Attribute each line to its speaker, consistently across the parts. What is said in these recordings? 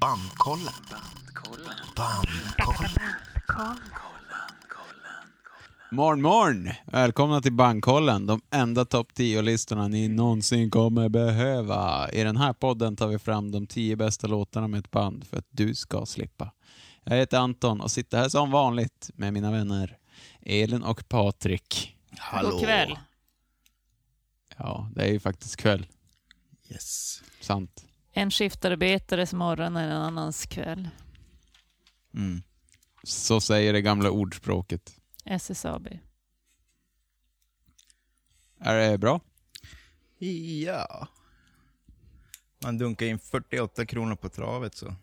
Speaker 1: Bandkollen. Bandkollen.
Speaker 2: Morgon, morgon! Välkomna till Bankkollen, de enda topp 10-listorna ni någonsin kommer behöva. I den här podden tar vi fram de 10 bästa låtarna med ett band för att du ska slippa. Jag heter Anton och sitter här som vanligt med mina vänner Elin och Patrik.
Speaker 1: Hallå.
Speaker 3: God kväll.
Speaker 2: Ja, det är ju faktiskt kväll.
Speaker 1: Yes.
Speaker 2: Sant.
Speaker 3: En skiftarbetares morgon är en annans kväll.
Speaker 2: Så säger det gamla ordspråket.
Speaker 3: SSAB.
Speaker 2: Är det bra?
Speaker 1: Ja. Man dunkar in 48 kronor på travet så.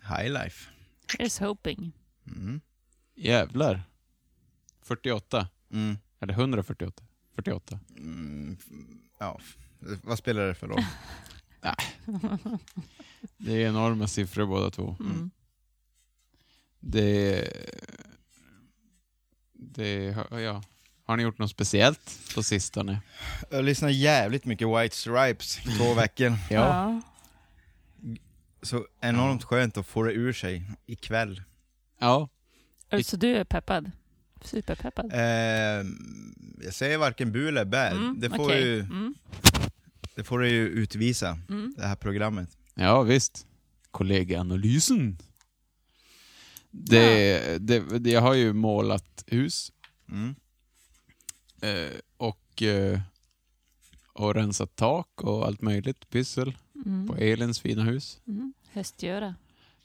Speaker 1: High life.
Speaker 3: Mhm. Here's hoping.
Speaker 2: Jävlar. 48.
Speaker 1: Mm.
Speaker 2: Eller 148? 48.
Speaker 1: Ja, f- vad spelar det för roll?
Speaker 2: Det är enorma siffror båda två.
Speaker 3: Mm.
Speaker 1: Mm.
Speaker 2: Det... Det... Ja. Har ni gjort något speciellt på sistone?
Speaker 1: Jag lyssnar jävligt mycket White Stripes i två veckor.
Speaker 3: Ja.
Speaker 1: Så enormt skönt att få det ur sig ikväll.
Speaker 2: Ja.
Speaker 3: Ja. Så du är peppad? Superpeppad?
Speaker 1: Eh, jag säger varken bu eller bär. Äh, det, får
Speaker 3: okej.
Speaker 1: ju,
Speaker 3: Mm.
Speaker 1: det får det ju utvisa, det här programmet.
Speaker 2: Ja, visst. Kollegaanalysen. Det, det, det... Jag har ju målat hus.
Speaker 1: Mm.
Speaker 2: Eh, och... Eh, och rensat tak och allt möjligt. Pyssel.
Speaker 3: Mm.
Speaker 2: På Elins fina hus.
Speaker 3: Höstgöra?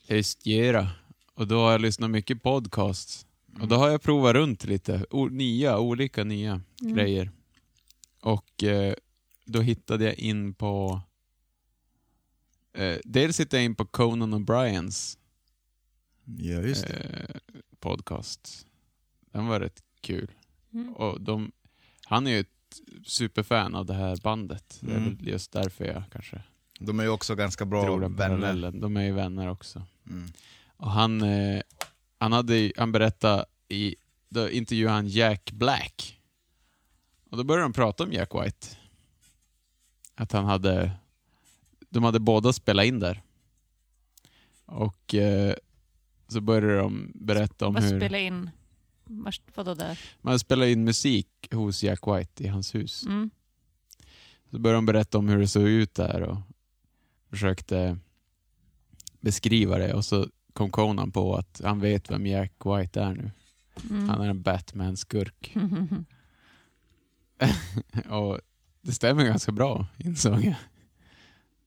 Speaker 2: Östgöra. Och då har jag lyssnat mycket podcasts. Och då har jag provat runt lite. O- nya, olika nya
Speaker 3: Mm.
Speaker 1: Mm.
Speaker 2: grejer. Och eh, då hittade jag in på... Eh, dels hittade jag in på Conan O'Briens
Speaker 1: Ja, just det.
Speaker 2: eh, podcast. Den var rätt kul.
Speaker 3: Mm.
Speaker 2: Och de, han är ju ett superfan av det här bandet. Det är
Speaker 1: Mm.
Speaker 2: väl just därför jag kanske
Speaker 1: De är ju också ganska bra
Speaker 2: drog den
Speaker 1: vänner.
Speaker 2: parallellen. De är ju vänner också.
Speaker 1: Mm.
Speaker 2: Och han, eh, han, hade, ju- han berättade i, då intervjuade han Jack Black. Och då började de prata om Jack White. Att han hade, de hade båda spelat in där. Och eh, så började de berätta om
Speaker 3: Vad
Speaker 2: hur
Speaker 3: spelar in? Vars- Vadå där?
Speaker 2: man spelade in musik hos Jack White i hans hus.
Speaker 3: Mm.
Speaker 2: Så började de berätta om hur det såg ut där och försökte beskriva det och så kom Conan på att han vet vem Jack White är nu.
Speaker 3: Mm.
Speaker 2: Han är en Batman-skurk. och det stämmer ganska bra, insåg jag.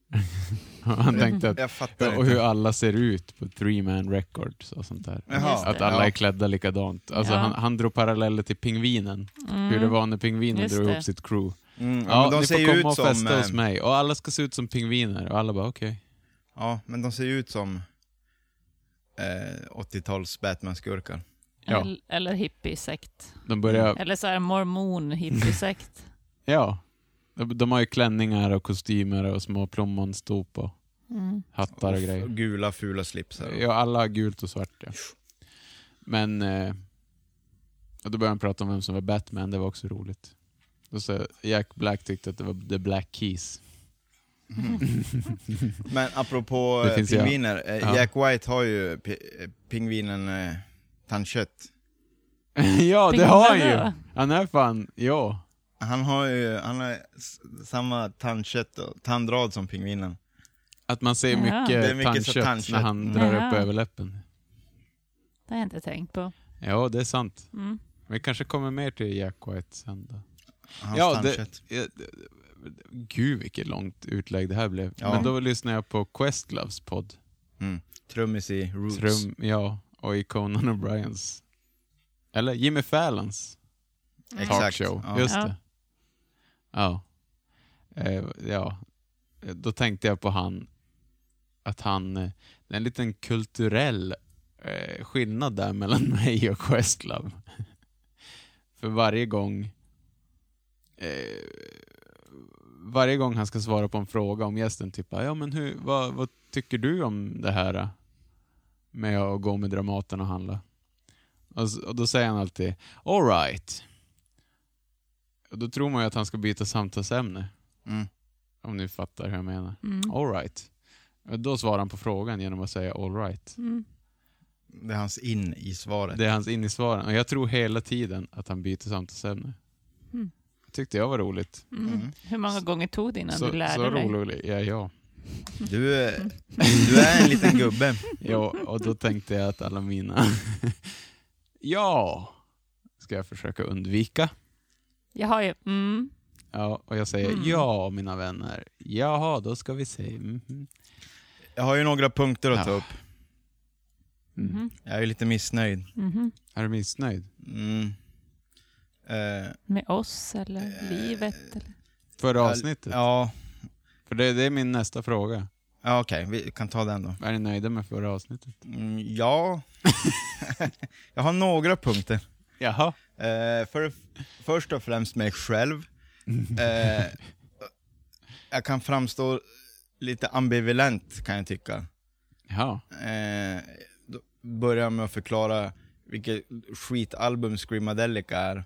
Speaker 2: och han tänkte att
Speaker 1: Jag fattar
Speaker 2: och hur
Speaker 1: inte.
Speaker 2: alla ser ut på Three Man Records och sånt där.
Speaker 1: Jaha.
Speaker 3: Just det.
Speaker 2: Att alla
Speaker 1: Ja.
Speaker 2: är klädda likadant. Alltså
Speaker 3: Ja. Mm.
Speaker 2: han, han drog paralleller till pingvinen. Hur det var när pingvinen
Speaker 3: Just
Speaker 2: drog
Speaker 3: det.
Speaker 2: ihop sitt crew.
Speaker 1: Mm, ja,
Speaker 2: Ja,
Speaker 1: men de
Speaker 2: ni
Speaker 1: ser
Speaker 2: får
Speaker 1: ju
Speaker 2: komma
Speaker 1: ut
Speaker 2: och
Speaker 1: som...
Speaker 2: festa hos
Speaker 1: eh,
Speaker 2: mig. Och alla ska se ut som pingviner. Och alla bara okej.
Speaker 1: Ja, men de ser ju ut som eh, 80-tals Batman-skurkar.
Speaker 2: Ja.
Speaker 3: Eller, eller hippiesekt?
Speaker 2: De börjar,
Speaker 3: Eller så här mormon hippiesekt?
Speaker 2: ja. De, de har ju klänningar och kostymer och små plommonstop och
Speaker 3: Mm.
Speaker 2: hattar och grejer.
Speaker 1: Gula, fula slipsar.
Speaker 2: Ja, alla har gult och svart ja. Men, eh, och då började han prata om vem som var Batman, det var också roligt. Då så Jack Black tyckte att det var The Black Keys.
Speaker 1: Mm. Men apropå
Speaker 2: Det
Speaker 1: eh,
Speaker 2: finns ju-
Speaker 1: pingviner, eh,
Speaker 2: ja.
Speaker 1: Jack White har ju pi- eh, pingvinen eh, tandkött.
Speaker 2: ja, det
Speaker 3: Pingvin
Speaker 2: har han
Speaker 3: då?
Speaker 2: ju! Han är fan, ja.
Speaker 1: Han har ju han har s- samma tandkött och tandrad som pingvinen.
Speaker 2: Att man ser
Speaker 3: Jaha.
Speaker 2: mycket,
Speaker 1: Det är mycket så
Speaker 2: tandkött,
Speaker 1: tandkött.
Speaker 2: när han
Speaker 1: Mm.
Speaker 2: drar upp
Speaker 3: Jaha.
Speaker 2: överläppen.
Speaker 3: Det har jag inte tänkt på.
Speaker 2: Ja, det är sant.
Speaker 3: Mm.
Speaker 2: Vi kanske kommer mer till Jack White sen då.
Speaker 1: Hans
Speaker 2: ja,
Speaker 1: tandkött.
Speaker 2: det, ja, det- gud vilket långt utlägg det här blev.
Speaker 1: Ja.
Speaker 2: Men då lyssnade jag på Questloves podd.
Speaker 1: Mm. Trummis i Roots.
Speaker 2: Trum, ja, och i Conan O'Briens. Eller Jimmy Fallons talkshow.
Speaker 1: Ja.
Speaker 2: Just
Speaker 3: Ja.
Speaker 2: det. Ja. Eh, ja. Eh, Då tänkte jag på han, att han, eh, det är en liten kulturell eh, skillnad där mellan mig och Questlove. För varje gång eh, varje gång han ska svara på en fråga om gästen, typ ja men hur, vad, vad tycker du om det här eh, med att gå med Dramaten och handla? Och, s- och då säger han alltid all right. Och Då tror man ju att han ska byta samtalsämne.
Speaker 1: Mm.
Speaker 2: Om ni fattar hur jag menar.
Speaker 3: Mm.
Speaker 2: All right. Då svarar han på frågan genom att säga all right.
Speaker 3: Mm.
Speaker 1: Det är hans in i svaret.
Speaker 2: Det är hans in i svaren. Och jag tror hela tiden att han byter samtalsämne.
Speaker 3: Mm.
Speaker 2: Tyckte jag var roligt.
Speaker 3: Mm.
Speaker 1: Mm.
Speaker 3: Hur många gånger tog det innan
Speaker 2: så
Speaker 3: du lärde
Speaker 2: så
Speaker 3: dig?
Speaker 2: rolig är jag.
Speaker 1: Du, är- du är en liten gubbe.
Speaker 2: Ja, och då tänkte jag att alla mina ja ska jag försöka undvika.
Speaker 3: Jag har ju, mm.
Speaker 2: Ja, och jag säger
Speaker 3: Mm.
Speaker 2: ja, mina vänner. Jaha, då ska vi se. Mhm.
Speaker 1: Jag har ju några punkter att
Speaker 2: Ja.
Speaker 1: ta upp.
Speaker 2: Mm.
Speaker 3: Mhm.
Speaker 1: Jag är ju lite missnöjd.
Speaker 3: Mhm.
Speaker 2: Är du missnöjd?
Speaker 1: Mm. Eh,
Speaker 3: Med oss eller
Speaker 1: Eh,
Speaker 3: livet? Eller?
Speaker 2: Förra avsnittet?
Speaker 1: ja,
Speaker 2: För det, det är min nästa fråga.
Speaker 1: ja okej. Vi kan ta den då.
Speaker 2: Är ni nöjda med förra avsnittet?
Speaker 1: Mm, ja. jag har några punkter.
Speaker 2: Jaha.
Speaker 1: Eh, för, först och främst mig själv. Eh, jag kan framstå lite ambivalent kan jag tycka.
Speaker 2: Jaha.
Speaker 1: Eh, då börjar jag med att förklara vilket skitalbum Screamadelica är.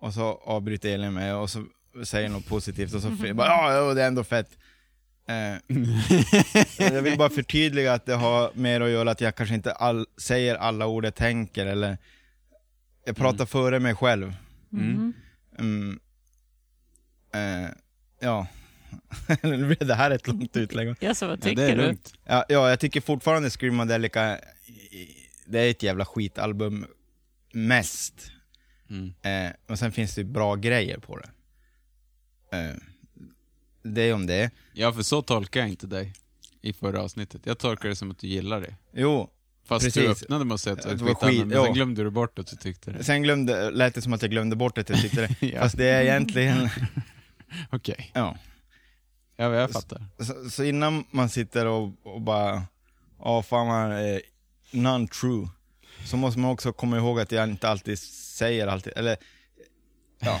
Speaker 1: Och så avbryter Elin mig och så säger något positivt och så f- bara ja, jo, det är ändå fett. Eh, jag vill bara förtydliga att det har mer att göra att jag kanske inte all, säger alla ord jag tänker eller jag pratar före mig själv.
Speaker 3: Mm-hmm.
Speaker 2: Mm.
Speaker 1: Mm. Eh, ja. nu blev det här ett långt utlägg.
Speaker 3: Jag sa, vad
Speaker 2: Ja,
Speaker 3: tycker
Speaker 2: det är
Speaker 3: du?
Speaker 2: lugnt.
Speaker 1: Ja, ja, jag tycker fortfarande Screamadelica, det är ett jävla skitalbum mest.
Speaker 2: Mm.
Speaker 1: Eh, och sen finns det ju bra grejer på det. Eh, det är om det.
Speaker 2: Ja, för så tolkar jag inte dig i förra avsnittet. Jag tolkar det som att du gillar det.
Speaker 1: Jo,
Speaker 2: Fast du
Speaker 1: Precis.
Speaker 2: öppnade med att säga att
Speaker 1: Det
Speaker 2: det
Speaker 1: var
Speaker 2: var
Speaker 1: skit,
Speaker 2: skit, men
Speaker 1: ja.
Speaker 2: sen glömde du bort att du tyckte det.
Speaker 1: sen glömde, lät det som att jag glömde bort att jag tyckte det.
Speaker 2: Ja.
Speaker 1: Fast det är egentligen,
Speaker 2: Okej,
Speaker 1: ja.
Speaker 2: ja, jag fattar.
Speaker 1: Så, så innan man sitter och, och bara, ja fan man är non-true, så måste man också komma ihåg att jag inte alltid säger alltid, eller ja.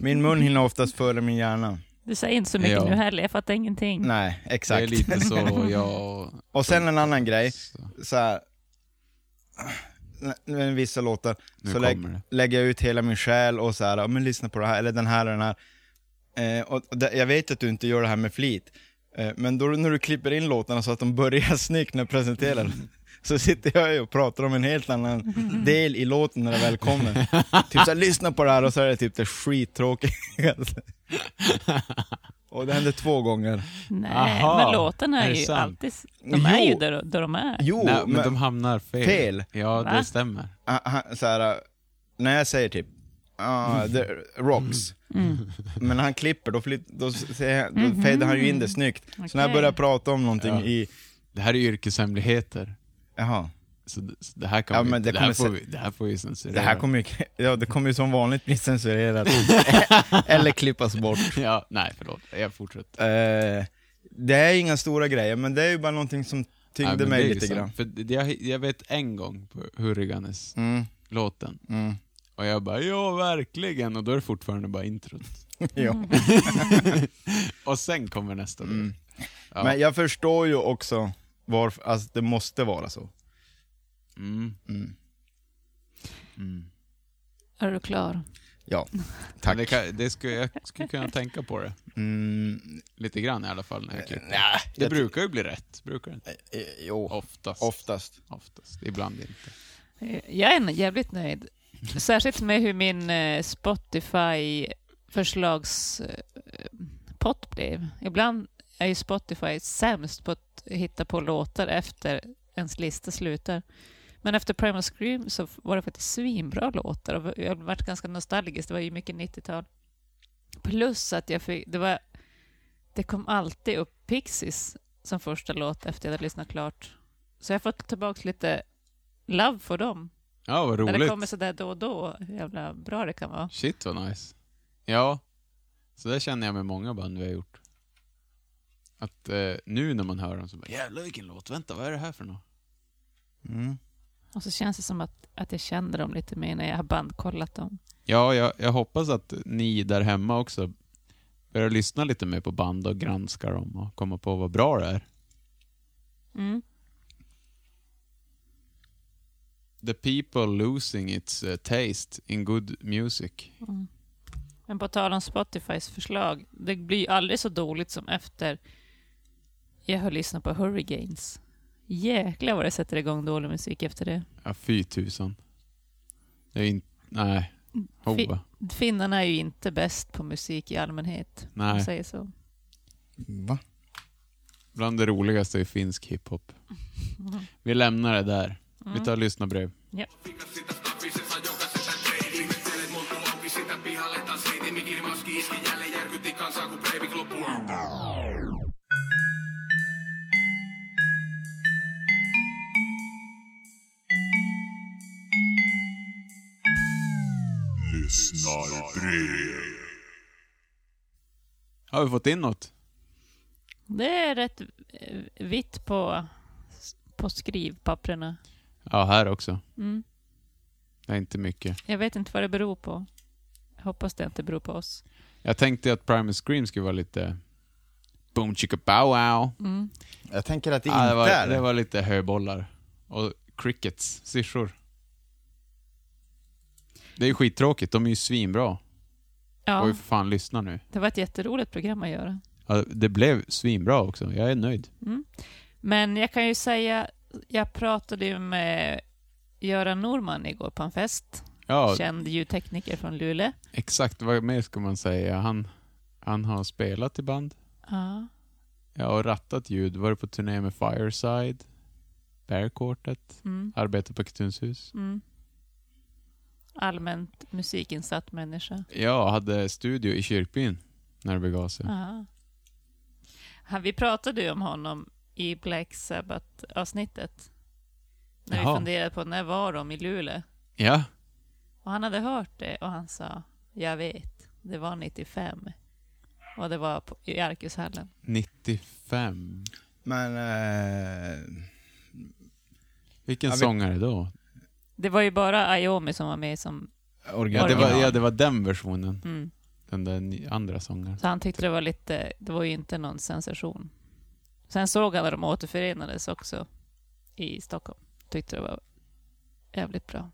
Speaker 1: Min mun hinner oftast före min hjärna.
Speaker 3: Du säger inte så mycket
Speaker 2: Ja.
Speaker 3: nu heller, jag fattar ingenting.
Speaker 1: Nej,
Speaker 2: Det är
Speaker 1: exakt.
Speaker 2: lite så jag...
Speaker 1: Och sen en annan grej,
Speaker 2: Så,
Speaker 1: så här. Med vissa låtar,
Speaker 2: nu
Speaker 1: så
Speaker 2: kommer
Speaker 1: lägg,
Speaker 2: det.
Speaker 1: lägger jag ut hela min själ och så här, ja, men lyssna på det här, eller den här och den här. Eh, och och det, jag vet att du inte gör det här med flit, eh, men då när du klipper in låtarna så att de börjar snyggt när du presenterar dem, så sitter jag ju och pratar om en helt annan del i låten när det väl kommer. typ såhär, lyssna på det här, och så är det typ det skittråkigaste. och det hände två gånger.
Speaker 3: Nej,
Speaker 2: Aha,
Speaker 3: men låtarna är,
Speaker 2: är det
Speaker 3: ju
Speaker 2: sant?
Speaker 3: alltid, de är
Speaker 1: Jo.
Speaker 3: ju där, där de är.
Speaker 1: Jo,
Speaker 2: Nej, men
Speaker 1: men
Speaker 2: de hamnar fel.
Speaker 1: fel.
Speaker 2: Ja,
Speaker 3: Va?
Speaker 2: det stämmer.
Speaker 1: han, han, så här, äh, när jag säger typ ah, the rocks,
Speaker 3: Mm.
Speaker 1: men han klipper, då, flytt, då, säger, jag- då fejdar han ju in det snyggt. Så när jag
Speaker 3: Okej.
Speaker 1: börjar prata om någonting
Speaker 2: Ja.
Speaker 1: i,
Speaker 2: Det här är yrkeshemligheter.
Speaker 1: jaha,
Speaker 2: Så det, så det här kan
Speaker 1: Ja,
Speaker 2: vi,
Speaker 1: men det
Speaker 2: det, här
Speaker 1: kommer
Speaker 2: får
Speaker 1: se-
Speaker 2: vi, det Mm. här får vi censurera.
Speaker 1: det här kommer ju, ja, det kommer ju som vanligt bli censurerat, eller klippas bort.
Speaker 2: Ja, nej förlåt. Jag fortsätter.
Speaker 1: Eh, det är inga stora grejer, men det är ju bara någonting som
Speaker 2: Nej,
Speaker 1: tyngde
Speaker 2: men det är
Speaker 1: mig
Speaker 2: ju
Speaker 1: lite
Speaker 2: sant.
Speaker 1: grann.
Speaker 2: För det- jag, jag vet en gång på Hurriganes-låten,
Speaker 1: Mm, mm,
Speaker 2: och jag bara ja verkligen, och då är det fortfarande bara introt.
Speaker 1: ja.
Speaker 3: Mm.
Speaker 2: Och sen kommer nästa del.
Speaker 1: Mm.
Speaker 2: Ja.
Speaker 1: Men jag förstår ju också varför, alltså det måste vara så.
Speaker 2: Mm.
Speaker 1: Mm.
Speaker 3: Är du klar?
Speaker 1: Ja,
Speaker 2: Men
Speaker 1: tack.
Speaker 2: Det kan, det skulle, jag skulle kunna tänka på det.
Speaker 1: Mm,
Speaker 2: Lite grann i alla fall. När jag klipper.
Speaker 1: Eh, nej,
Speaker 2: det brukar ju bli rätt. Brukar det inte?
Speaker 1: Eh, Jo,
Speaker 2: Oftast.
Speaker 1: oftast.
Speaker 2: Oftast. Ibland inte.
Speaker 3: Eh, Jag är jävligt nöjd. Särskilt med hur min eh, Spotify-förslagspott eh, blev. Ibland är ju Spotify sämst på att hitta på låtar efter ens lista slutar. Men efter Primal Scream så var det faktiskt svinbra låtar och jag har varit ganska nostalgisk. Det var ju mycket 90-tal. Plus att jag fick, det var, det kom alltid upp Pixies som första låt efter jag hade lyssnat klart. Så jag har fått tillbaka lite love för dem.
Speaker 2: Ja, vad
Speaker 3: När det
Speaker 2: roligt.
Speaker 3: kommer sådär då och då, hur jävla bra det kan vara.
Speaker 2: Shit vad nice. Ja, så där känner jag med många band vi har gjort. Att eh, nu när man hör dem så bara jävlar vilken låt, vänta vad är det här för något?
Speaker 1: Mm.
Speaker 3: Och så känns det som att, att jag känner dem lite mer när jag har bandkollat dem.
Speaker 2: Ja, jag, jag hoppas att ni där hemma också börjar lyssna lite mer på band och granska dem och komma på vad bra det är.
Speaker 3: Mm.
Speaker 2: The people losing its eh, taste in good music.
Speaker 3: Men på tal om Spotifys förslag, det blir ju aldrig så dåligt som efter Jag har lyssnat på Hurricanes. Jäklar vad det sätter igång dålig musik efter det.
Speaker 2: Ja, fy tusan. Det är inte... Nej. Hova.
Speaker 3: Finnarna är ju inte bäst på musik i allmänhet, om man
Speaker 2: Nej.
Speaker 3: säger så.
Speaker 1: Va?
Speaker 2: Bland det roligaste är finsk hiphop. Vi lämnar det där. Vi tar lyssnarbrev.
Speaker 3: Ja.
Speaker 2: Har vi fått in något?
Speaker 3: Det är rätt eh, vitt på, på skrivpapperna.
Speaker 2: Ja, här också.
Speaker 3: Mm.
Speaker 2: Det är inte mycket.
Speaker 3: Jag vet inte vad det beror på. Jag hoppas det inte beror på oss.
Speaker 2: Jag tänkte att Primus Scream skulle vara lite... Boom chicka bow wow.
Speaker 1: Jag tänker att det
Speaker 2: Ja,
Speaker 1: inte
Speaker 2: det, var,
Speaker 1: är
Speaker 2: det
Speaker 1: det.
Speaker 2: var lite höbollar. Och crickets, syrsor. Det är ju skittråkigt, de är ju svinbra.
Speaker 3: Ja,
Speaker 2: Och vi får fan lyssna nu.
Speaker 3: det var ett jätteroligt program att göra.
Speaker 2: Ja, det blev svinbra också, jag är nöjd.
Speaker 3: Mm. Men jag kan ju säga, jag pratade ju med Göran Norman igår på en fest.
Speaker 2: Ja,
Speaker 3: Känd ljudtekniker från Luleå.
Speaker 2: exakt vad mer ska man säga? Han, han har spelat i band,
Speaker 3: Ja.
Speaker 2: ja, och rattat ljud, varit på turné med Fireside, Bearcourtet,
Speaker 3: Mm,
Speaker 2: arbetat på Kulturhus.
Speaker 3: mm. Allmänt musikinsatt människa.
Speaker 2: Ja, hade studio i kyrkbyn när det begav sig.
Speaker 3: Ja. Han, vi pratade ju om honom i Black Sabbath-avsnittet. När
Speaker 2: Jaha.
Speaker 3: vi funderade på när var de i Luleå.
Speaker 2: Ja,
Speaker 3: Och han hade hört det och han sa, jag vet, det var 95. Och det var på, i Arkushallen.
Speaker 2: 95.
Speaker 1: Men... Eh,
Speaker 2: Vilken
Speaker 1: Ja, vi-
Speaker 2: sångare då?
Speaker 3: Det var ju bara Iomi som var med som...
Speaker 2: Ja
Speaker 1: original.
Speaker 2: det, var, ja, det var den versionen.
Speaker 3: Mm.
Speaker 2: Den där ny- andra sångaren.
Speaker 3: Så han tyckte det var lite, det var ju inte någon sensation. Sen såg han när de återförenades också i Stockholm. Tyckte det var jävligt bra.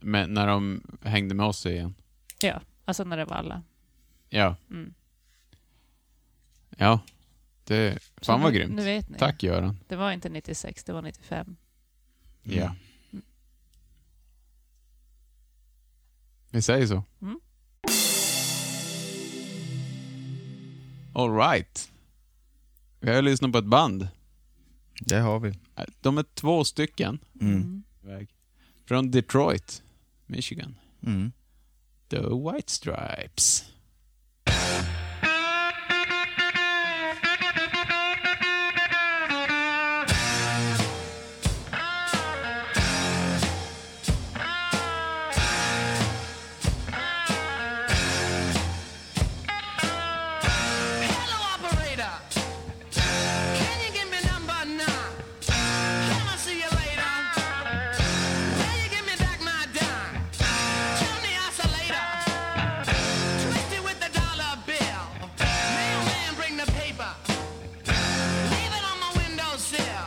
Speaker 2: Men när de hängde med oss igen.
Speaker 3: Ja, alltså när det var alla.
Speaker 2: Ja.
Speaker 3: Mm.
Speaker 2: Ja. Det,
Speaker 3: Så
Speaker 2: fan vad
Speaker 3: nu-
Speaker 2: grymt.
Speaker 3: Nu vet ni.
Speaker 2: Tack Göran.
Speaker 3: Det var inte 96, det var 95.
Speaker 1: Mm.
Speaker 2: Ja. Vi säger så.
Speaker 3: Mm.
Speaker 2: All right. Vi har lyssnat på ett band.
Speaker 1: Det har vi.
Speaker 2: De är två stycken.
Speaker 1: Mm.
Speaker 2: Från Detroit, Michigan.
Speaker 1: Mm.
Speaker 2: The White Stripes.
Speaker 4: Hello, operator. Can you give me number nine? Come and see you later. Will you give me back my dime? Tune the oscillator. Twist it with the dollar bill. Mailman, bring the paper. Leave it on my windowsill.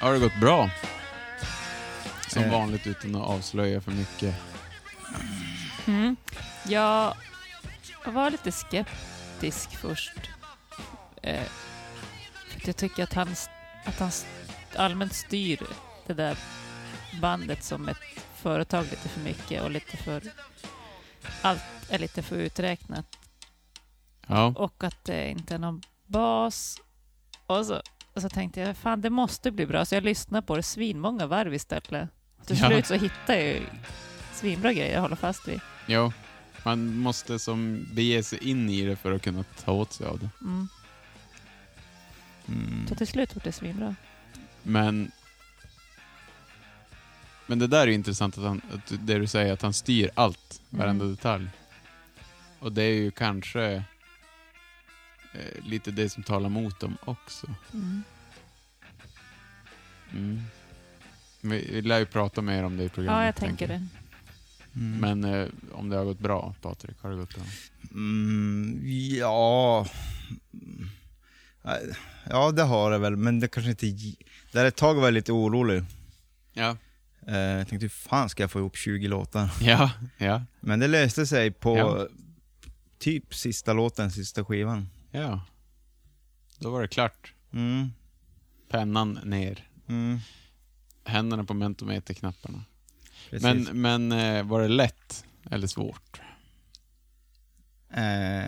Speaker 2: Har det gått bra? Som
Speaker 1: Eh.
Speaker 2: vanligt utan att avslöja för mycket.
Speaker 3: Jag var lite skeptisk först. Eh, för att jag tycker att han, att han allmänt styr det där bandet som ett företag lite för mycket och lite för... Allt är lite för uträknat.
Speaker 2: Ja.
Speaker 3: och att det inte är någon bas. Och så, och så tänkte jag, fan det måste bli bra, så jag lyssnade på det svinmånga varv istället. Till
Speaker 2: Ja.
Speaker 3: slut så hittade jag ju svinbra grejer jag håller fast vid.
Speaker 2: Jo. Man måste som bege sig in i det för att kunna ta åt sig av det.
Speaker 3: Mm.
Speaker 1: Mm.
Speaker 3: Så till slut vart det svinbra.
Speaker 2: Men... Men det där är ju intressant, att han, att det du säger, att han styr allt, varenda
Speaker 3: Mm.
Speaker 2: detalj. Och det är ju kanske eh, lite det som talar mot dem också.
Speaker 3: Mm.
Speaker 2: Mm. Vi, vi lär ju prata mer om det i programmet.
Speaker 3: Ja, jag tänker det.
Speaker 1: Mm.
Speaker 2: Men eh, om det har gått bra, Patrik? Har det gått bra?
Speaker 1: Mm, ja... Nej, Ja, det har det väl, men det kanske inte... gi- Där ett tag var jag lite orolig.
Speaker 2: Ja.
Speaker 1: Eh, Jag tänkte, hur fan ska jag få ihop 20 låtar?
Speaker 2: Ja, ja,
Speaker 1: Men det löste sig på
Speaker 2: Ja.
Speaker 1: typ sista låten, sista skivan.
Speaker 2: ja. Då var det klart.
Speaker 1: Mm,
Speaker 2: Pennan ner.
Speaker 1: mm,
Speaker 2: Händerna på mentometerknapparna.
Speaker 1: precis.
Speaker 2: Men, men eh, var det lätt eller svårt?
Speaker 1: Eh,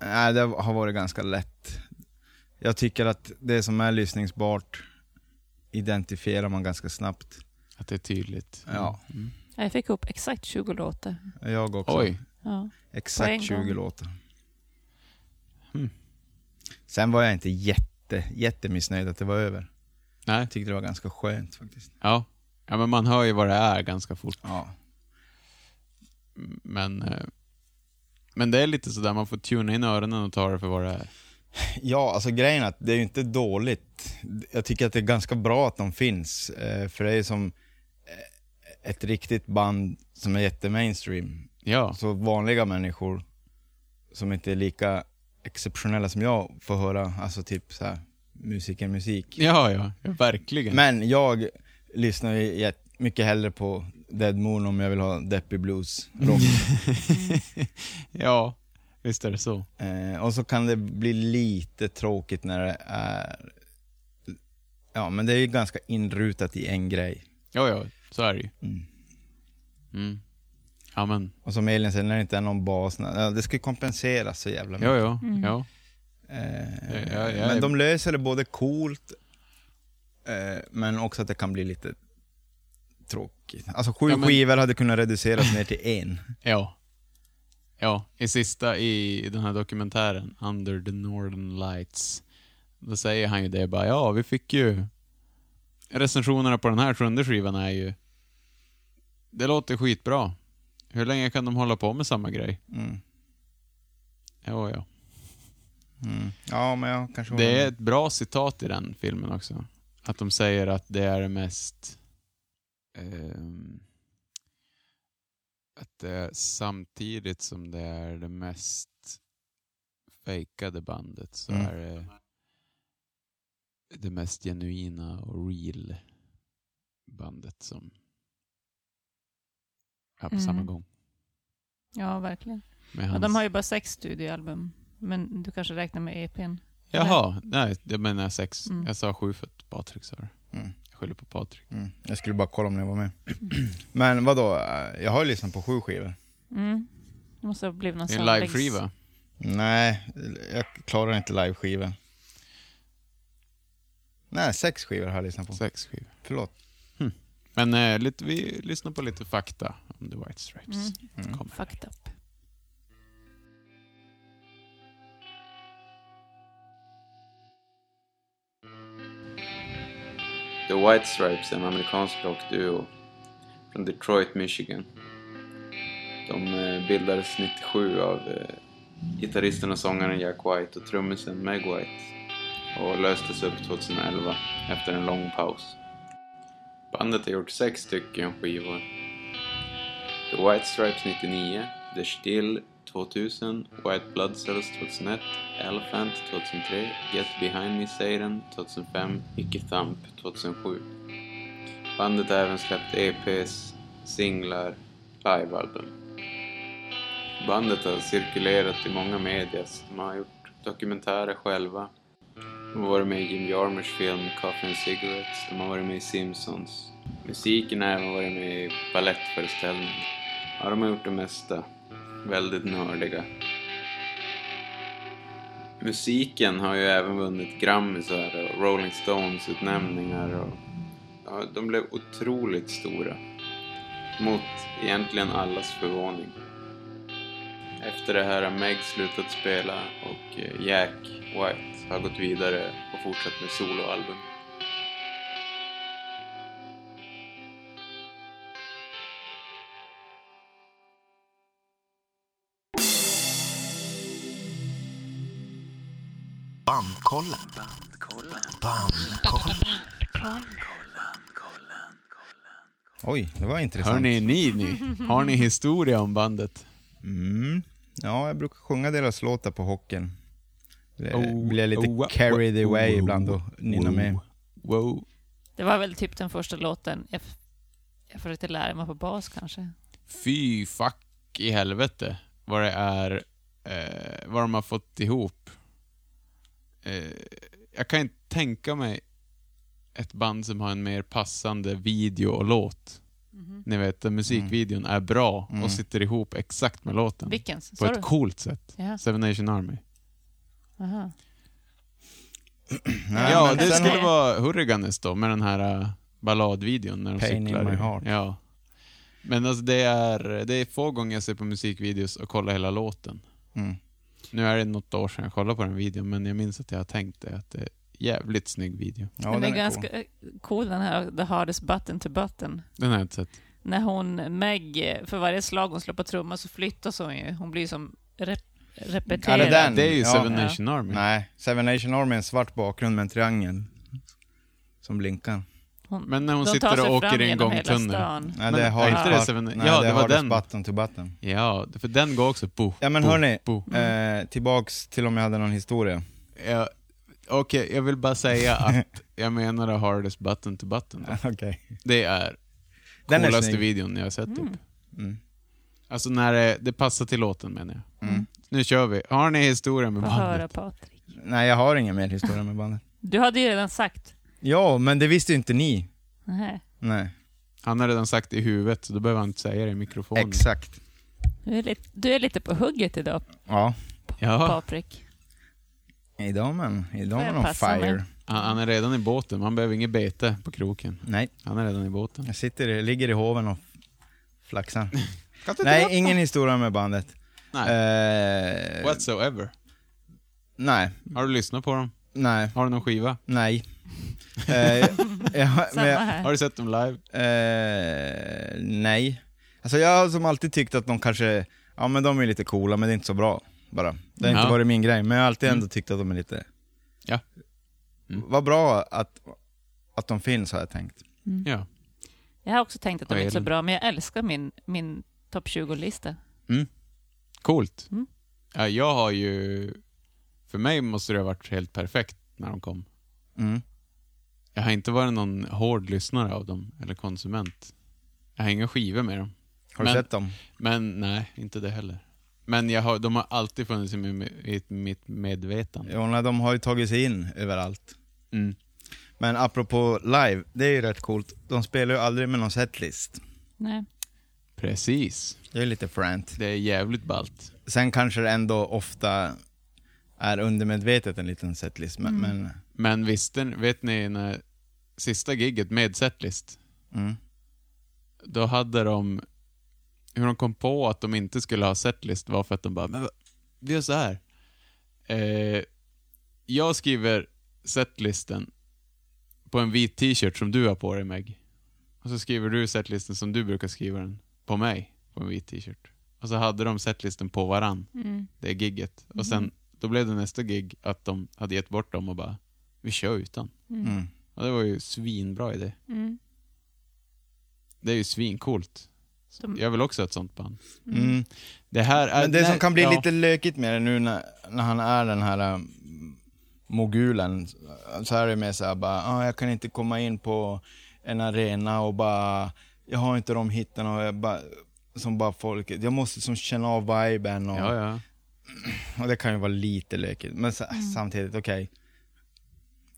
Speaker 1: nej, det har varit ganska lätt. Jag tycker att det som är lyssningsbart identifierar man ganska snabbt.
Speaker 2: Att det är tydligt?
Speaker 1: Ja.
Speaker 2: Mm.
Speaker 3: Ja, Jag fick ihop exakt 20 låtar.
Speaker 1: Mm. Jag också.
Speaker 2: Oj.
Speaker 3: Ja. På en
Speaker 1: Exakt 20
Speaker 3: gång.
Speaker 1: låtar.
Speaker 2: Hmm.
Speaker 1: Sen var jag inte jätte, jättemissnöjd att det var över.
Speaker 2: Nej.
Speaker 1: Jag tyckte det var ganska skönt faktiskt.
Speaker 2: Ja. ja, men man hör ju vad det är ganska fort.
Speaker 1: Ja.
Speaker 2: Men, eh, men det är lite sådär, man får tuna in öronen och ta det för vad det är.
Speaker 1: Ja, alltså grejen är att det är ju inte dåligt. Jag tycker att det är ganska bra att de finns. eh, För det är som eh, ett riktigt band som är jättemainstream.
Speaker 2: Ja,
Speaker 1: Så vanliga människor som inte är lika exceptionella som jag får höra, alltså typ så här, musiken musik.
Speaker 2: ja, ja, ja verkligen.
Speaker 1: Men jag lyssnar ju jätt- mycket hellre på Dead Moon om jag vill ha deppig blues rock.
Speaker 2: ja, visst är det så.
Speaker 1: eh, och så kan det bli lite tråkigt när det är... Ja, men det är ju ganska inrutat i en grej.
Speaker 2: Ja, ja, så är det ju.
Speaker 1: Mm.
Speaker 2: Mm. Ja, men,
Speaker 1: Och som Elin säger, när det inte är någon bas, när- ja, det ska ju kompenseras så jävla mycket.
Speaker 2: ja, ja, ja.
Speaker 1: Eh,
Speaker 2: Ja, ja, ja.
Speaker 1: men de löser det både coolt, eh, men också att det kan bli lite tråkigt. Alltså sju
Speaker 2: Ja, men-
Speaker 1: skivor hade kunnat reduceras ner till en.
Speaker 2: Ja. Ja, i sista i i den här dokumentären, Under the Northern Lights, då säger han ju det bara, ja, vi fick ju... Recensionerna på den här sjunde skivan är ju... Det låter skitbra. Hur länge kan de hålla på med samma grej?
Speaker 1: Mm.
Speaker 2: Ja, ja.
Speaker 1: Mm. Ja, men jag kanske håller
Speaker 2: Det är
Speaker 1: med.
Speaker 2: ett bra citat i den filmen också. Att de säger att det är det mest... ehm, att det är samtidigt som det är det mest fejkade bandet så
Speaker 1: Mm.
Speaker 2: är det det mest genuina och real bandet som är på samma
Speaker 3: Mm.
Speaker 2: gång.
Speaker 3: ja, verkligen.
Speaker 2: Med
Speaker 3: Ja,
Speaker 2: hans-
Speaker 3: de har ju bara sex studioalbum. Men du kanske räknar med E EPn?
Speaker 2: Jaha, nej, jag menar sex.
Speaker 3: Mm.
Speaker 2: Jag sa sju för att Patrik sa det.
Speaker 1: Mm.
Speaker 2: Jag skyller på Patrik.
Speaker 1: Mm. Jag skulle bara kolla om ni var med. Men vadå, eh, jag har ju lyssnat på sju skivor.
Speaker 3: Mm. Det måste ha blivit någon
Speaker 2: Det är en
Speaker 3: samlings-
Speaker 2: live-skiva.
Speaker 1: Nej, jag klarar inte live-skivor. Nej, sex skivor har jag lyssnat på.
Speaker 2: Sex skivor.
Speaker 1: Förlåt.
Speaker 2: Men eh, lite, vi lyssnar på lite fakta om The White Stripes.
Speaker 3: Mm.
Speaker 1: Mm.
Speaker 2: Kommer.
Speaker 3: Fucked up.
Speaker 5: The White Stripes är en amerikansk rockduo från Detroit, Michigan. De eh, bildades 97 av eh, gitarristen och sångaren Jack White och trummisen Meg White och löstes upp 2011 efter en lång paus. Bandet har gjort sex stycken skivor. The White Stripes 99, The Still 2000, White Blood Cells 2001, Elephant 2003, Get Behind Me Satan 2005, Icke Thump 2007. Bandet har även släppt EPs, singlar, livealbum. Bandet har cirkulerat i många media, så de har gjort dokumentärer själva. De har varit med i Jim Jarmers film Coffee and Cigarettes, de har varit med i Simpsons. Musiken har även varit med i balettföreställningar. Ja, de har gjort det mesta. Väldigt nördiga. Musiken har ju även vunnit Grammisar och Rolling Stones-utnämningar och ja, de blev otroligt stora. Mot egentligen allas förvåning. Efter det här har Meg slutat spela och eh, Jack White har gått vidare och fortsatt med soloalbum.
Speaker 6: Bandkollen. Bandkollen.
Speaker 1: Oj, det var intressant.
Speaker 2: Hörni, ni, ni. Har ni historia om bandet?
Speaker 1: Mm. Ja, jag brukar sjunga deras låtar på hockeyn. Blir,
Speaker 2: Oh,
Speaker 1: Eh, blir lite
Speaker 2: oh,
Speaker 1: carried
Speaker 2: oh,
Speaker 1: away
Speaker 2: oh,
Speaker 1: ibland och nynnar med.
Speaker 2: Wow. Wow.
Speaker 3: Det var väl typ den första låten jag, f- jag försökte lära mig på bas kanske.
Speaker 2: Fy fuck i helvete vad det är, eh, vad de har fått ihop. Eh, jag kan inte tänka mig ett band som har en mer passande video och låt.
Speaker 3: Mhm.
Speaker 2: Ni vet, där musikvideon
Speaker 1: Mm.
Speaker 2: är bra och sitter ihop exakt med låten.
Speaker 3: Vilken? Sa
Speaker 2: På
Speaker 3: du?
Speaker 2: ett coolt sätt.
Speaker 3: Ja.
Speaker 2: Seven Nation Army.
Speaker 3: Aha.
Speaker 1: Nej,
Speaker 2: ja,
Speaker 1: men
Speaker 2: det
Speaker 1: sen-
Speaker 2: skulle vara Hurriganes då, med den här eh, balladvideon när de
Speaker 1: Pain
Speaker 2: cyklar.
Speaker 1: in my heart.
Speaker 2: Ja. Men alltså det är, det är få gånger jag ser på musikvideos och kollar hela låten.
Speaker 1: Mm.
Speaker 2: Nu är det något år sedan jag kollade på den videon, men jag minns att jag har tänkt det, att det är en jävligt snygg video.
Speaker 1: Ja,
Speaker 3: den,
Speaker 1: den
Speaker 3: är, ganska eh, cool. den här The Hardest Button to Button.
Speaker 2: Den har jag inte sett.
Speaker 3: När hon, Meg, för varje slag hon slår på trumman så flyttas hon ju. Hon blir ju som rep- repeterad.
Speaker 1: Ja, det är den.
Speaker 2: Det är ju
Speaker 1: Ja.
Speaker 2: Seven
Speaker 3: Ja.
Speaker 2: Nation Army.
Speaker 1: Mm. Nej, Seven Nation Army är en svart bakgrund med en triangel som blinkar.
Speaker 3: Hon,
Speaker 2: Men när hon
Speaker 3: de tar
Speaker 2: sitter
Speaker 3: sig
Speaker 2: och åker
Speaker 3: fram
Speaker 2: i en
Speaker 3: genom hela
Speaker 2: gångtunnel.
Speaker 3: stan.
Speaker 1: Nej,
Speaker 2: Men
Speaker 1: det är
Speaker 2: är
Speaker 1: hardest
Speaker 2: inte det
Speaker 1: butt-
Speaker 2: Seven-
Speaker 1: Nej,
Speaker 2: ja,
Speaker 1: det
Speaker 2: det
Speaker 1: är
Speaker 2: var
Speaker 1: hardest
Speaker 2: den.
Speaker 1: button to button.
Speaker 2: Ja, för den går också bo,
Speaker 1: Ja men
Speaker 2: bo,
Speaker 1: hörni,
Speaker 2: bo.
Speaker 1: eh, tillbaks till om jag hade någon historia.
Speaker 2: Ja, Okej, jag vill bara säga att jag menar The Hardest Button to Button. Då.
Speaker 1: Okej.
Speaker 2: Det är
Speaker 1: Den är
Speaker 2: coolaste
Speaker 1: snygg.
Speaker 2: videon jag har sett typ.
Speaker 1: Mm.
Speaker 2: Alltså när det, det passar till låten menar jag. Nu kör vi. Har ni historia med
Speaker 3: Mm. Få höra
Speaker 2: bandet?
Speaker 3: Patrik.
Speaker 1: Nej, jag har ingen mer historia med bandet.
Speaker 3: Du hade ju redan sagt.
Speaker 1: Ja, men det visste ju inte ni.
Speaker 3: Nej.
Speaker 1: Nej,
Speaker 2: Han har redan sagt det i huvudet, så då behöver han inte säga det i mikrofonen.
Speaker 1: exakt.
Speaker 3: Du är, lite, du är lite på hugget idag,
Speaker 1: Ja,
Speaker 2: Ja,
Speaker 3: Patrik.
Speaker 1: idag men, idag
Speaker 3: Får jag
Speaker 1: man on
Speaker 3: passa mig?
Speaker 1: fire.
Speaker 2: han, han är redan i båten. Man behöver inget bete på kroken.
Speaker 1: Nej,
Speaker 2: Han är redan i båten.
Speaker 1: jag sitter, jag ligger i hoven och flaxar. nej, ingen historia med bandet.
Speaker 2: Nej,
Speaker 1: Eh,
Speaker 2: whatsoever.
Speaker 1: nej,
Speaker 2: Har du lyssnat på dem?
Speaker 1: nej,
Speaker 2: Har du någon skiva?
Speaker 1: nej. eh, jag, men,
Speaker 3: Samma
Speaker 1: jag-
Speaker 3: här.
Speaker 2: Har du sett dem live?
Speaker 1: Eh, nej. Alltså jag har som alltid tyckt att de kanske, ja men de är lite coola men det är inte så bra bara. Det har
Speaker 2: Ja.
Speaker 1: inte varit min grej, men jag har alltid ändå
Speaker 2: Mm.
Speaker 1: tyckt att de är lite...
Speaker 2: Ja. Mm.
Speaker 1: Vad bra att, att de finns har jag tänkt.
Speaker 2: Ja.
Speaker 3: Jag har också tänkt att de
Speaker 2: Vad
Speaker 3: är
Speaker 2: är
Speaker 3: inte så
Speaker 2: det?
Speaker 3: bra, men jag älskar min, min topp 20-lista.
Speaker 2: Coolt.
Speaker 3: Mm.
Speaker 2: Ja, jag har ju... För mig måste det ha varit helt perfekt när de kom.
Speaker 1: Mm.
Speaker 2: Jag har inte varit någon hård lyssnare av dem, eller konsument. Jag har inga skivor med dem.
Speaker 1: Har du
Speaker 2: Men-
Speaker 1: sett dem?
Speaker 2: Men nej, inte det heller. Men jag har, de har alltid funnits i mi- i mitt medvetande.
Speaker 1: Jo, nej, de har ju tagit sig in överallt.
Speaker 2: Mm.
Speaker 1: Men apropå live, det är ju rätt coolt. De spelar ju aldrig med någon setlist.
Speaker 3: Nej.
Speaker 2: Precis.
Speaker 1: Det är ju lite fränt.
Speaker 2: Det är jävligt ballt.
Speaker 1: Sen kanske det ändå ofta är undermedvetet en liten setlist, men... men
Speaker 2: Men visste ni- vet ni när sista gigget med setlist,
Speaker 1: mm.
Speaker 2: då hade de... Hur de kom på att de inte skulle ha setlist var för att de bara, men va- vi gör så här. Eh, jag skriver setlisten på en vit t-shirt som du har på dig Meg. Och så skriver du setlisten som du brukar skriva den på mig, på en vit t-shirt. Och så hade de setlisten på varann, det gigget. Och sen, då blev det nästa gig att de hade gett bort dem och bara, vi kör utan.
Speaker 1: Mm.
Speaker 2: Och det var ju svinbra idé. Det är ju svincoolt.
Speaker 3: De-
Speaker 2: Jag vill också ha ett sånt band.
Speaker 1: Mm.
Speaker 2: Det här är...
Speaker 1: Men det som
Speaker 2: nej,
Speaker 1: kan bli
Speaker 2: ja.
Speaker 1: lite lökigt med det nu när, när han är den här um, mogulen, så är det mer såhär bara, ah, jag kan inte komma in på en arena och bara, jag har inte de hittarna och jag bara, som bara folket, jag måste som känna av viben och,
Speaker 2: Ja, ja.
Speaker 1: och det kan ju vara lite lökigt. Men så, samtidigt, okej.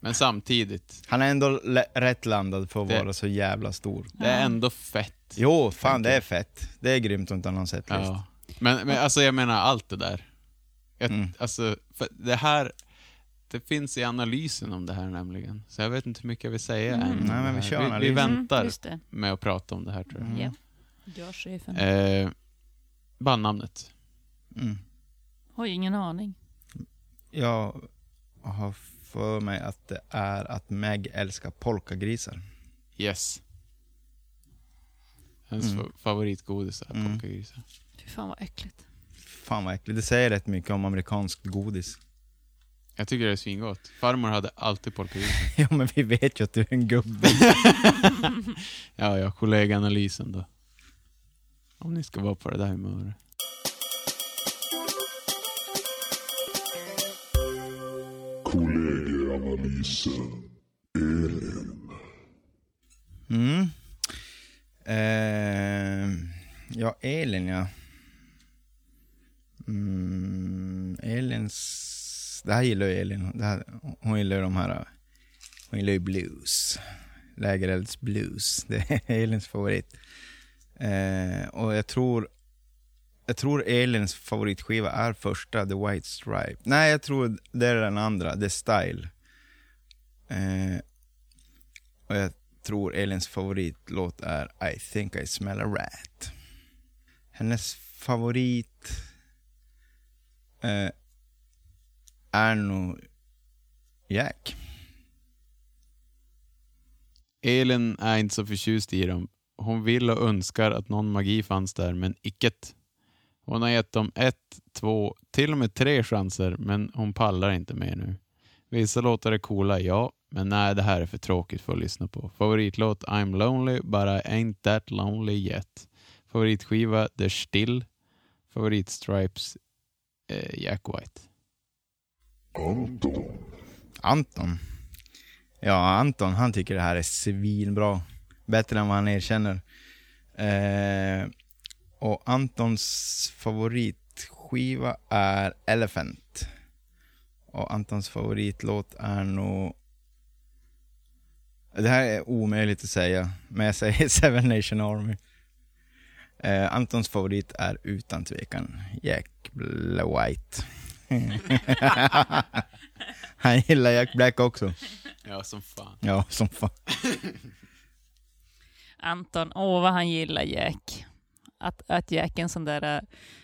Speaker 2: Men samtidigt,
Speaker 1: Han är ändå lä- rätt landad för att
Speaker 2: Det-
Speaker 1: vara så jävla stor.
Speaker 2: det är ändå fett.
Speaker 1: Jo, fan det är fett. Det är grymt att inte ha någon setlist.
Speaker 2: Ja. Men, men alltså jag menar allt det där. Jag,
Speaker 1: Mm.
Speaker 2: Alltså, för det här... Det finns i analysen om det här nämligen. Så jag vet inte hur mycket jag vill säga än. om
Speaker 1: Nej, men
Speaker 2: det
Speaker 1: vi
Speaker 2: här.
Speaker 1: kör
Speaker 2: vi, vi
Speaker 1: analysen.
Speaker 2: väntar
Speaker 3: Mm, just det.
Speaker 2: med att prata om det här tror jag.
Speaker 3: Ja. Gör chefen.
Speaker 2: Eh, bandnamnet.
Speaker 1: Mm.
Speaker 3: Har ju ingen aning.
Speaker 1: Jag har för mig att det är att Meg älskar polkagrisar.
Speaker 2: Yes. Hennes
Speaker 1: Mm.
Speaker 2: fa- favoritgodis är
Speaker 1: Mm.
Speaker 2: polkagrisar.
Speaker 3: Fy fan vad äckligt.
Speaker 1: Fan vad äckligt. Det säger rätt mycket om amerikanskt godis.
Speaker 2: Jag tycker det är svingott. Farmor hade alltid polkagrisar.
Speaker 1: ja, men vi vet ju att du är en gubbe.
Speaker 2: ja, ja, kollegaanalysen då. Om ni ska vara på det där humöret.
Speaker 6: Kollegieanalysen. Elin.
Speaker 1: Mm. Eh, ja, Elin ja. Mm, Elins... Det här gillar ju Elin. Det här, hon gillar ju de här... Hon gillar ju blues. Lägerelds blues. Det är Elins favorit. Eh, och jag tror... Jag tror Elins favoritskiva är första, The White Stripe. Nej, jag tror det är den andra, The Style. Eh, och jag tror Elins favoritlåt är I think I smell a rat. Hennes favorit eh, är nog Jack.
Speaker 2: Elin är inte så förtjust i dem. Hon vill och önskar att någon magi fanns där, men icket. Hon har gett dem ett, två, till och med tre chanser, men hon pallar inte mer nu. Vissa låtar är coola, ja, men nej, det här är för tråkigt för att lyssna på. Favoritlåt I'm Lonely, but I ain't that lonely yet. Favoritskiva The Still. Favoritstripes eh, Jack White.
Speaker 6: Anton.
Speaker 1: Anton. Ja, Anton han tycker det här är svinbra. Bättre än vad han erkänner. Eh, och Antons favoritskiva är Elephant. Och Antons favoritlåt är nog... Det här är omöjligt att säga, men jag säger Seven Nation Army. Eh, Antons favorit är utan tvekan Jack White. Han gillar Jack Black också.
Speaker 2: Ja, som fan.
Speaker 1: Ja, som fan.
Speaker 3: Anton, åh vad han gillar Jack. Att, att Jack är en sån där äh,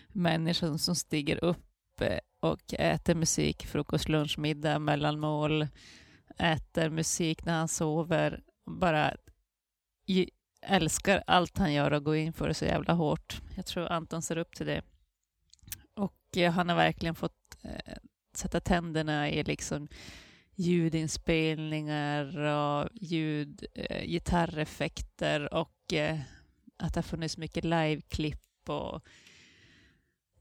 Speaker 3: människa som stiger upp eh, och äter musik, frukost, lunch, middag, mellanmål, äter musik när han sover, bara i- älskar allt han gör och går in för det så jävla hårt. Jag tror Anton ser upp till det. Och eh, han har verkligen fått eh, sätta tänderna i liksom ljudinspelningar och ljud, eh, gitarreffekter och eh, att det har funnits mycket liveklipp och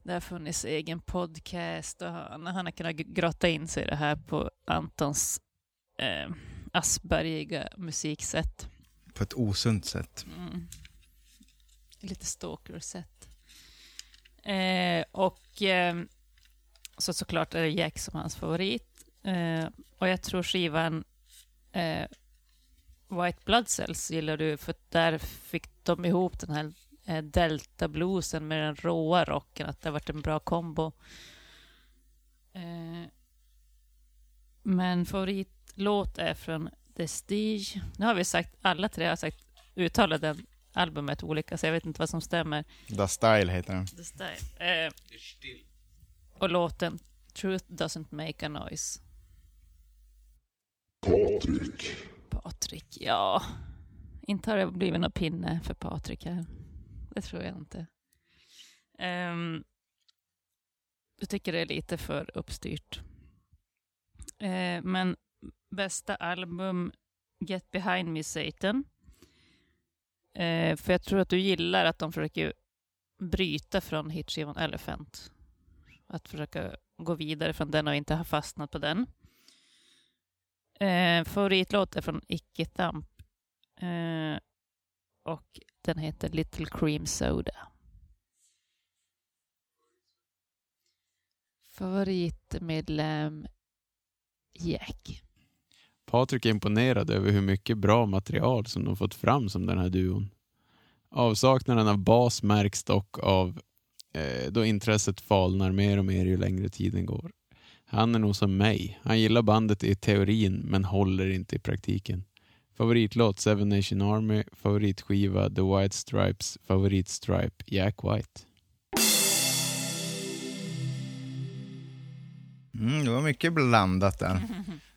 Speaker 3: det har funnits egen podcast och han, han har kunnat grotta in sig i det här på Antons eh, aspergiga musiksätt.
Speaker 1: På ett osunt sätt.
Speaker 3: Mm. Lite stalker-sätt. Eh, och eh, så såklart är det Jack som hans favorit. Eh, och jag tror skivan eh, White Blood Cells gillar du för att där fick de ihop den här eh, delta-bluesen med den råa rocken. Att det har varit en bra kombo. Eh, men favoritlåt är från The Stige. Nu har vi sagt, alla tre har sagt uttala den albumet olika, så jag vet inte vad som stämmer.
Speaker 1: The Style heter den.
Speaker 3: The Style. Eh, och låten Truth Doesn't Make a Noise.
Speaker 6: Patrik.
Speaker 3: Patrik, ja. Inte har det blivit någon pinne för Patrik här. Det tror jag inte. Um, jag tycker det är lite för uppstyrt. Eh, men bästa album, Get Behind Me Satan. Eh, för jag tror att du gillar att de försöker bryta från hitskivan Elephant. Att försöka gå vidare från den och inte ha fastnat på den. Eh, favoritlåt är från Icke Thump. Eh, och den heter Little Cream Soda. Favoritmedlem Jack.
Speaker 2: Patrik är imponerad över hur mycket bra material som de fått fram som den här duon. Avsaknaden av bas märks dock av eh, då intresset falnar mer och mer ju längre tiden går. Han är nog som mig. Han gillar bandet i teorin men håller inte i praktiken. Favoritlåt Seven Nation Army, favoritskiva The White Stripes, favoritstripe Jack White.
Speaker 1: Mm, det var mycket blandat där.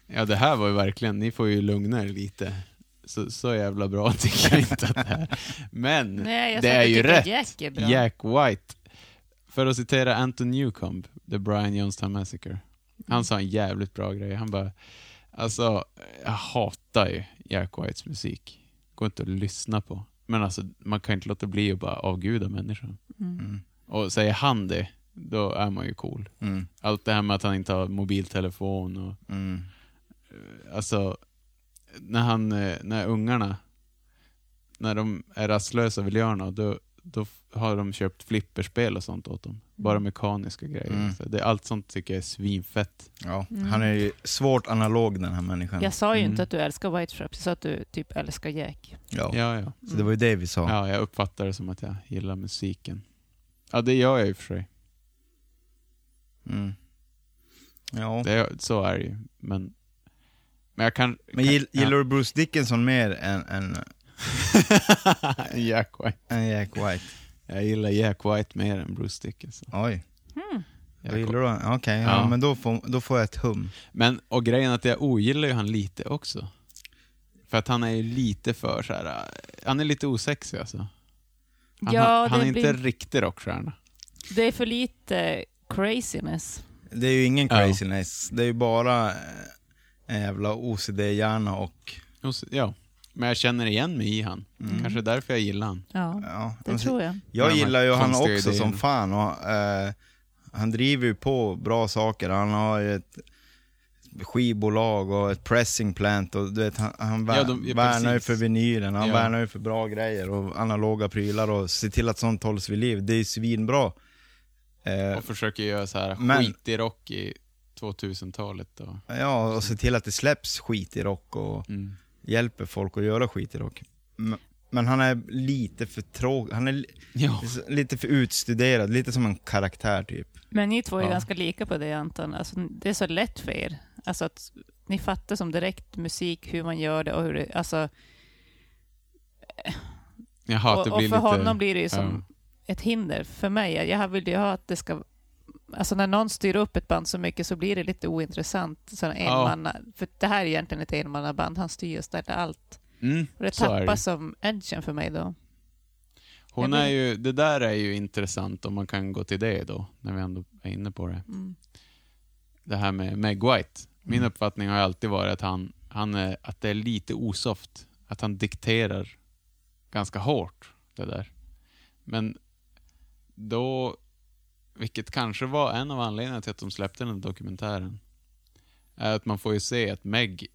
Speaker 2: Ja, det här var ju verkligen, ni får ju lugna er lite. Så, så jävla bra tycker jag inte att det är. Men
Speaker 3: Nej,
Speaker 2: Mm.
Speaker 3: jag
Speaker 2: det
Speaker 3: sa att
Speaker 2: är
Speaker 3: jag
Speaker 2: ju
Speaker 3: tycker
Speaker 2: rätt.
Speaker 3: Jack är bra.
Speaker 2: Jack White. För att citera Anton Newcomb, The Brian Jonestown Massacre. Han sa en jävligt bra grej. Han bara, alltså, jag hatar ju Jack Whites musik. Går inte att lyssna på. Men alltså, man kan inte låta bli att bara avguda människan.
Speaker 1: Mm.
Speaker 2: Och säger han det, då är man ju cool.
Speaker 1: Mm.
Speaker 2: Allt det här med att han inte har mobiltelefon och
Speaker 1: Mm.
Speaker 2: alltså, när han, eh, när ungarna, när de är rastlösa och vill göra något, då, då f- har de köpt flipperspel och sånt åt dem. Bara mekaniska grejer.
Speaker 1: Mm.
Speaker 2: Så det, allt sånt tycker jag är svinfett.
Speaker 1: Ja,
Speaker 3: Mm.
Speaker 1: han är ju svårt analog den här människan.
Speaker 3: Jag sa ju
Speaker 2: Mm.
Speaker 3: inte att du älskar White Stripes, jag sa att du typ älskar Jack.
Speaker 1: Ja.
Speaker 2: Ja, ja.
Speaker 1: Så det var ju det vi sa.
Speaker 2: ja, jag uppfattar det som att jag gillar musiken. Ja, det gör jag ju för sig.
Speaker 1: Mm. Ja.
Speaker 2: Det, så är det ju. Men, men jag kan...
Speaker 1: Men
Speaker 2: kan,
Speaker 1: gill, gillar du Bruce Dickinson mer än, än,
Speaker 2: ja. Jack White.
Speaker 1: än Jack White?
Speaker 2: Jag gillar Jack White mer än Bruce Dickinson.
Speaker 1: Oj,
Speaker 2: Jack
Speaker 1: jag gillar du Okej, ja.
Speaker 2: Ja.
Speaker 1: men då får, då får jag ett hum.
Speaker 2: Men, och grejen är att jag ogillar ju han lite också. För att han är ju lite för så här. äh, han är lite osexig alltså. Han,
Speaker 3: Ja,
Speaker 2: har-
Speaker 3: det
Speaker 2: han är inte
Speaker 3: blir-
Speaker 2: en riktig rockstjärna.
Speaker 3: Det är för lite craziness.
Speaker 1: Det är ju ingen
Speaker 2: Ja.
Speaker 1: craziness, det är ju bara eh, en jävla OCD-hjärna och...
Speaker 2: Och så- Ja, men jag känner igen mig i han. Kanske därför jag gillar han.
Speaker 3: Ja,
Speaker 1: Ja,
Speaker 3: det
Speaker 1: alltså,
Speaker 3: tror jag.
Speaker 1: Jag
Speaker 2: Med de här
Speaker 1: gillar ju han också
Speaker 2: konstiga
Speaker 1: som
Speaker 2: idéerna.
Speaker 1: fan. Och, eh, han driver ju på bra saker. Han har ju ett skivbolag och ett pressing plant och du vet, han, han vär,
Speaker 2: Ja, de- ja,
Speaker 1: värnar ju
Speaker 2: precis.
Speaker 1: för vinylen, han
Speaker 2: Ja.
Speaker 1: värnar ju för bra grejer och analoga prylar och se till att sånt hålls vid liv. Det är ju svinbra. Eh,
Speaker 2: Och försöker göra så här
Speaker 1: Men-
Speaker 2: skitig rock i 2000-talet. Och...
Speaker 1: ja, och se till att det släpps skit i rock och
Speaker 2: Mm.
Speaker 1: hjälper folk att göra skit i rock. Men, men han är lite för tråkig, han är li-
Speaker 2: Ja.
Speaker 1: lite för utstuderad, lite som en karaktär typ.
Speaker 3: Men ni två är
Speaker 2: Ja.
Speaker 3: ganska lika på det Anton. Alltså, det är så lätt för er. Alltså att ni fattar som direkt musik, hur man gör det och hur det... Alltså,
Speaker 2: Jaha, att
Speaker 3: och,
Speaker 2: det
Speaker 3: och för
Speaker 2: blir lite...
Speaker 3: honom blir det ju som ett hinder. För mig, jag- jag vill ju ha att det ska... Alltså när någon styr upp ett band så mycket så blir det lite ointressant. Så en
Speaker 2: Ja.
Speaker 3: enmanna, för det här är egentligen ett enmannaband, han styr och ställer allt.
Speaker 2: Mm,
Speaker 3: Och det
Speaker 2: så är det ju.
Speaker 3: tappar som edgen för mig då.
Speaker 2: Hon
Speaker 3: Jag
Speaker 2: är
Speaker 3: blir-
Speaker 2: ju, det där är ju intressant om man kan gå till det då, när vi ändå är inne på det. Det här med Meg White. Min uppfattning har ju alltid varit att, han, han är, att det är lite osoft. Att han dikterar ganska hårt, det där. Men då, vilket kanske var en av anledningarna till att de släppte den här dokumentären, är att man får ju se att Meg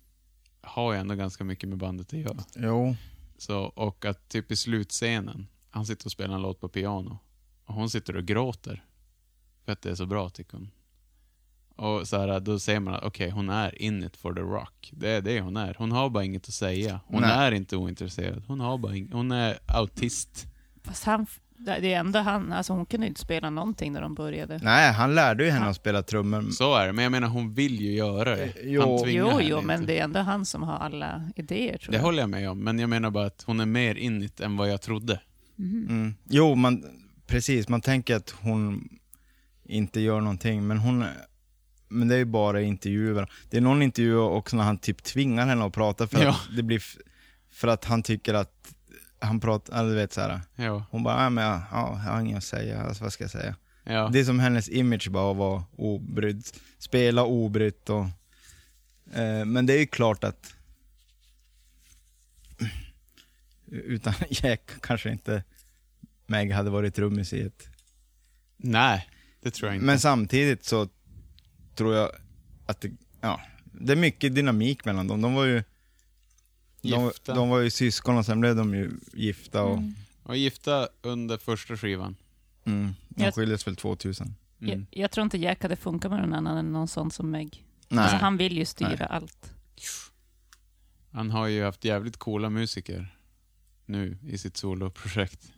Speaker 2: har ju ändå ganska mycket med bandet att göra.
Speaker 1: Jo.
Speaker 2: Så, och att typ i slutscenen, han sitter och spelar en låt på piano. Och hon sitter och gråter. För att det är så bra tycker hon. Och så här, då ser man att okej, hon är in it for the rock. Det är det hon är. Hon har bara inget att säga. Hon
Speaker 1: Nej.
Speaker 2: är inte ointresserad. Hon, har bara ing- hon är autist.
Speaker 3: Fast han, det är ändå han, alltså hon kunde ju inte spela någonting när de började.
Speaker 1: Nej, han lärde ju henne att spela trummor.
Speaker 2: Så är det. Men jag menar, hon vill ju göra det.
Speaker 1: Jo.
Speaker 2: Han tvingar
Speaker 3: Jo,
Speaker 2: henne
Speaker 3: jo,
Speaker 2: inte.
Speaker 3: men det är ändå han som har alla idéer tror
Speaker 2: Det
Speaker 3: jag.
Speaker 2: håller jag med om. Men jag menar bara att hon är mer in it än vad jag trodde.
Speaker 1: Mm. Jo, man, precis. Man tänker att hon inte gör någonting, men hon... Men det är ju bara intervjuer. Det är någon intervju också när han typ tvingar henne att prata för
Speaker 2: Ja.
Speaker 1: att det blir... f- För att han tycker att han pratar, eller du vet så här.
Speaker 2: Ja.
Speaker 1: Hon bara, "Nej, men jag, ja, jag har inget att säga, alltså, vad ska jag säga?
Speaker 2: ja.
Speaker 1: Det är som hennes image bara att vara obrydd, spela obrytt och... Eh, men det är ju klart att... Utan Jack kanske inte Meg hade varit trummis i ett...
Speaker 2: Nej, det tror jag inte.
Speaker 1: Men samtidigt så tror jag att det, ja, det är mycket dynamik mellan dem. De var ju... De,
Speaker 2: Gifta.
Speaker 1: de var ju syskon och sen blev de ju gifta och... Mm.
Speaker 2: Och gifta under första skivan.
Speaker 1: de
Speaker 3: Jag-
Speaker 1: skildes väl 2000.
Speaker 2: Mm.
Speaker 3: Jag, jag tror inte Jack hade funkat med någon annan än någon sån som Meg.
Speaker 1: Nej.
Speaker 3: Alltså, han vill ju styra allt.
Speaker 2: Han har ju haft jävligt coola musiker nu i sitt soloprojekt.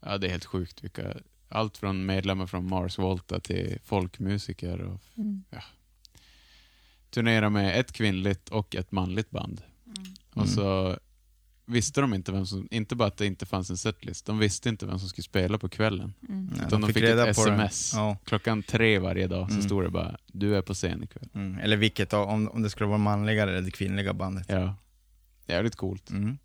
Speaker 2: Ja, det är helt sjukt. Vilka, allt från medlemmar från Mars Volta till folkmusiker. Och, ja. Turnera med ett kvinnligt och ett manligt band. Och så visste de inte vem som, inte bara att det inte fanns en setlist, de visste inte vem som skulle spela på kvällen.
Speaker 1: Nej,
Speaker 2: Utan de fick, ett
Speaker 1: på det.
Speaker 2: sms.
Speaker 1: Ja.
Speaker 2: Klockan tre varje dag så
Speaker 1: Mm.
Speaker 2: stod det bara du är på scen ikväll.
Speaker 1: Mm. Eller vilket, då, om, om det skulle vara manliga eller det kvinnliga bandet.
Speaker 2: Ja. Jävligt coolt.
Speaker 1: Mm.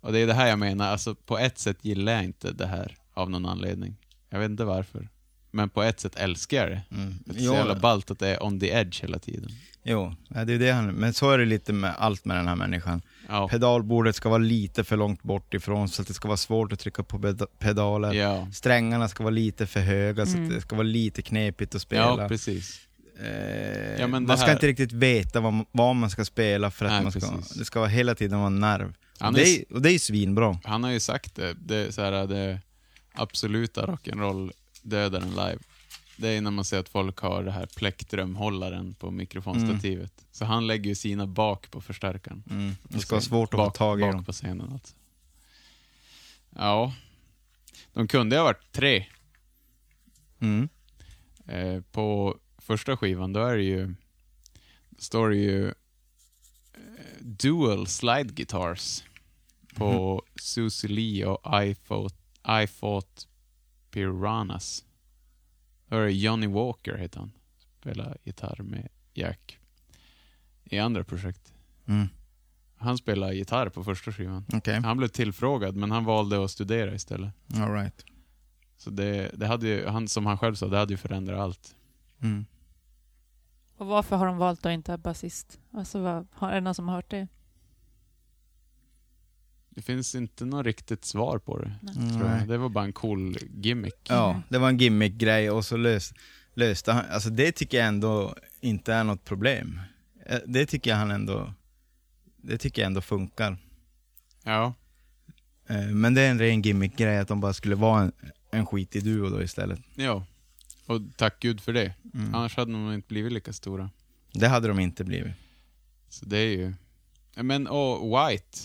Speaker 2: Och det är det här jag menar, alltså på ett sätt gillar jag inte det här av någon anledning. Jag vet inte varför. Men på ett sätt älskar jag det.
Speaker 1: Mm.
Speaker 2: Det är så
Speaker 1: Jo,
Speaker 2: jävla ballt att det är on the edge hela tiden.
Speaker 1: jo, Ja, det är det han, men så är det lite med allt med den här människan.
Speaker 2: Ja.
Speaker 1: Pedalbordet ska vara lite för långt bort ifrån så att det ska vara svårt att trycka på peda- pedalen.
Speaker 2: Ja.
Speaker 1: Strängarna ska vara lite för höga så att
Speaker 3: Mm.
Speaker 1: det ska vara lite knepigt att spela.
Speaker 2: ja, precis.
Speaker 1: Eh,
Speaker 2: Ja, men det
Speaker 1: man ska
Speaker 2: här-
Speaker 1: inte riktigt veta vad, man- vad man ska spela för att
Speaker 2: Nej,
Speaker 1: man ska,
Speaker 2: precis.
Speaker 1: det ska vara hela tiden vara en nerv.
Speaker 2: Han
Speaker 1: Och
Speaker 2: är
Speaker 1: det,
Speaker 2: s-
Speaker 1: är, och det är ju svinbra.
Speaker 2: Han har ju sagt det, det, är så här, det absoluta rock'n'roll dödar en live. Det är när man ser att folk har det här plektrumhållaren på mikrofonstativet. Så han lägger ju sina bak på förstärkaren.
Speaker 1: Mm. Det
Speaker 2: På
Speaker 1: ska vara
Speaker 2: scen-
Speaker 1: svårt att
Speaker 2: bak,
Speaker 1: få tag i
Speaker 2: bak
Speaker 1: dem.
Speaker 2: på scenen alltså. Ja. De kunde ju ha varit tre.
Speaker 1: Mm.
Speaker 2: Eh, på första skivan, då är det ju... står det ju... Eh, dual slide guitars på
Speaker 1: Mhm.
Speaker 2: Susie Lee och I Fought, I Fought Piranhas. Då är det Johnny Walker, heter han. Spelar gitarr med Jack i andra projekt.
Speaker 1: Mm.
Speaker 2: Han spelar gitarr på första skivan.
Speaker 1: Okej,
Speaker 2: Han blev tillfrågad, men han valde att studera istället.
Speaker 1: all right.
Speaker 2: Så det, det hade ju, han, som han själv sa, det hade ju förändrat allt.
Speaker 1: Mm.
Speaker 3: Och varför har de valt att inte ha basist? Alltså, vad, har, är det någon som har hört det?
Speaker 2: Det finns inte något riktigt svar på det.
Speaker 1: Mm,
Speaker 2: Tror
Speaker 1: nej.
Speaker 2: jag. Det var bara en cool gimmick.
Speaker 1: Ja, det var en gimmick-grej och så lös, löste han, alltså det tycker jag ändå inte är något problem. Eh, Det tycker jag han ändå, det tycker jag ändå funkar.
Speaker 2: Ja,
Speaker 1: Eh, Men det är en ren gimmick-grej att de bara skulle vara en, en skitig duo då istället.
Speaker 2: ja. Och tack gud för det.
Speaker 1: Mm.
Speaker 2: Annars hade de inte blivit lika stora.
Speaker 1: Det hade de inte blivit.
Speaker 2: Så det är ju... Ja, Men, och White.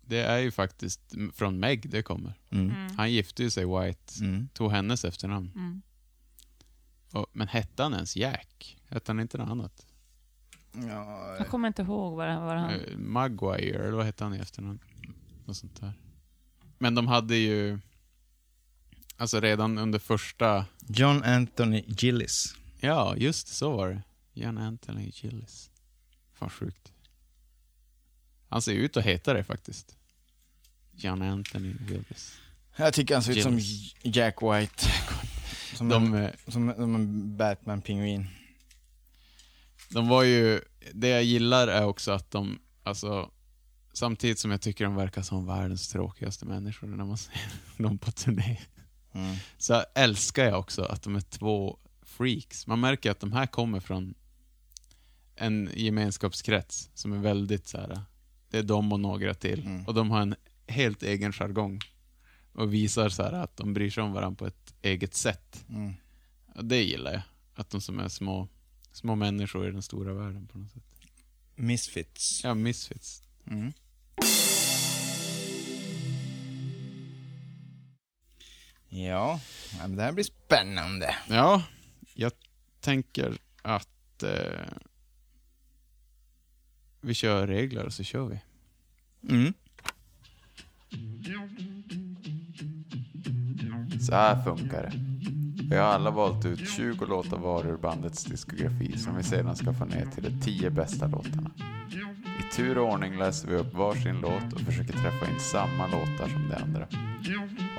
Speaker 2: Det är ju faktiskt m- från Meg det kommer.
Speaker 1: Mm.
Speaker 2: Han gifte ju sig White.
Speaker 1: Mm.
Speaker 2: Tog hennes efternamn.
Speaker 3: Mm.
Speaker 2: Och, men hette han ens Jack? Hette han inte något annat?
Speaker 1: Ja, eh.
Speaker 3: Jag kommer inte ihåg vad det var han...
Speaker 2: Eh, Maguire, eller vad hette han i efternamn? Något sånt där. Men de hade ju... Alltså redan under första...
Speaker 1: John Anthony Gillis.
Speaker 2: Ja, just det, så var det. Jan Anthony Gillis. Fan sjukt. Han ser ju ut att heta det faktiskt. Jan Anthony Gillis.
Speaker 1: Jag tycker han ser
Speaker 2: ut som
Speaker 1: Jack White. Som,
Speaker 2: De,
Speaker 1: en,
Speaker 2: eh,
Speaker 1: som, som en Batman-pingvin.
Speaker 2: de var ju... Det jag gillar är också att de, alltså... Samtidigt som jag tycker de verkar som världens tråkigaste människor när man ser dem på turné.
Speaker 1: Mm.
Speaker 2: så älskar jag också att de är två freaks. Man märker att de här kommer från en gemenskapskrets som är väldigt så här. det är de och några till.
Speaker 1: Mm.
Speaker 2: Och de har en helt egen jargong. Och visar så här att de bryr sig om varandra på ett eget sätt.
Speaker 1: Mm.
Speaker 2: Och det gillar jag. Att de som är små, små människor i den stora världen på något sätt.
Speaker 1: Misfits.
Speaker 2: Ja, misfits.
Speaker 1: Mm. Ja, ja, men det här blir spännande.
Speaker 2: Ja, jag tänker att eh, vi kör regler och så kör vi.
Speaker 1: Mm.
Speaker 5: Så här funkar det. Vi har alla valt ut 20 låtar var ur bandets diskografi som vi sedan ska få ner till de 10 bästa låtarna. I tur och ordning läser vi upp varsin låt och försöker träffa in samma låtar som de andra.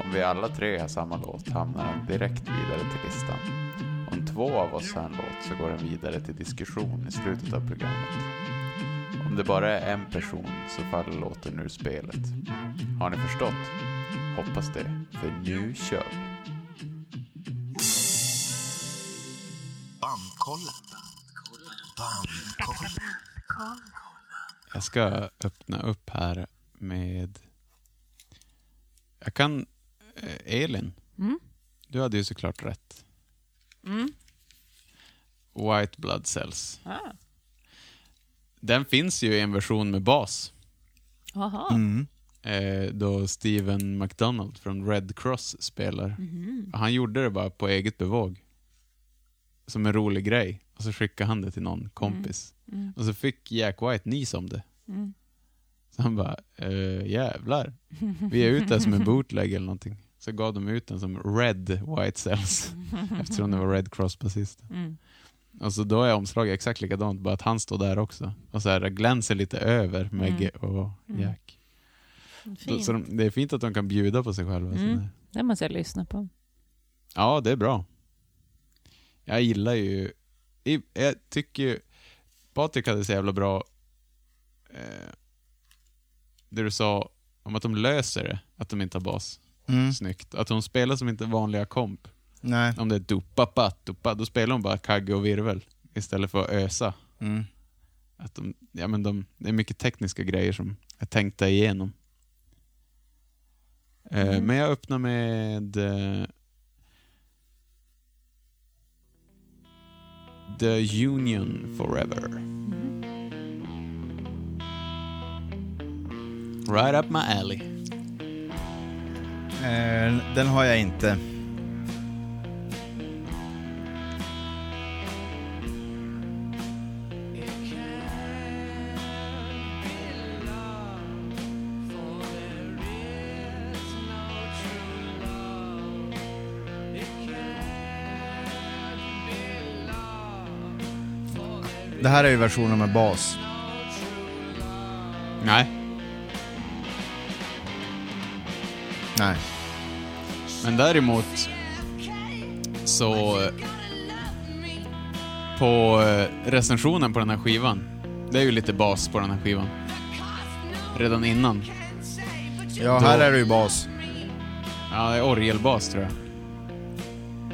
Speaker 5: Om vi alla tre har samma låt hamnar den direkt vidare till listan. Om två av oss har en låt så går den vidare till diskussion i slutet av programmet. Om det bara är en person så faller låten ur spelet. Har ni förstått? Hoppas det, för nu kör vi!
Speaker 2: Jag ska öppna upp här med... Jag kan... eh, Elin,
Speaker 3: Mm.
Speaker 2: du hade ju såklart rätt.
Speaker 3: Mm.
Speaker 2: White Blood Cells.
Speaker 3: Ah.
Speaker 2: Den finns ju i en version med bas.
Speaker 3: Aha.
Speaker 1: Mm.
Speaker 2: Eh, då Steven McDonald från Red Cross spelar.
Speaker 3: Mm.
Speaker 2: Han gjorde det bara på eget bevåg. Som en rolig grej.
Speaker 3: Mm.
Speaker 2: Och så skickade han det till någon kompis. Och så fick Jack White nys om det.
Speaker 3: Mm.
Speaker 2: Så han bara, eh, jävlar. Vi ger ut det här som en bootleg eller någonting. Så gav de ut den som Red White Cells, eftersom det var Red Cross-basisten.
Speaker 3: Mm.
Speaker 2: Och så då är omslaget exakt likadant, bara att han står där också. Och så här glänser lite över Megge och
Speaker 3: Mm.
Speaker 2: Jack. Så,
Speaker 3: Fint.
Speaker 2: så de, det är fint att de kan bjuda på sig själva.
Speaker 3: Mm.
Speaker 2: sådär.
Speaker 3: Det måste jag lyssna på.
Speaker 2: Ja, det är bra. Jag gillar ju... i- Jag tycker ju... Patrik hade så jävla bra... Eh, det du sa om att de löser det, att de inte har bas.
Speaker 1: Mm.
Speaker 2: Snyggt. Att de spelar som inte vanliga komp.
Speaker 1: Nej.
Speaker 2: Om det är dopa, pat, dopa, då spelar de bara kagge och virvel istället för att ösa.
Speaker 1: Mm.
Speaker 2: Att de, ja, men de, det är mycket tekniska grejer som är tänkta igenom. Eh,
Speaker 3: Mm.
Speaker 2: Men jag öppnar med eh, The Union Forever. Right up my alley.
Speaker 1: Eh, den har jag inte. Det här är ju versionen med bas.
Speaker 2: Nej,
Speaker 1: Nej.
Speaker 2: men däremot så eh, på eh, recensionen på den här skivan, det är ju lite bas på den här skivan. Redan innan.
Speaker 1: Ja, här är det ju bas.
Speaker 2: Ja, det är orgelbas tror jag.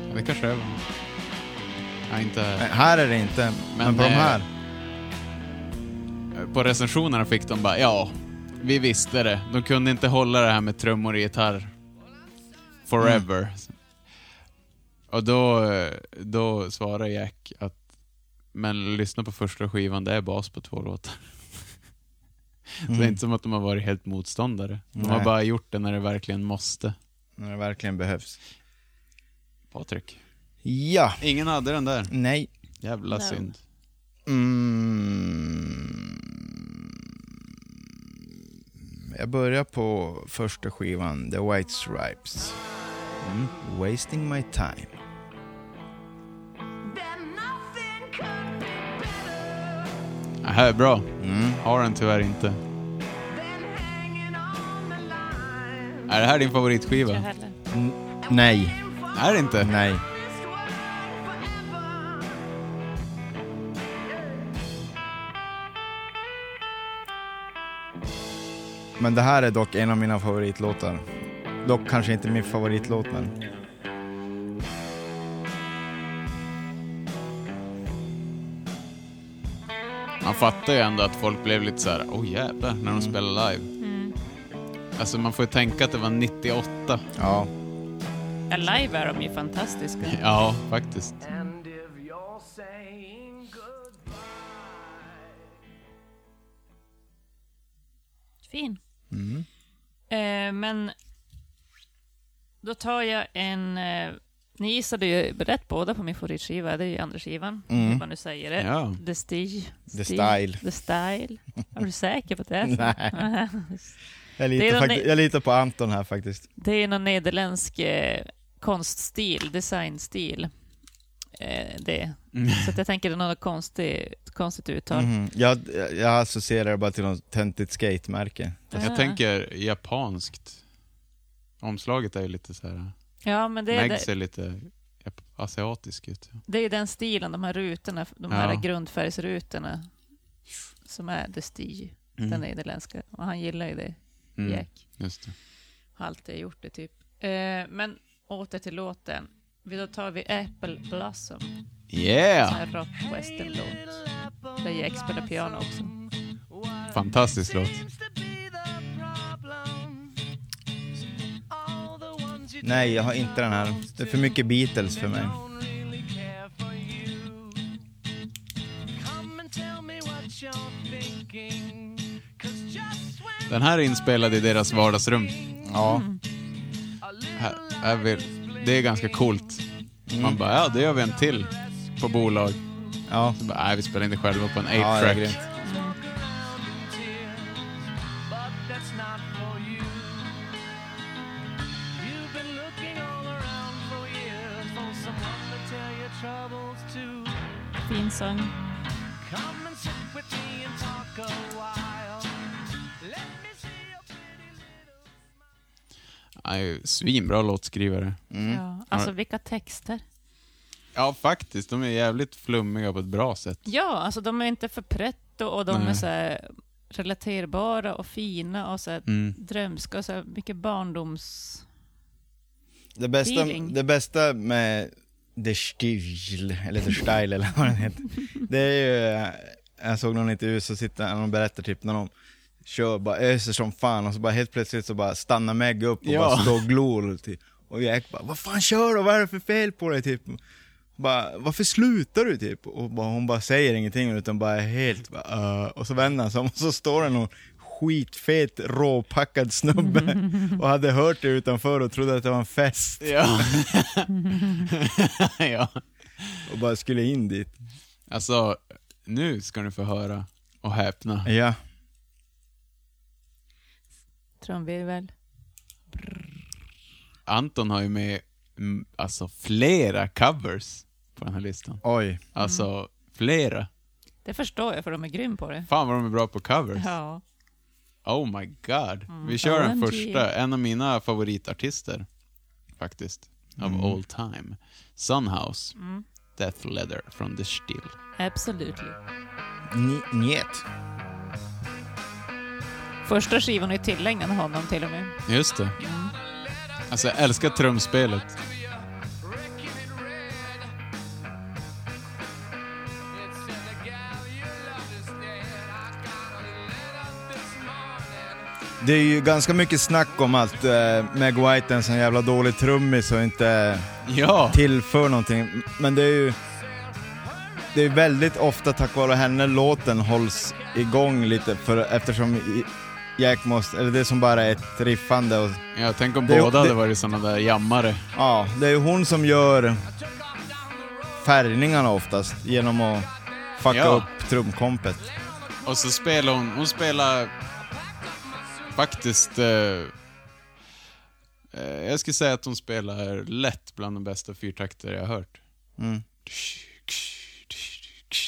Speaker 2: Ja, Det kanske det är. Ja,
Speaker 1: Nej,
Speaker 2: inte...
Speaker 1: här är det inte, men,
Speaker 2: Men,
Speaker 1: på de
Speaker 2: eh,
Speaker 1: här.
Speaker 2: På recensionerna fick de bara, ja, vi visste det. De kunde inte hålla det här med trummor och gitarr. Forever. Och då, eh, då svarar Jack att, men lyssna på första skivan, det är bas på två låtar. Så det är
Speaker 1: Mm.
Speaker 2: inte som att de har varit helt motståndare. De har
Speaker 1: Nej.
Speaker 2: bara gjort det när det verkligen måste.
Speaker 1: När det verkligen behövs.
Speaker 2: Patrik.
Speaker 1: Ja.
Speaker 2: Ingen hade den där.
Speaker 1: Nej.
Speaker 2: Jävla
Speaker 3: Nej.
Speaker 2: synd.
Speaker 1: Mm. Jag börjar på första skivan, The White Stripes. Mm. Wasting my time.
Speaker 2: Det här är bra.
Speaker 1: Mm.
Speaker 2: Har den tyvärr inte. Är det här din favoritskiva?
Speaker 3: Jag heller.
Speaker 1: N- nej.
Speaker 2: Är det inte?
Speaker 1: Nej. Men det här är dock en av mina favoritlåtar. Dock kanske inte min favoritlåt, men...
Speaker 2: Man fattar ju ändå att folk blev lite så här, oh jävlar, när de spelar live.
Speaker 3: Mm.
Speaker 2: Alltså man får ju tänka att det var 98.
Speaker 1: Ja.
Speaker 3: Ja, live är de ju fantastiska.
Speaker 2: Ja, faktiskt.
Speaker 3: Fin. Eh, men då tar jag en... Eh, ni gissade ju rätt båda på min favoritskiva. Det är ju andra skivan, hur man nu säger det.
Speaker 2: Ja.
Speaker 3: The Stige.
Speaker 1: The Style.
Speaker 3: The Style. Är du säker på det?
Speaker 1: Nej. Jag
Speaker 3: Det är
Speaker 1: litar,
Speaker 3: de-
Speaker 1: fakti- jag litar på Anton här faktiskt.
Speaker 3: Det är någon nederländsk eh, konststil, designstil. Eh, det. Så att jag tänker det är något konstigt, konstigt uttal.
Speaker 1: Mhm. Jag, jag- jag associerar det bara till något töntigt skatemärke.
Speaker 2: Jag tänker japanskt. Omslaget är ju lite så här,
Speaker 3: Ja, men det är,
Speaker 2: Meg
Speaker 3: det,
Speaker 2: ser lite jap- asiatisk ut.
Speaker 3: det är den stilen, de här rutorna, de här
Speaker 2: Ja.
Speaker 3: grundfärgsrutorna som är The Stige, den nederländska. Och han gillar ju det,
Speaker 2: Mm.
Speaker 3: Jack.
Speaker 2: Just det.
Speaker 3: Har alltid gjort det typ. Eh, men åter till låten. Vi- Då tar vi Apple Blossom,
Speaker 2: Yeah!
Speaker 3: en rock western-låt. Där Jack spelar piano också.
Speaker 2: Fantastisk låt.
Speaker 1: Nej, jag har inte den här. Det är för mycket Beatles för mig.
Speaker 2: Den här är inspelad i deras vardagsrum.
Speaker 3: Mm.
Speaker 1: Ja.
Speaker 2: Här, här vill, det är ganska coolt. Man bara, ja det gör vi en till på bolag.
Speaker 1: Ja.
Speaker 2: Så bara, Nej, vi spelar inte själva på en
Speaker 1: Ja, det är
Speaker 2: 8-track.
Speaker 1: grymt.
Speaker 3: fin sång.
Speaker 2: Mm.
Speaker 4: Come and sit with me and talk a while. Let me see your pretty little
Speaker 2: Aj, svinbra låtskrivare.
Speaker 1: Mm.
Speaker 3: Ja, alltså vilka texter.
Speaker 2: Ja, faktiskt. De är jävligt flummiga på ett bra sätt.
Speaker 3: Ja, alltså de är inte för pretto och de är
Speaker 2: Nej.
Speaker 3: så här relaterbara och fina och så här
Speaker 2: Mm.
Speaker 3: drömska och så här mycket barndoms...
Speaker 1: Det bästa,
Speaker 3: Feeling.
Speaker 1: det bästa med The Stil, eller The Style eller vad den heter, det är ju, eh, jag såg någon intervju så sitter han och berättar typ när någon kör bara öser som fan och så bara helt plötsligt så bara stannar Meg upp och
Speaker 2: Ja.
Speaker 1: bara står och glor och typ. Och Jack bara vad fan kör du? Vad är det för fel på dig? Typ. Bara, varför slutar du typ? Och bara, hon bara säger ingenting utan bara är helt bara, "Äh." och så vänder han sig om och så står det någon skitfet råpackad snubbe och hade hört det utanför och trodde att det var en fest.
Speaker 2: Ja. ja.
Speaker 1: och bara skulle in dit.
Speaker 2: Alltså, nu ska ni få höra och häpna.
Speaker 1: Ja.
Speaker 3: Trumvirvel.
Speaker 2: Anton har ju med mm, alltså, flera covers på den här listan.
Speaker 1: Oj.
Speaker 2: Alltså, flera.
Speaker 3: Det förstår jag för de är grym på det.
Speaker 2: Fan vad de är bra på covers.
Speaker 3: Ja.
Speaker 2: Oh my god. Vi kör den
Speaker 3: OMG.
Speaker 2: första. En av mina favoritartister, faktiskt, av
Speaker 1: Mm.
Speaker 2: all time. Sunhouse, Death Leather från The Still.
Speaker 3: Absolutely.
Speaker 1: Ni- Njet.
Speaker 3: Första skivan är tillägnad honom till och med.
Speaker 2: Just det. Alltså, jag älskar trumspelet.
Speaker 4: wrecking it red. It said the gal you loved is dead. I got a letter this morning.
Speaker 1: Det är ju ganska mycket snack om att eh, Meg White är en sån jävla dålig trummis och inte
Speaker 2: Ja!
Speaker 1: tillför någonting. Men det är ju... Det är väldigt ofta tack vare henne låten hålls igång lite för, eftersom i- Jack måste, eller det är som bara är ett riffande och...
Speaker 2: Ja, tänk om
Speaker 1: Det-
Speaker 2: båda
Speaker 1: det-
Speaker 2: hade varit såna där jammare.
Speaker 1: Ja, det är ju hon som gör färgningarna oftast genom att fucka
Speaker 2: Ja.
Speaker 1: upp trumkompet.
Speaker 2: Och så spelar hon, hon spelar faktiskt... Eh, eh, jag skulle säga att hon spelar lätt bland de bästa fyrtakter jag har hört.
Speaker 1: Mm.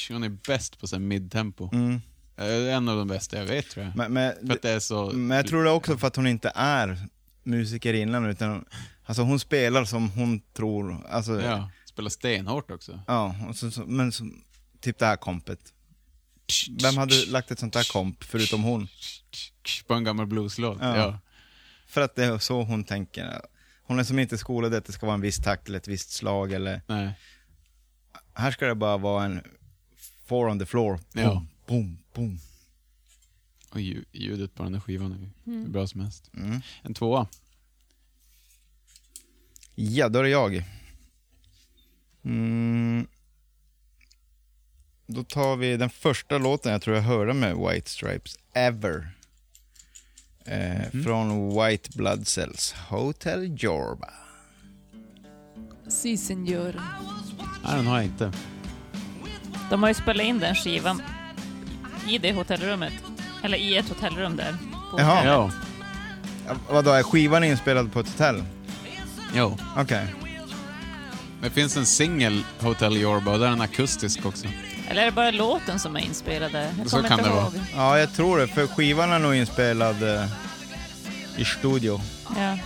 Speaker 2: Hon är bäst på så här midtempo.
Speaker 1: Mm.
Speaker 2: Eh, En av de bästa jag vet tror jag.
Speaker 1: Men, men,
Speaker 2: För att det är så...
Speaker 1: Men jag tror det är också för att hon inte är musiker innan, utan alltså hon spelar som hon tror. Alltså, ja.
Speaker 2: Ja, spelar stenhårt också.
Speaker 1: och så, så, men så, typ det här kompet. Vem hade lagt ett sånt där komp förutom hon?
Speaker 2: På en gammal blueslåt.
Speaker 1: Ja.
Speaker 2: Ja.
Speaker 1: För att det är så hon tänker. Hon är som inte skolad i att det ska vara en viss takt eller ett visst slag eller...
Speaker 2: Nej.
Speaker 1: Här ska det bara vara en four on the floor. Boom,
Speaker 2: Ja.
Speaker 1: boom, boom.
Speaker 2: Och lju- ljudet på den där skivan är ju hur bra som helst.
Speaker 1: Mm.
Speaker 2: En tvåa.
Speaker 1: Ja, då är det jag. Mm. Då tar vi den första låten jag tror jag hörde med White Stripes, Ever. Eh, Från White Blood Cells, Hotel Jorba.
Speaker 3: Si senor.
Speaker 2: Nej, den har jag inte.
Speaker 3: De har ju spelat in den skivan i det hotellrummet. Eller i ett hotellrum där. På
Speaker 1: Jaha.
Speaker 3: hotellet.
Speaker 2: Ja.
Speaker 1: Ja, Vadå, är skivan inspelad på ett hotell?
Speaker 2: Jo.
Speaker 1: Okej.
Speaker 2: Det finns en singel, Hotel Yorba, och där är den akustisk också.
Speaker 3: Eller är det bara låten som är inspelad där? Jag
Speaker 2: Så
Speaker 3: kommer
Speaker 2: kan
Speaker 3: inte
Speaker 2: det vara.
Speaker 3: ihåg.
Speaker 1: Ja, jag tror det, för skivan är nog inspelad eh, i studio.
Speaker 3: Ja.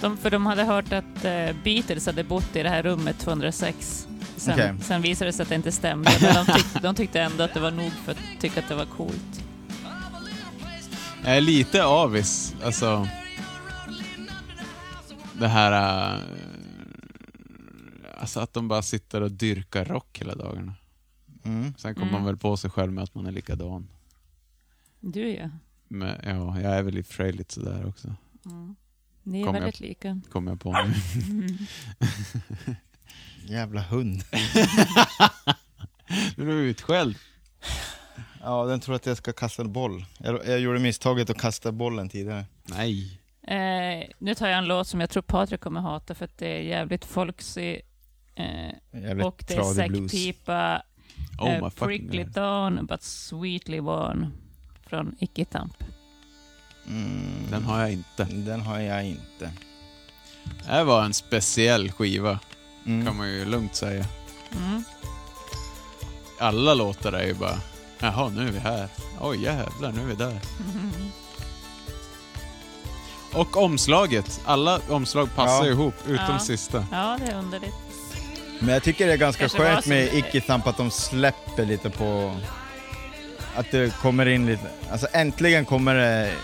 Speaker 3: De, för de hade hört att eh, Beatles hade bott i det här rummet 206. Sen,
Speaker 1: Okej.
Speaker 3: sen visade det sig att det inte stämde, men de, tyck, de tyckte ändå att det var nog för att tycka att det var coolt.
Speaker 2: Jag är lite avis, alltså... Det här... eh, alltså att de bara sitter och dyrkar rock hela dagarna.
Speaker 1: Mm.
Speaker 2: Sen kommer man väl på sig själv med att man är likadan.
Speaker 3: Du ja,
Speaker 2: Men ja, jag är väl i och för sig lite sådär också,
Speaker 3: ni är
Speaker 2: Kom jag-
Speaker 3: väldigt lika.
Speaker 2: kommer jag på nu.
Speaker 1: Jävla hund.
Speaker 2: Nu är du utskälld.
Speaker 1: Ja, den tror att jag ska kasta en boll. Jag, jag gjorde misstaget att kasta bollen tidigare.
Speaker 2: Nej.
Speaker 3: Eh, nu tar jag en låt som jag tror Patrik kommer hata för att det är jävligt folksy eh,
Speaker 1: Jävligt
Speaker 3: och det är
Speaker 1: tradig blues.
Speaker 3: säckpipa,
Speaker 2: Oh
Speaker 3: eh,
Speaker 2: my fucking
Speaker 3: prickly
Speaker 2: god.
Speaker 3: dawn but sweetly worn från Icky Tamp.
Speaker 1: Mm.
Speaker 2: Den har jag inte.
Speaker 1: Den har jag inte.
Speaker 2: Det här var en speciell skiva,
Speaker 1: Mm.
Speaker 2: kan man ju lugnt säga.
Speaker 3: Mm.
Speaker 2: Alla låtar är ju bara, jaha, nu är vi här. Oj, jävlar, nu är vi där. Och omslaget, alla omslag passar
Speaker 1: Ja.
Speaker 2: ihop, utom
Speaker 3: Ja.
Speaker 2: sista.
Speaker 3: Ja, det är underligt.
Speaker 1: Men jag tycker det är ganska
Speaker 3: Kanske var
Speaker 1: skönt
Speaker 3: så-
Speaker 1: med Icky Thump att de släpper lite på... Att det kommer in lite... Alltså äntligen kommer det...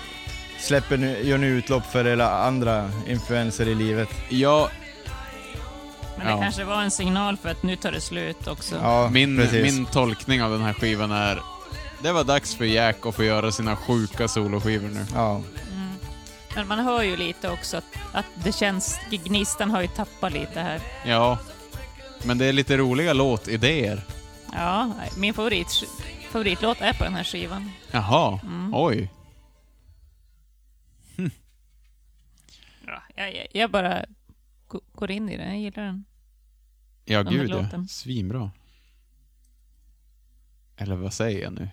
Speaker 1: Släpper nu, gör nu utlopp för hela andra influenser i livet.
Speaker 2: Ja,
Speaker 3: Men det
Speaker 2: Ja.
Speaker 3: kanske var en signal för att nu tar det slut också.
Speaker 1: Ja,
Speaker 2: min,
Speaker 1: precis.
Speaker 2: min tolkning av den här skivan är, det var dags för Jack att få göra sina sjuka soloskivor nu.
Speaker 1: Ja.
Speaker 3: Men man hör ju lite också att, att det känns, gnistan har ju tappat lite här.
Speaker 2: Ja, men det är lite roliga låtidéer.
Speaker 3: Ja, min favorit, favoritlåt är på den här skivan.
Speaker 2: Jaha, oj.
Speaker 3: Ja, jag, jag- jag bara go- går in i den, jag gillar den.
Speaker 2: Ja,
Speaker 3: Den
Speaker 2: gud
Speaker 3: här
Speaker 2: ja.
Speaker 3: låten.
Speaker 2: Svinbra. Eller vad säger jag nu?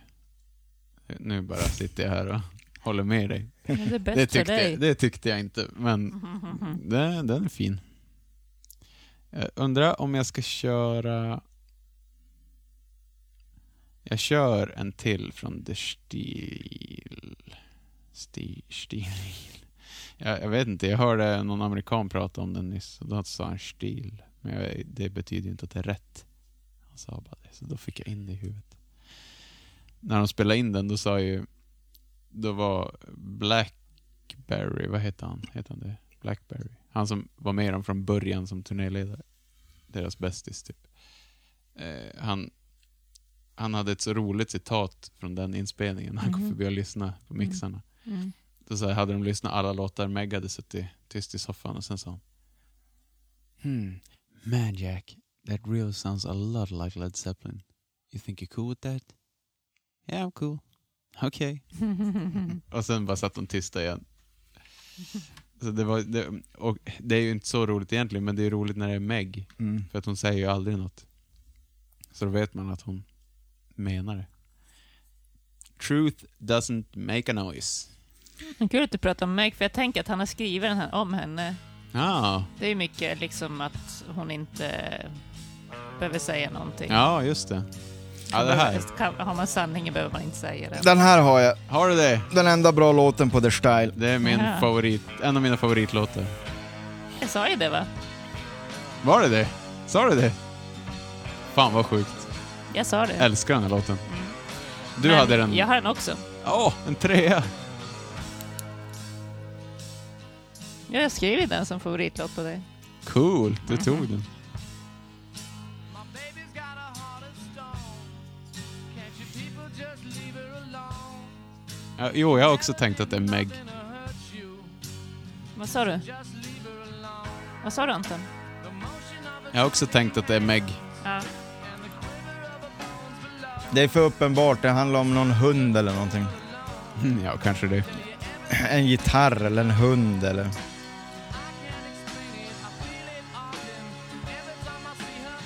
Speaker 2: Nu bara sitter jag här och håller med dig.
Speaker 3: Men Det är bäst
Speaker 2: Det
Speaker 3: för
Speaker 2: tyckte,
Speaker 3: dig.
Speaker 2: det tyckte jag inte, men den, den är fin. Jag undrar om jag ska köra... Jag kör en till från The Steel... Steel... Steel. Jag, jag vet inte, jag hörde någon amerikan prata om den nyss och då sa han Steel. Men jag, det betyder ju inte att det är rätt. Han sa bara det, så då fick jag in det i huvudet. När de spelade in den, då sa ju... Då var Black Barry, vad heter han? Heter han det? Blackberry. Han som var med dem från början som turnéledare. Deras bästis typ. Eh, han, han hade ett så roligt citat från den inspelningen. Han kom förbi och lyssnade på mixarna.
Speaker 3: Mm.
Speaker 2: Då så här, hade de lyssnat alla låtar. Meg hade suttit tyst i soffan och sen sa han Hmm, man Jack, that really sounds a lot like Led Zeppelin. You think you're cool with that? Yeah, I'm cool. Okay. Och sen bara satt de tysta igen. Så det, var, det, och det är ju inte så roligt egentligen, men det är roligt när det är Meg.
Speaker 1: Mm.
Speaker 2: För att hon säger ju aldrig något. Så då vet man att hon menar det. Truth doesn't make a noise.
Speaker 3: Men Kul att du pratar om Meg, för jag tänker att han har skrivit den här om henne.
Speaker 2: Ah,
Speaker 3: Det är ju mycket liksom att hon inte behöver säga någonting.
Speaker 2: ja, just det. Ja, det här.
Speaker 3: Kan- Har man sanningen behöver man inte säga den.
Speaker 1: Den här har jag.
Speaker 2: Har du det?
Speaker 1: Den enda bra låten på The Style.
Speaker 2: Det är min
Speaker 3: Ja.
Speaker 2: favorit, en av mina favoritlåtar.
Speaker 3: Jag sa ju det va?
Speaker 2: Var det det? Sa du det? Fan vad sjukt.
Speaker 3: Jag sa det.
Speaker 2: Älskar den här låten. Du
Speaker 3: Mm. Men
Speaker 2: hade den...
Speaker 3: Jag har den också.
Speaker 2: Åh, en trea!
Speaker 3: Jag har skrivit den som favoritlåt på dig.
Speaker 2: Cool, du
Speaker 3: Mm.
Speaker 2: tog den.
Speaker 4: My baby's got a heart of stone. Can't you people just leave her alone?
Speaker 2: Ja, jo, jag har också tänkt att det är Meg.
Speaker 4: Gonna hurt you.
Speaker 3: Vad sa du?
Speaker 4: Just leave her alone.
Speaker 3: Vad sa du Anton?
Speaker 4: The motion of a
Speaker 2: Jag har också tänkt att det är Meg.
Speaker 3: Ja.
Speaker 4: and the quiver of her bones below.
Speaker 1: Det är för uppenbart, det handlar om någon hund eller någonting.
Speaker 2: Mm, Ja, kanske det.
Speaker 1: En gitarr eller en hund
Speaker 4: I
Speaker 1: eller...
Speaker 4: can't explain it. I feel it often. Every time I see her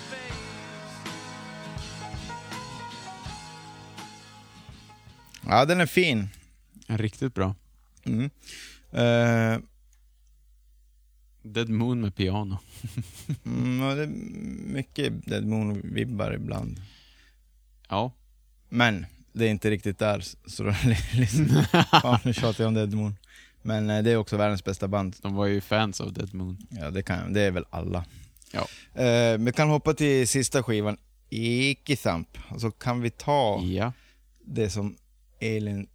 Speaker 4: face.
Speaker 1: Ja, den är fin.
Speaker 2: En Riktigt bra.
Speaker 1: Mm. Eh,
Speaker 2: Dead Moon med piano.
Speaker 1: mm, ja, det är mycket Dead Moon-vibbar ibland.
Speaker 2: Ja.
Speaker 1: Men det är inte riktigt där, s- så då lyssnar Fan, nu tjatar jag om Dead Moon. Men eh, det är också världens bästa band.
Speaker 2: De var ju fans av Dead Moon.
Speaker 1: Ja, det, kan, det är väl alla.
Speaker 2: Ja.
Speaker 1: Eh, vi kan hoppa till sista skivan, Icky Thump. Och så kan vi ta
Speaker 2: Ja.
Speaker 1: det som Elin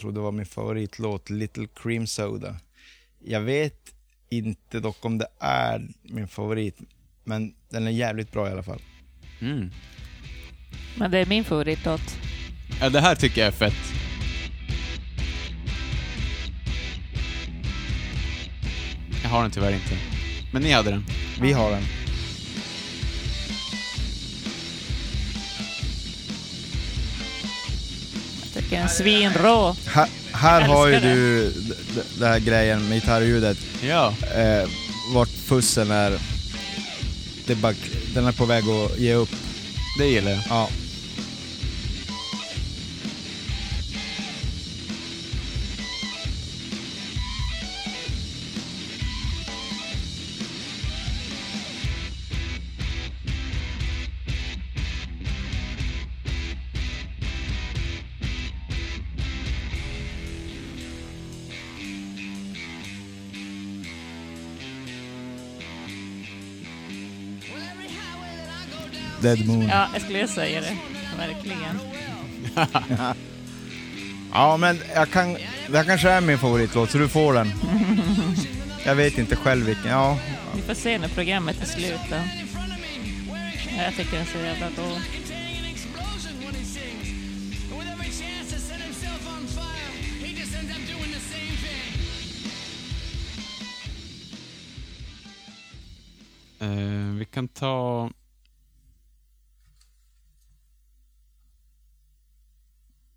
Speaker 1: trodde var min favoritlåt, Little Cream Soda. Jag vet inte dock om det är min favorit, men den är jävligt bra i alla fall.
Speaker 2: Mm.
Speaker 3: Men det är min favoritlåt.
Speaker 2: ja. Det här tycker jag är fett. Jag har den tyvärr inte. Men ni hade den.
Speaker 1: Vi har den.
Speaker 3: Jag tycker den är svinrå.
Speaker 1: Här, här har ju
Speaker 3: Älskar det.
Speaker 1: du d- d- den här grejen med gitarrljudet,
Speaker 2: Ja.
Speaker 1: eh, vart fussen är. Det är bara, den är på väg att ge upp.
Speaker 2: Det gillar jag.
Speaker 1: Ja. Dead Moon. Ja,
Speaker 3: Ja, jag skulle säga det. Verkligen.
Speaker 1: men jag kan, det här kanske är min favoritlåt, så du får den. jag vet inte själv vilken. Ja,
Speaker 3: Vi får se när programmet är slut. Då. Ja, Jag tycker den är så jävla då.
Speaker 2: Eh, vi kan ta...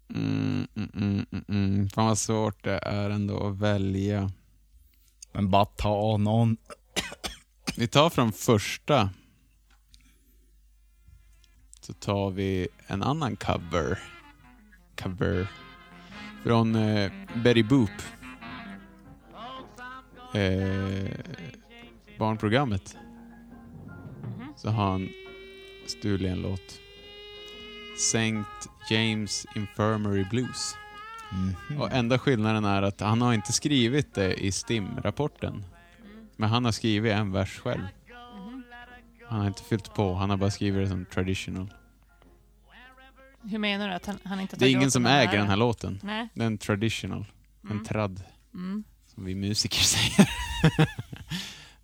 Speaker 2: Mm, mm, mm, mm, mm. Fan vad svårt det är ändå att välja.
Speaker 1: men bara ta någon.
Speaker 2: Vi tar från första. Så tar vi en annan cover. Cover. Från eh, Betty Boop. Eh, barnprogrammet. Så har han stulit en låt. St. James Infirmary Blues. Och enda skillnaden är att han har inte skrivit det i STIM-rapporten. Men han har skrivit en vers själv. Mm. Han har inte fyllt på, han har bara skrivit det som traditional.
Speaker 3: Hur menar du att han, han inte har
Speaker 2: Det är
Speaker 3: tagit
Speaker 2: ingen
Speaker 3: åt
Speaker 2: som
Speaker 3: den
Speaker 2: äger den här låten.
Speaker 3: Nej.
Speaker 2: Den är traditional. En trad.
Speaker 3: Mm.
Speaker 2: Som vi musiker säger.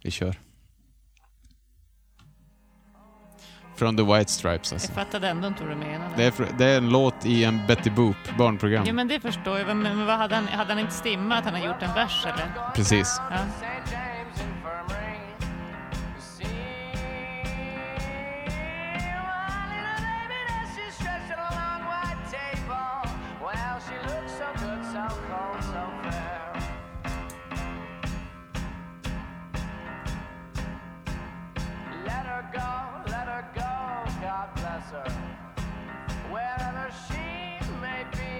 Speaker 2: vi kör. Från The White Stripes alltså.
Speaker 3: Jag fattade ändå inte vad du menade.
Speaker 2: Det är, fr- det är en låt i en Betty Boop barnprogram.
Speaker 3: Ja, men det förstår jag. Men, men vad hade, han, hade han inte stimmat att han har gjort en vers eller?
Speaker 2: Precis.
Speaker 3: Ja.
Speaker 7: Let her go, let her go, God bless her. Wherever she may be,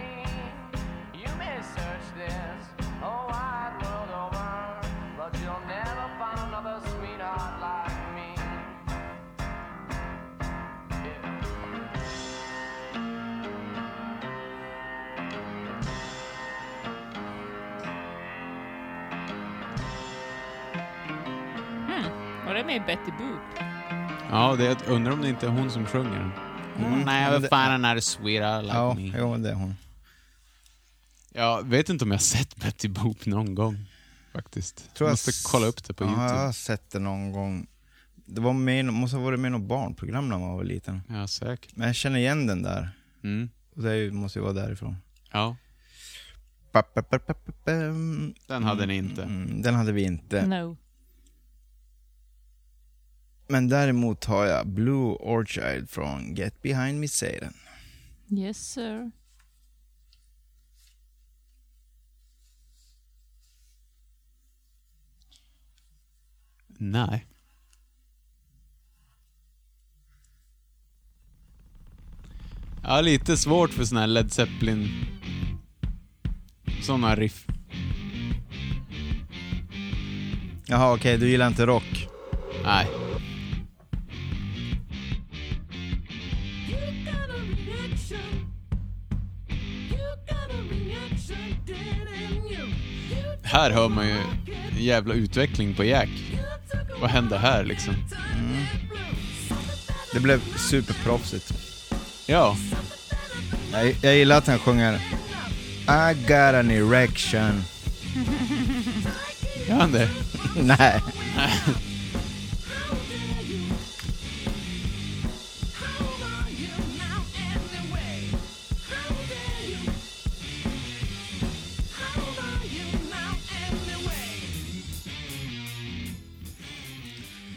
Speaker 7: you may search this whole wide world over, but you'll never find another sweetheart like me. Yeah.
Speaker 3: Var det med Betty Boop?
Speaker 2: Ja, det är, undrar om det inte är hon som sjunger den. Mm,
Speaker 1: men
Speaker 2: Nej,
Speaker 1: det-
Speaker 2: vad fan den här är sweeter like
Speaker 1: Ja,
Speaker 2: me.
Speaker 1: jo, det är hon.
Speaker 2: Jag vet inte om jag har sett Betty Boop någon gång. Faktiskt.
Speaker 1: Tror
Speaker 2: jag
Speaker 1: jag
Speaker 2: måste
Speaker 1: s-
Speaker 2: kolla upp det på
Speaker 1: Ja, jag har
Speaker 2: YouTube.
Speaker 1: sett det någon gång. Det var med, måste ha varit med i något barnprogram när man var liten.
Speaker 2: Ja, säkert.
Speaker 1: Men jag känner igen den där.
Speaker 2: Mm.
Speaker 1: Och det är ju- måste ju vara därifrån.
Speaker 2: Ja,
Speaker 1: Ba, ba, ba, ba, ba, bam.
Speaker 2: den hade ni inte.
Speaker 1: Mm, den hade vi inte.
Speaker 3: No.
Speaker 1: Men däremot har jag Blue Orchid från Get Behind Me Satan.
Speaker 3: Yes sir.
Speaker 2: Nej. Ja, lite svårt för sån här Led Zeppelin... Såna riff.
Speaker 1: Jaha okej, du gillar inte rock.
Speaker 2: Nej. Här hör man ju en jävla utveckling på Jack. Vad hände här liksom?
Speaker 1: Det blev superproffsigt.
Speaker 2: Ja,
Speaker 1: Jag, jag gillar att han sjunger I got an erection.
Speaker 2: gör han det?
Speaker 1: Nej.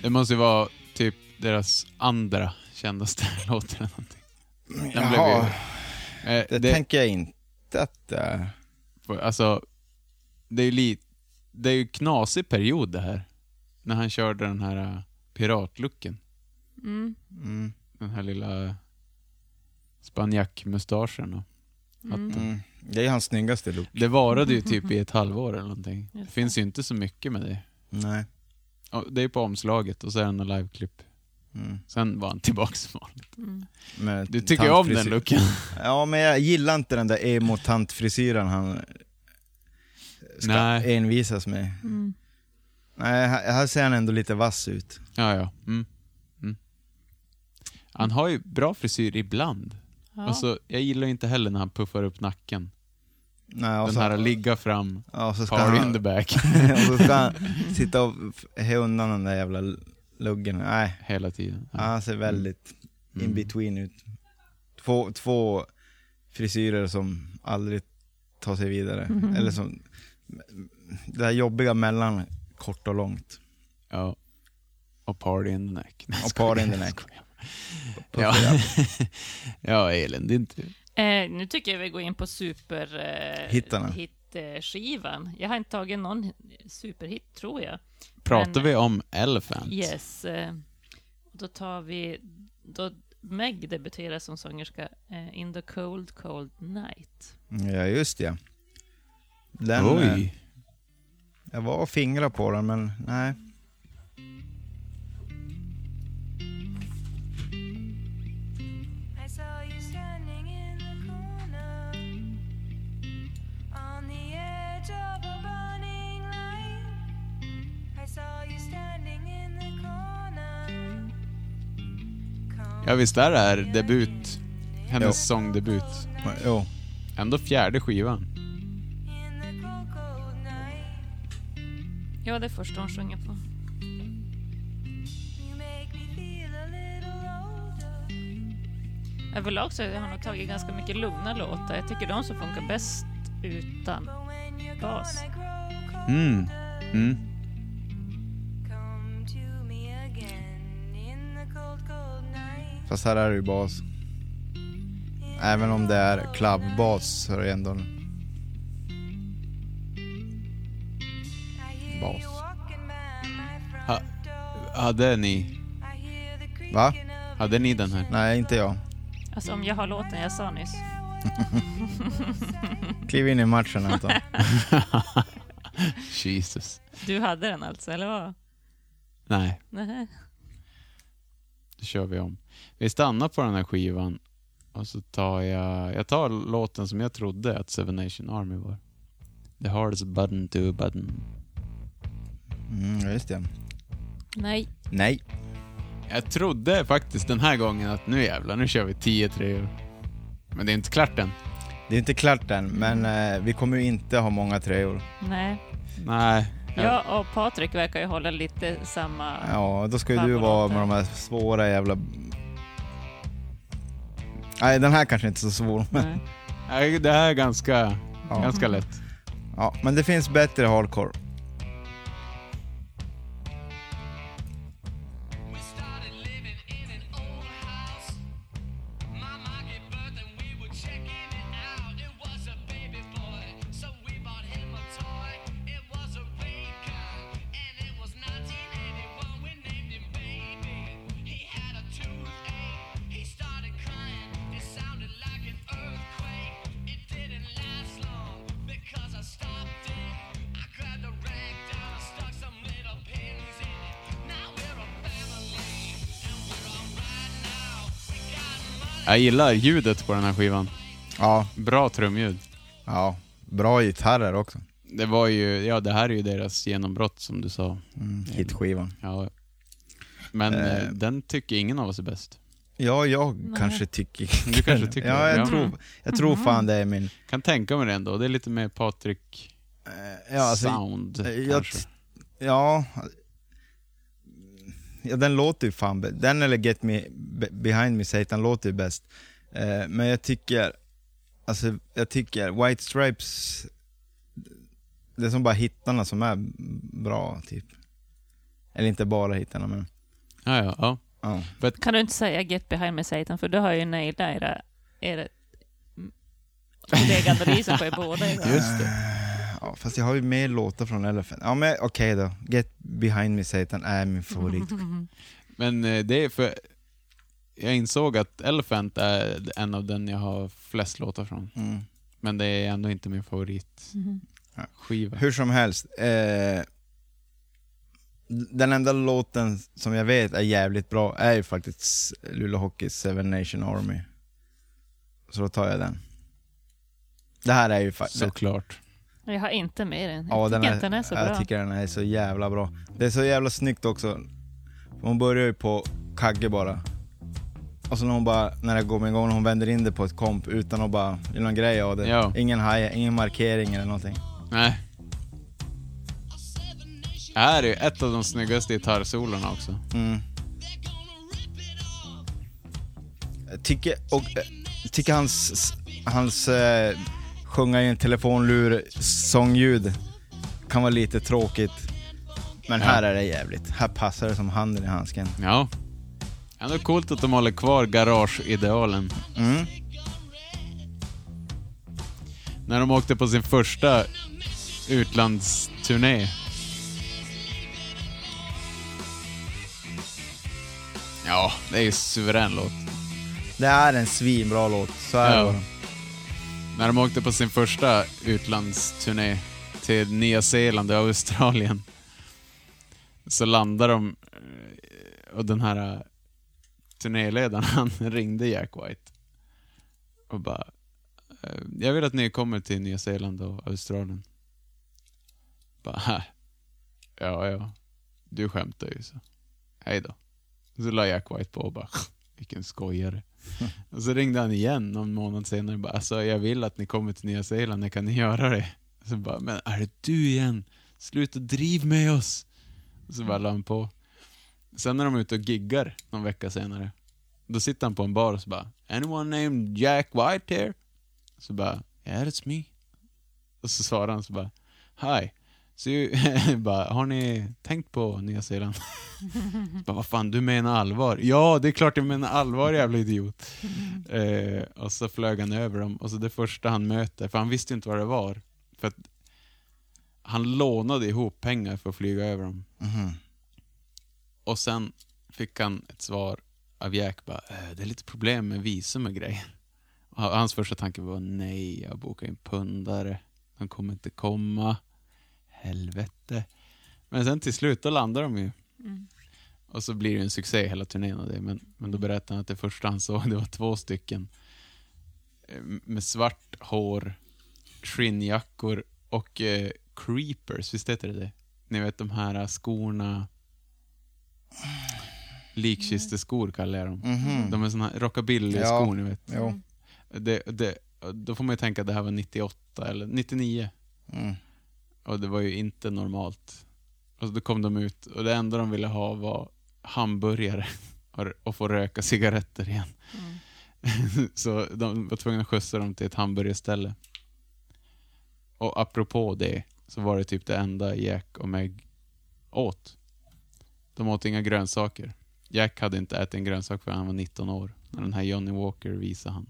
Speaker 2: Det måste ju vara typ deras andra kändaste låt eller någonting. Den blev ju,
Speaker 1: Jaha,
Speaker 2: eh,
Speaker 1: det,
Speaker 2: det,
Speaker 1: tänker jag inte att det är.
Speaker 2: alltså, det är ju lite, det är ju knasig period det här. När han körde den här eh, piratlooken.
Speaker 3: Mm.
Speaker 2: Den här lilla spanjackmustaschen och hatten.
Speaker 1: Mm. Det är ju hans snyggaste look.
Speaker 2: Det varade ju typ i ett halvår eller någonting. Det finns ju inte så mycket med det.
Speaker 1: Nej.
Speaker 2: Ja, Det är på omslaget och så är det några liveklipp.
Speaker 1: Mm.
Speaker 2: Sen var han tillbaka som vanligt.
Speaker 3: Mm.
Speaker 1: Men
Speaker 2: Du tycker ju om den
Speaker 1: tantfrisyr-
Speaker 2: looken.
Speaker 1: Ja, men jag gillar inte den där emo-tantfrisyren han ska
Speaker 2: Nej.
Speaker 1: envisas med.
Speaker 3: Mm.
Speaker 1: Nej, här, här ser han ändå lite vass ut.
Speaker 2: Ja, ja. Mm. Mm. Han har ju bra frisyr ibland.
Speaker 3: Ja.
Speaker 2: Alltså, jag gillar ju inte heller när han puffar upp nacken.
Speaker 1: Nej, och
Speaker 2: Den
Speaker 1: så,
Speaker 2: här ligga fram,
Speaker 1: ja, och så ska
Speaker 2: party in the
Speaker 1: han,
Speaker 2: back,
Speaker 1: och så ska han sitta och he undan den där jävla luggen. Nej,
Speaker 2: hela tiden. Ja.
Speaker 1: han ser väldigt
Speaker 2: Mm.
Speaker 1: in between ut. Två, två frisyrer som aldrig tar sig vidare. Eller som, det här jobbiga mellan kort och långt.
Speaker 2: Ja. Och party in the neck. Nej,
Speaker 1: Och
Speaker 2: skojar.
Speaker 1: party in the neck.
Speaker 2: Ja. ja, Elin, det är inte...
Speaker 3: Eh, nu tycker jag vi går in på superhit-skivan. Eh,
Speaker 1: Hittarna.
Speaker 3: hit, eh, skivan. jag har inte tagit någon superhit, tror jag.
Speaker 2: Pratar
Speaker 3: Men-
Speaker 2: vi om Elephant?
Speaker 3: Yes. Eh, då tar vi... Då Meg debuterar som sångerska eh, In the cold, cold night.
Speaker 1: Ja, just det. Den, eh,
Speaker 2: Oj.
Speaker 1: Jag var och fingrade på den, men nej.
Speaker 8: I saw you standing in the corner on the edge of a burning light. I saw you standing in the corner.
Speaker 2: Ja, visst är det här debut? Hennes sångdebut.
Speaker 1: Jo.
Speaker 2: Ändå fjärde skivan.
Speaker 8: In the cold, cold night,
Speaker 3: Ja, det är första hon sjunger på.
Speaker 8: you make me feel a little older.
Speaker 3: Överlag så har hon tagit ganska mycket lugna låtar. Jag tycker de som funkar bäst utan
Speaker 8: But when you're
Speaker 3: bas.
Speaker 8: gonna grow cold,
Speaker 2: Mm. Mm.
Speaker 8: come to me again. In the cold, cold night,
Speaker 1: Fast här är det ju bas. Även om det är clubbas så är det ändå en
Speaker 8: I hear
Speaker 1: bas.
Speaker 8: you walking by my
Speaker 2: Ha,
Speaker 8: front door.
Speaker 2: hade ni,
Speaker 8: I hear the creaking
Speaker 1: Va?
Speaker 8: of
Speaker 2: hade ni den här?
Speaker 1: Nej, inte jag.
Speaker 3: Alltså om jag har låten jag sa nyss.
Speaker 1: Kliv in i matchen Anton.
Speaker 2: Jesus.
Speaker 3: Du hade den alltså, eller vad?
Speaker 2: Nej,
Speaker 3: Nej.
Speaker 2: då kör vi om. Vi stannar på den här skivan och så tar jag, jag tar låten som jag trodde att Seven Nation Army var. The hardest button to button.
Speaker 1: Mm, ja, just det.
Speaker 3: Nej.
Speaker 1: Nej.
Speaker 2: Jag trodde faktiskt den här gången att nu jävlar, nu kör vi 10 3 Men det är inte klart än.
Speaker 1: Det är inte klart än, men eh, vi kommer ju inte ha många treor.
Speaker 3: Nej.
Speaker 2: Nej.
Speaker 3: Jag och Patrik verkar ju hålla lite samma...
Speaker 1: Ja, då ska ju du vara med de här svåra jävla... Nej, den här kanske inte är så svår. Men,
Speaker 3: Nej.
Speaker 2: Nej, Det här är ganska,
Speaker 1: Ja.
Speaker 2: ganska lätt.
Speaker 1: ja, men det finns bättre hardcore.
Speaker 4: We started living in an old house. My mom gave birth and we were checking it out. It was a baby boy, so we bought him a toy. It was a Raycon, and it was 1981. We named him Baby. He had a toothache. He started crying. It sounded like an earthquake. It didn't last long because I stopped it. I grabbed a rag down, stuck some little pins in it. Now we're a family, and we're alright now. We got money.
Speaker 2: Jag gillar ljudet på den här skivan.
Speaker 1: Ja,
Speaker 2: Bra trumljud.
Speaker 1: ja. Bra gitarrer också.
Speaker 2: Det var ju, ja det här är ju deras genombrott som du sa.
Speaker 1: Mm, hitskivan.
Speaker 2: Ja. Men eh, den tycker ingen av oss är bäst.
Speaker 1: Ja, jag kanske tycker...
Speaker 2: Du kanske tycker
Speaker 1: ja,
Speaker 2: det,
Speaker 1: jag
Speaker 2: ja.
Speaker 1: tror, jag tror fan det är min...
Speaker 2: Kan tänka mig det ändå, det är lite mer Patrik
Speaker 1: Ja, alltså,
Speaker 2: sound
Speaker 1: eh, jag
Speaker 2: kanske.
Speaker 1: t- ja, ja, den låter ju fan bäst. Den eller Get Me Be- Behind Me Satan låter ju bäst. Eh, men jag tycker, alltså jag tycker White Stripes, det är som bara hittarna som är bra typ. Eller inte bara hittarna men,
Speaker 2: Ja, ja, ja.
Speaker 1: ja.
Speaker 3: Kan du inte säga Get behind me Satan, för du har ju nailat era... era mm, kolleganalyser på er båda idag.
Speaker 2: Just det.
Speaker 1: Eh, ja. Fast jag har ju mer låtar från Elephant. Ja men okej då, Get Behind Me Satan är min favorit.
Speaker 2: Men eh, det är för... Jag insåg att Elephant är en av den jag har flest låtar från.
Speaker 1: Mm.
Speaker 2: Men det är ändå inte min favorit skiva.
Speaker 1: Hur som helst. Eh, den enda låten som jag vet är jävligt bra är ju faktiskt Luleå Hockeys Seven Nation Army. Så då tar jag den. Det här är ju faktiskt...
Speaker 2: Såklart.
Speaker 3: Jag har inte med den. Jag tycker inte den är så
Speaker 1: jag
Speaker 3: bra.
Speaker 1: tycker den är så jävla bra. Det är så jävla snyggt också. Hon börjar ju på kagge bara. Och så när hon bara, när det går med igång, hon vänder in det på ett komp utan att bara, i någon grej av det.
Speaker 2: Ja.
Speaker 1: Ingen haj, ingen markering eller någonting.
Speaker 2: Nej. Det här är ju ett av de snyggaste gitarrsolorna också.
Speaker 1: Mm. Jag Tycker, och, eh, jag tycker hans, hans eh, sjunga i en telefonlur sångljud kan vara lite tråkigt. Men
Speaker 2: Ja.
Speaker 1: här är det jävligt. Här passar det som handen i handsken.
Speaker 2: Ja. Ändå coolt att de håller kvar garageidealen.
Speaker 1: Mm.
Speaker 2: När de åkte på sin första utlandsturné. Ja, det är ju suverän låt.
Speaker 1: Det är en svinbra låt, så är
Speaker 2: Ja.
Speaker 1: det bara.
Speaker 2: När de åkte på sin första utlandsturné till Nya Zeeland och Australien så landade de eh, och den här eh, turnéledaren han ringde Jack White och bara eh, Jag vill att ni kommer till Nya Zeeland och Australien. Bara, "Hä? ja, ja, du skämtar ju så. Hej då. Så la Jack White på och bara, vilken skojare. Och så ringde han igen någon månad senare och bara alltså, jag vill att ni kommer till Nya Zeeland, när kan ni göra det? Och så bara, men är det du igen? Sluta driv med oss! Och så bara la han på. Sen när de är ute och giggar någon vecka senare, då sitter han på en bar och så bara “Anyone named Jack White here?” Så bara “Yeah, it's me”. Och så svarar han så bara “Hi”. Så ju- bara, har ni tänkt på Nya Zeeland? Så bara, vad fan, du menar allvar? Ja, det är klart jag menar allvar jävla idiot. Eh, och så flög han över dem och så det första han möter, för han visste ju inte vad det var. För att han lånade ihop pengar för att flyga över dem. Och sen fick han ett svar av Jack bara, eh, det är lite problem med visum och grejer. Och hans första tanke var, nej, jag bokar in pundare. De kommer inte komma. Helvete. Men sen till slut, då landar de ju. Och så blir det ju en succé hela turnén av det. Men, men då berättade han att det första han såg, det var två stycken eh, med svart hår, skinnjackor och eh, creepers, visst heter det det? Ni vet de här eh, skorna, likkisteskor kallar jag dem.
Speaker 1: Mhm.
Speaker 2: De är såna här
Speaker 1: Mm.
Speaker 2: rockabilly-skor,
Speaker 1: Ja.
Speaker 2: ni vet.
Speaker 1: Jo.
Speaker 2: Det, det, då får man ju tänka att det här var 98 eller 99.
Speaker 1: Mm.
Speaker 2: Och det var ju inte normalt. Och då kom de ut och det enda de ville ha var hamburgare och, och få röka cigaretter igen.
Speaker 3: Mm.
Speaker 2: Så de var tvungna att skjutsa dem till ett hamburgerställe. Och apropå det så var det typ det enda Jack och Meg åt. De åt inga grönsaker. Jack hade inte ätit en grönsak förrän han var 19 år. När den här Johnny Walker visade han.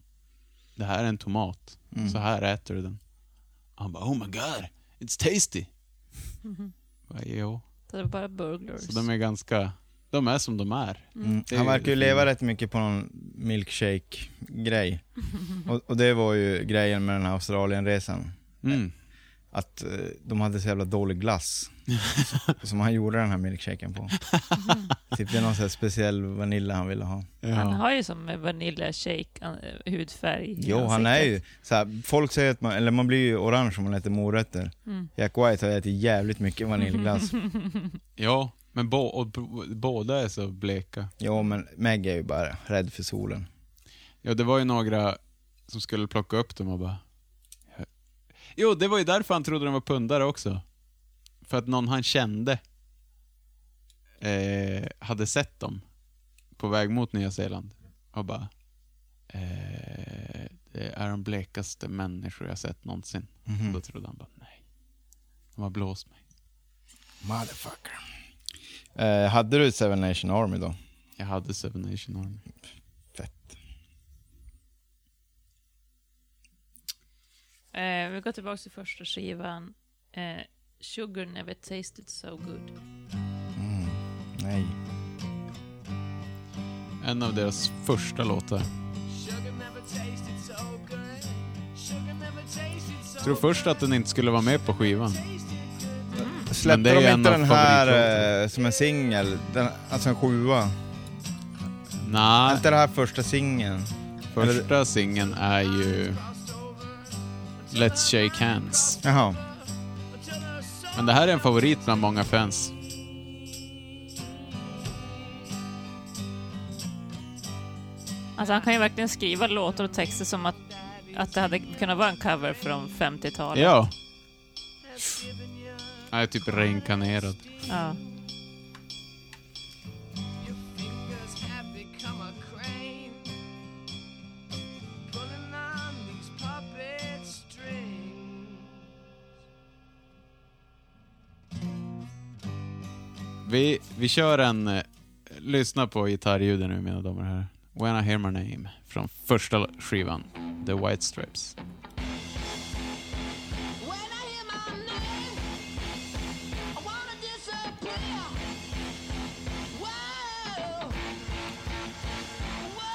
Speaker 2: Det här är en tomat.
Speaker 1: Mm.
Speaker 2: Så här äter du den. Han bara oh my god, it's tasty. Bara, jo.
Speaker 3: Mm. Det var bara burglars.
Speaker 2: Så de är ganska, de är som de är.
Speaker 1: Mm.
Speaker 2: Det är
Speaker 1: Han
Speaker 2: ju
Speaker 1: verkar
Speaker 2: det
Speaker 1: ju leva
Speaker 2: fina.
Speaker 1: rätt mycket på någon milkshake-grej. och, och det var ju grejen med den här Australienresan.
Speaker 2: Mm.
Speaker 1: Att eh, de hade så jävla dålig glass. som han gjorde den här milkshaken på. typ det är någon sån här speciell vanilla han ville ha.
Speaker 3: Han
Speaker 2: Ja.
Speaker 3: har ju som vanilla shake an- eh, hudfärg i
Speaker 1: Jo, han är ju
Speaker 3: ansiktet.
Speaker 1: så här, folk säger att man, eller man blir ju orange om man äter morötter. Jack White har ätit jävligt mycket vaniljglass.
Speaker 2: ja, men bo, och, b- båda är så bleka.
Speaker 1: jo, men Meg är ju bara rädd för solen.
Speaker 2: Ja, det var ju några som skulle plocka upp dem och bara... Jo, det var ju därför han trodde de var pundare också. För att någon han kände eh, hade sett dem på väg mot Nya Zeeland och bara... Eh, det är de blekaste människor jag sett någonsin. Då
Speaker 1: Mm.
Speaker 2: trodde han bara nej. De har blåst mig.
Speaker 1: Motherfucker. Eh, hade du Seven Nation Army då?
Speaker 2: Jag hade Seven Nation Army.
Speaker 1: Fett.
Speaker 3: Eh, vi går tillbaka till första skivan. Eh, Sugar never tasted so good.
Speaker 1: Nej.
Speaker 2: En av deras första låtar.
Speaker 7: Sugar never tasted so good. Sugar never tasted so
Speaker 2: Jag tror först att den inte skulle vara med på skivan. Men
Speaker 1: Släppte
Speaker 2: det är ju
Speaker 1: de
Speaker 2: en
Speaker 1: inte
Speaker 2: av
Speaker 1: den här
Speaker 2: favoritlåtarna.
Speaker 1: eh, som en singel? Den- Alltså en sjua? Är
Speaker 2: Nej,
Speaker 1: inte det här första singeln?
Speaker 2: Första singeln är ju Let's Shake Hands.
Speaker 1: Jaha.
Speaker 2: Men det här är en favorit bland många fans.
Speaker 3: Han Alltså han kan ju verkligen skriva låtar och texter som att, att det hade kunnat vara en cover från 50-talet.
Speaker 2: Ja. Jag är typ reinkarnerad.
Speaker 3: Ja.
Speaker 7: Your fingers have become a crane, pulling on these puppet strings.
Speaker 2: Vi, vi kör en... eh, lyssna på gitarrljuden nu, mina damer och herrar. When I hear my name, från första skivan, The White Stripes.
Speaker 7: When I hear my name, I wanna disappear. Whoa, whoa, whoa.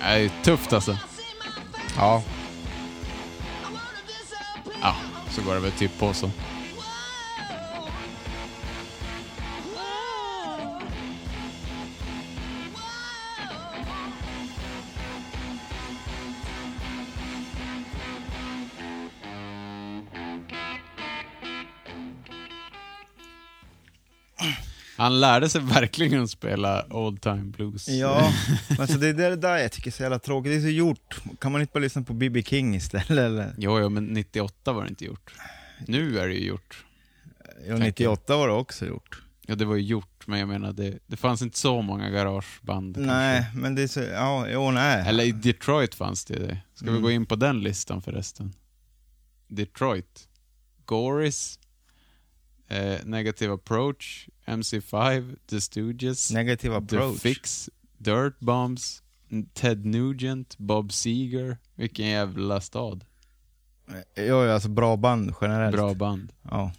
Speaker 2: Det är tufft alltså.
Speaker 9: Ja.
Speaker 2: Ja, så går det väl typ på så. Han lärde sig verkligen att spela old time blues.
Speaker 1: Ja, men så det är det där jag tycker är så jävla tråkigt. Det är så gjort. Kan man inte bara lyssna på B.B. King istället? Eller?
Speaker 2: Jo, jo, men 98 var det inte gjort. Nu är det ju gjort.
Speaker 1: Ja, 98 var det också gjort.
Speaker 2: Ja, det var ju gjort, men jag menar, det, det fanns inte så många garageband. kanske.
Speaker 1: Nej, men det är så... Ja, jo, nej.
Speaker 2: Eller i Detroit fanns det ju det. Ska
Speaker 1: Mm.
Speaker 2: vi gå in på den listan förresten? Detroit. Goris. Eh, Negative Approach. MC5. The Stooges.
Speaker 1: Negativ approach.
Speaker 2: The Fix. Dirt Bombs. Ted Nugent. Bob Seger. Vilken jävla stad.
Speaker 1: Jo, ja, alltså bra band generellt.
Speaker 2: Bra band.
Speaker 1: Ja.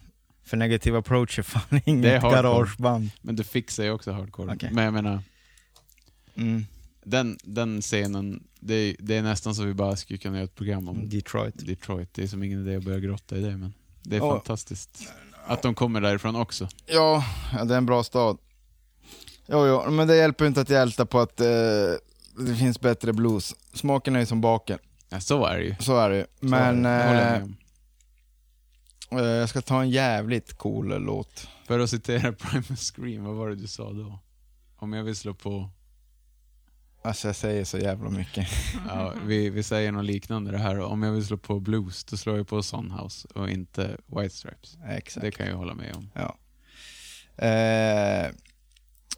Speaker 1: För negativ approach är fan
Speaker 2: Det är
Speaker 1: inget
Speaker 2: hardcore.
Speaker 1: garageband.
Speaker 2: Men The Fix är ju också hardcore.
Speaker 1: Okej.
Speaker 2: Men jag menar,
Speaker 1: Mm.
Speaker 2: den, den scenen, det är, det är nästan så vi bara skulle kunna göra ett program
Speaker 1: Mm.
Speaker 2: om
Speaker 1: Detroit.
Speaker 2: Detroit. Det är som ingen idé att börja grotta i det, men det är
Speaker 1: Ja.
Speaker 2: fantastiskt. Att de kommer därifrån också.
Speaker 1: Ja, ja, det är en bra stad. Jo, jo, men det hjälper ju inte att jag ältar på att eh, det finns bättre blues. Smaken är ju som baken,
Speaker 2: Ja, så är det ju. Så
Speaker 1: så är det ju. Men
Speaker 2: är det. Det håller jag
Speaker 1: eh,
Speaker 2: med om.
Speaker 1: eh, jag ska ta en jävligt cool låt.
Speaker 2: För att citera Primus Scream, vad var det du sa då? Om jag vill slå på...
Speaker 1: Alltså jag säger så jävla mycket.
Speaker 2: Ja, vi, vi säger något liknande det här. Om jag vill slå på blues, då slår jag på Sunhouse och inte White Stripes.
Speaker 1: Exakt.
Speaker 2: Det kan jag hålla med om.
Speaker 1: Ja. Eh,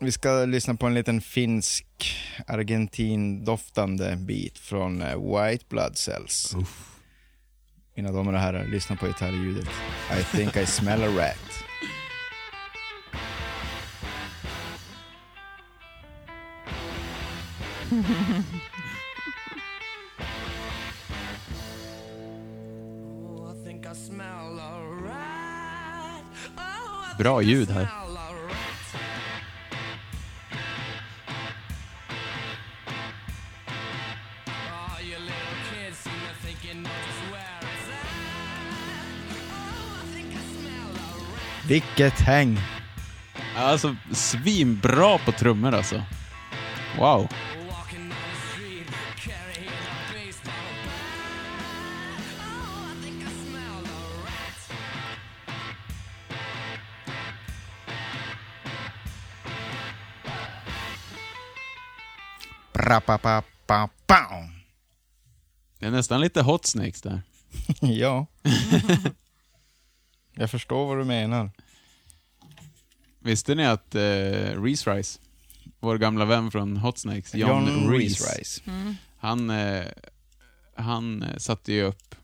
Speaker 1: vi ska lyssna på en liten finsk argentindoftande bit från eh, White Blood Cells. Mina damer och herrar, lyssna på gitarrljudet. I think I smell a rat.
Speaker 7: Oh, I think I smell a rat. Oh, I
Speaker 2: Bra
Speaker 7: think I
Speaker 2: ljud här.
Speaker 7: smell a rat. Oh, you little kids seem to think you know just where it's at. Oh, I think I smell a rat.
Speaker 1: Vilket häng!
Speaker 2: Alltså, svinbra på trummor alltså. Wow.
Speaker 7: Walking down the street, carrying a baseball bat. Oh, I think I smell a rat.
Speaker 1: Pra, pa, pa, pa, pam.
Speaker 2: Det är nästan lite Hot Snakes där.
Speaker 1: ja. jag förstår vad du menar.
Speaker 2: Visste ni att eh, Reese Rice, vår gamla vän från Hot Snakes, John, Reese,
Speaker 1: Rice.
Speaker 2: han, eh, han eh, satte ju upp,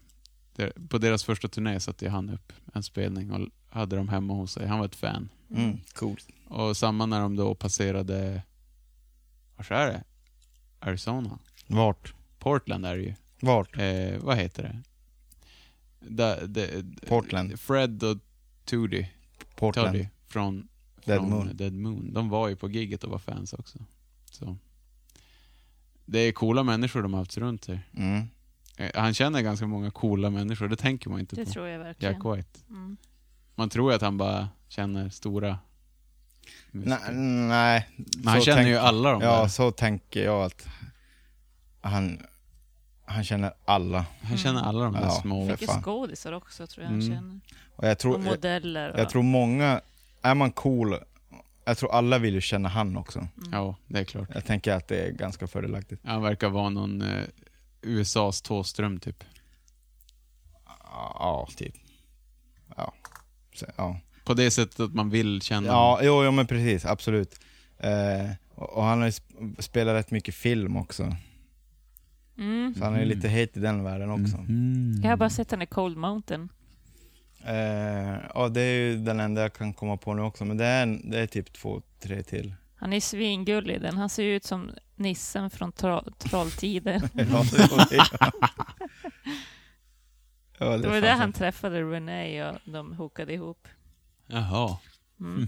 Speaker 2: der- på deras första turné satte ju han upp en spelning och hade dem hemma hos sig. Han var ett fan.
Speaker 1: Mm, coolt.
Speaker 2: Och samma när de då passerade, vars är det? Arizona?
Speaker 1: Vart?
Speaker 2: Portland är det ju.
Speaker 1: Vart?
Speaker 2: Eh, vad heter det? Da, de,
Speaker 1: Portland.
Speaker 2: Fred och Tudy,
Speaker 1: Portland.
Speaker 2: Tudy från
Speaker 1: Dead
Speaker 2: från
Speaker 1: Moon.
Speaker 2: Dead Moon. De var ju på gigget och var fans också. Så. Det är coola människor de har haft runt sig.
Speaker 1: Mm.
Speaker 2: Eh, Han känner ganska många coola människor, det tänker man inte
Speaker 3: Det
Speaker 2: på.
Speaker 3: tror jag verkligen.
Speaker 2: Jack White.
Speaker 3: Mm.
Speaker 2: Man tror ju att han bara känner stora musiker.
Speaker 1: Nej, nej.
Speaker 2: Men han
Speaker 1: så
Speaker 2: känner
Speaker 1: tänk-
Speaker 2: ju alla de
Speaker 1: Ja,
Speaker 2: där.
Speaker 1: så tänker jag att han, han känner alla.
Speaker 2: Han känner
Speaker 3: Mm.
Speaker 2: alla de här
Speaker 1: Ja,
Speaker 2: små...
Speaker 1: för
Speaker 3: Mycket
Speaker 1: fan.
Speaker 3: skådisar också tror jag
Speaker 2: Mm.
Speaker 3: han känner.
Speaker 1: Och jag
Speaker 3: Och
Speaker 1: tror, jag,
Speaker 3: modeller. Och...
Speaker 1: jag tror många, är man cool, jag tror alla vill ju känna han också.
Speaker 2: Ja, det är klart.
Speaker 1: Jag tänker att det är ganska fördelaktigt.
Speaker 2: Han verkar vara någon eh, USAs Thåström typ.
Speaker 1: Ja, typ. Ja. Så, ja.
Speaker 2: På det sättet att man vill känna
Speaker 1: Ja, jo, jo men precis, absolut. Eh, och, och han har ju sp- spelat rätt mycket film också.
Speaker 3: Mm.
Speaker 1: Så han är ju lite het i den världen också.
Speaker 3: Jag har
Speaker 2: Mm.
Speaker 3: bara sett henne i Cold Mountain.
Speaker 1: Eh, ja, det är ju den enda jag kan komma på nu också, men det är, en- det är typ två, tre till.
Speaker 3: Han är svingullig i den. Han ser ju ut som nissen från tro- Trolltider.
Speaker 1: Ja, det var det. Ja,
Speaker 3: Det var
Speaker 1: är
Speaker 3: där
Speaker 1: fan
Speaker 3: han
Speaker 1: så.
Speaker 3: träffade Renee och de hookade ihop.
Speaker 2: Jaha.
Speaker 3: Mm.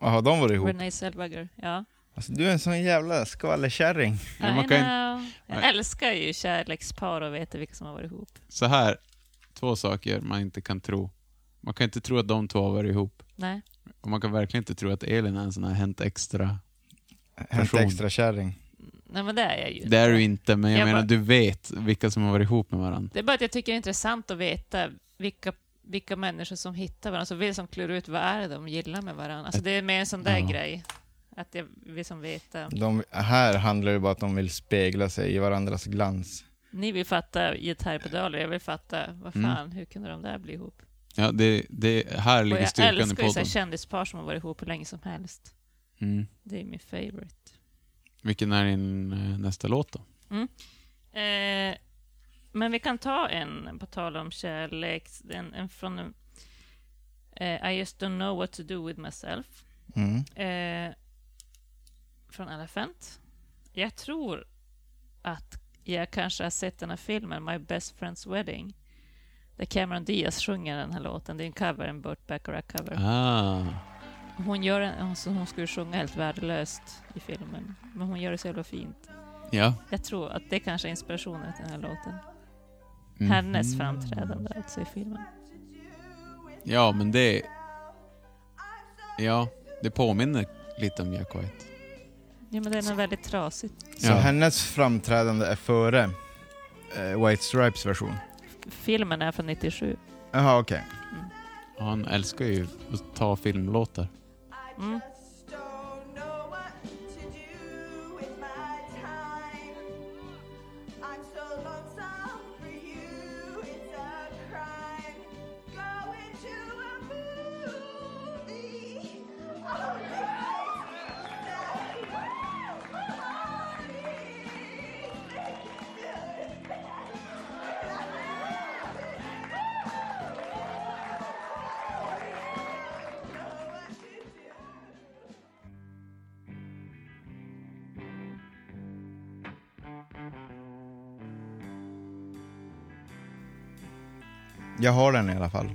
Speaker 1: Jaha, de var ihop.
Speaker 3: Renee Zellweger, ja.
Speaker 1: Alltså, du är en sån jävla skvallerkärring.
Speaker 2: Men
Speaker 3: I
Speaker 2: man kan ju-
Speaker 3: know. eh, Jag
Speaker 2: Nej.
Speaker 3: älskar ju kärlekspar och veta vilka som har varit ihop.
Speaker 2: Så här, två saker man inte kan tro. Man kan inte tro att de två har varit ihop.
Speaker 3: Nej.
Speaker 2: Och man kan verkligen inte tro att Elin är en sån här Hänt Extra.
Speaker 1: Hänt
Speaker 2: Person.
Speaker 1: extra kärring.
Speaker 3: Nej, men det är jag ju.
Speaker 2: Det är du inte, men jag,
Speaker 3: Jag
Speaker 2: menar
Speaker 3: bara-
Speaker 2: du vet vilka som har varit ihop med varandra.
Speaker 3: Det är bara att jag tycker det är intressant att veta vilka, vilka människor som hittar varandra, alltså vi som klurar ut vad är det de gillar med varandra. Alltså det är mer en sån där
Speaker 2: Ja.
Speaker 3: grej. Att jag vill som veta.
Speaker 1: De, här handlar det bara om att de vill spegla sig i varandras glans.
Speaker 3: Ni vill fatta gitarrpedaler, jag vill fatta, vad
Speaker 2: Mm.
Speaker 3: fan, hur kunde de där bli ihop?
Speaker 2: Ja, det, det, här
Speaker 3: Och
Speaker 2: ligger
Speaker 3: jag
Speaker 2: styrkan i
Speaker 3: älskar ju så
Speaker 2: podden.
Speaker 3: här kändispar som har varit ihop hur länge som helst.
Speaker 2: Mm.
Speaker 3: Det är min favorite.
Speaker 2: Vilken är din eh, nästa låt då?
Speaker 3: Eh, men vi kan ta en, på tal om kärlek, en, en från en, eh, I just don't know what to do with myself.
Speaker 1: Mm.
Speaker 3: Eh, från Elephant. Jag tror att jag kanske har sett den här filmen, My Best Friend's Wedding. Där Cameron Diaz sjunger den här låten. Det är en cover, en Burt Bacharach-cover.
Speaker 2: Ah,
Speaker 3: Hon, gör en, hon, hon skulle sjunga helt värdelöst i filmen, men hon gör det så jävla fint.
Speaker 2: ja.
Speaker 3: Jag tror att det kanske är inspirationen till den här låten.
Speaker 2: Mm.
Speaker 3: Hennes framträdande alltså i filmen.
Speaker 2: Ja, men det... Ja, det påminner lite om Jack White.
Speaker 3: Ja, men den är väldigt trasig.
Speaker 1: Så
Speaker 2: Ja.
Speaker 1: hennes framträdande är före eh, White Stripes version?
Speaker 3: Filmen är från 97.
Speaker 1: Jaha, okej.
Speaker 2: Ja, Han älskar ju att ta filmlåtar.
Speaker 3: Mm.
Speaker 8: Don't know what to do with my time. I'm so lonesome for you, it's a crime. Going to a movie. Oh,
Speaker 1: Jag har den i alla fall.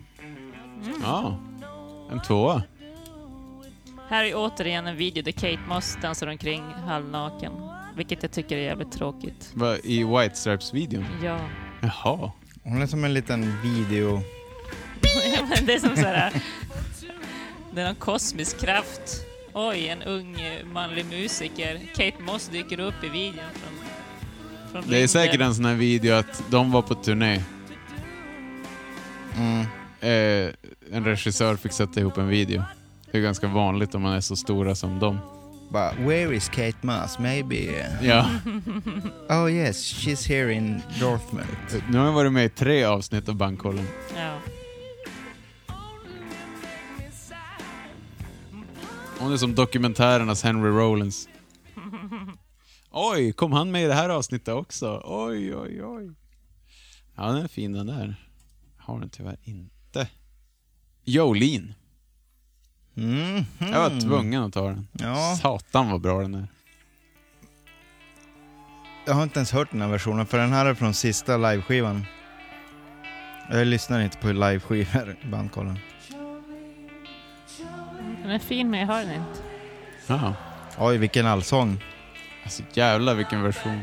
Speaker 3: Mm.
Speaker 2: Ja, en tvåa.
Speaker 3: Här är återigen en video där Kate Moss dansar omkring halvnaken. Vilket jag tycker är jävligt tråkigt.
Speaker 2: Va, I White Stripes-videon.
Speaker 3: Ja.
Speaker 2: Jaha.
Speaker 1: Hon är som en liten video...
Speaker 3: Men det är som såhär... Det är någon kosmisk kraft. Oj, en ung eh, manlig musiker. Kate Moss dyker upp i videon från... från
Speaker 2: Det är
Speaker 3: rymden.
Speaker 2: säkert en sån här video att de var på turné.
Speaker 1: Mm.
Speaker 2: Eh, en regissör fick sätta ihop en video. Det är ganska vanligt om man är så stora som dem.
Speaker 1: Bara, where is Kate Moss? Maybe... eh,
Speaker 2: Ja,
Speaker 1: Oh yes, she's here in Dortmund.
Speaker 2: nu har jag varit med i tre avsnitt av Bankkollen.
Speaker 3: Ja.
Speaker 2: Hon är som dokumentärernas Henry Rollins. Oj, kom han med i det här avsnittet också? Oj, oj, oj. Ja, den är fin den där. Har den tyvärr inte. Jolene.
Speaker 1: Mhm.
Speaker 2: Jag var tvungen att ta den.
Speaker 1: Ja.
Speaker 2: Satan vad bra den är.
Speaker 1: Jag har inte ens hört den här versionen, för den här är från sista liveskivan. Jag lyssnar inte på liveskivor i bandkollen.
Speaker 3: Den är fin, men jag hör den inte.
Speaker 2: Ja.
Speaker 1: Oj, vilken allsång.
Speaker 2: Alltså jävlar vilken version.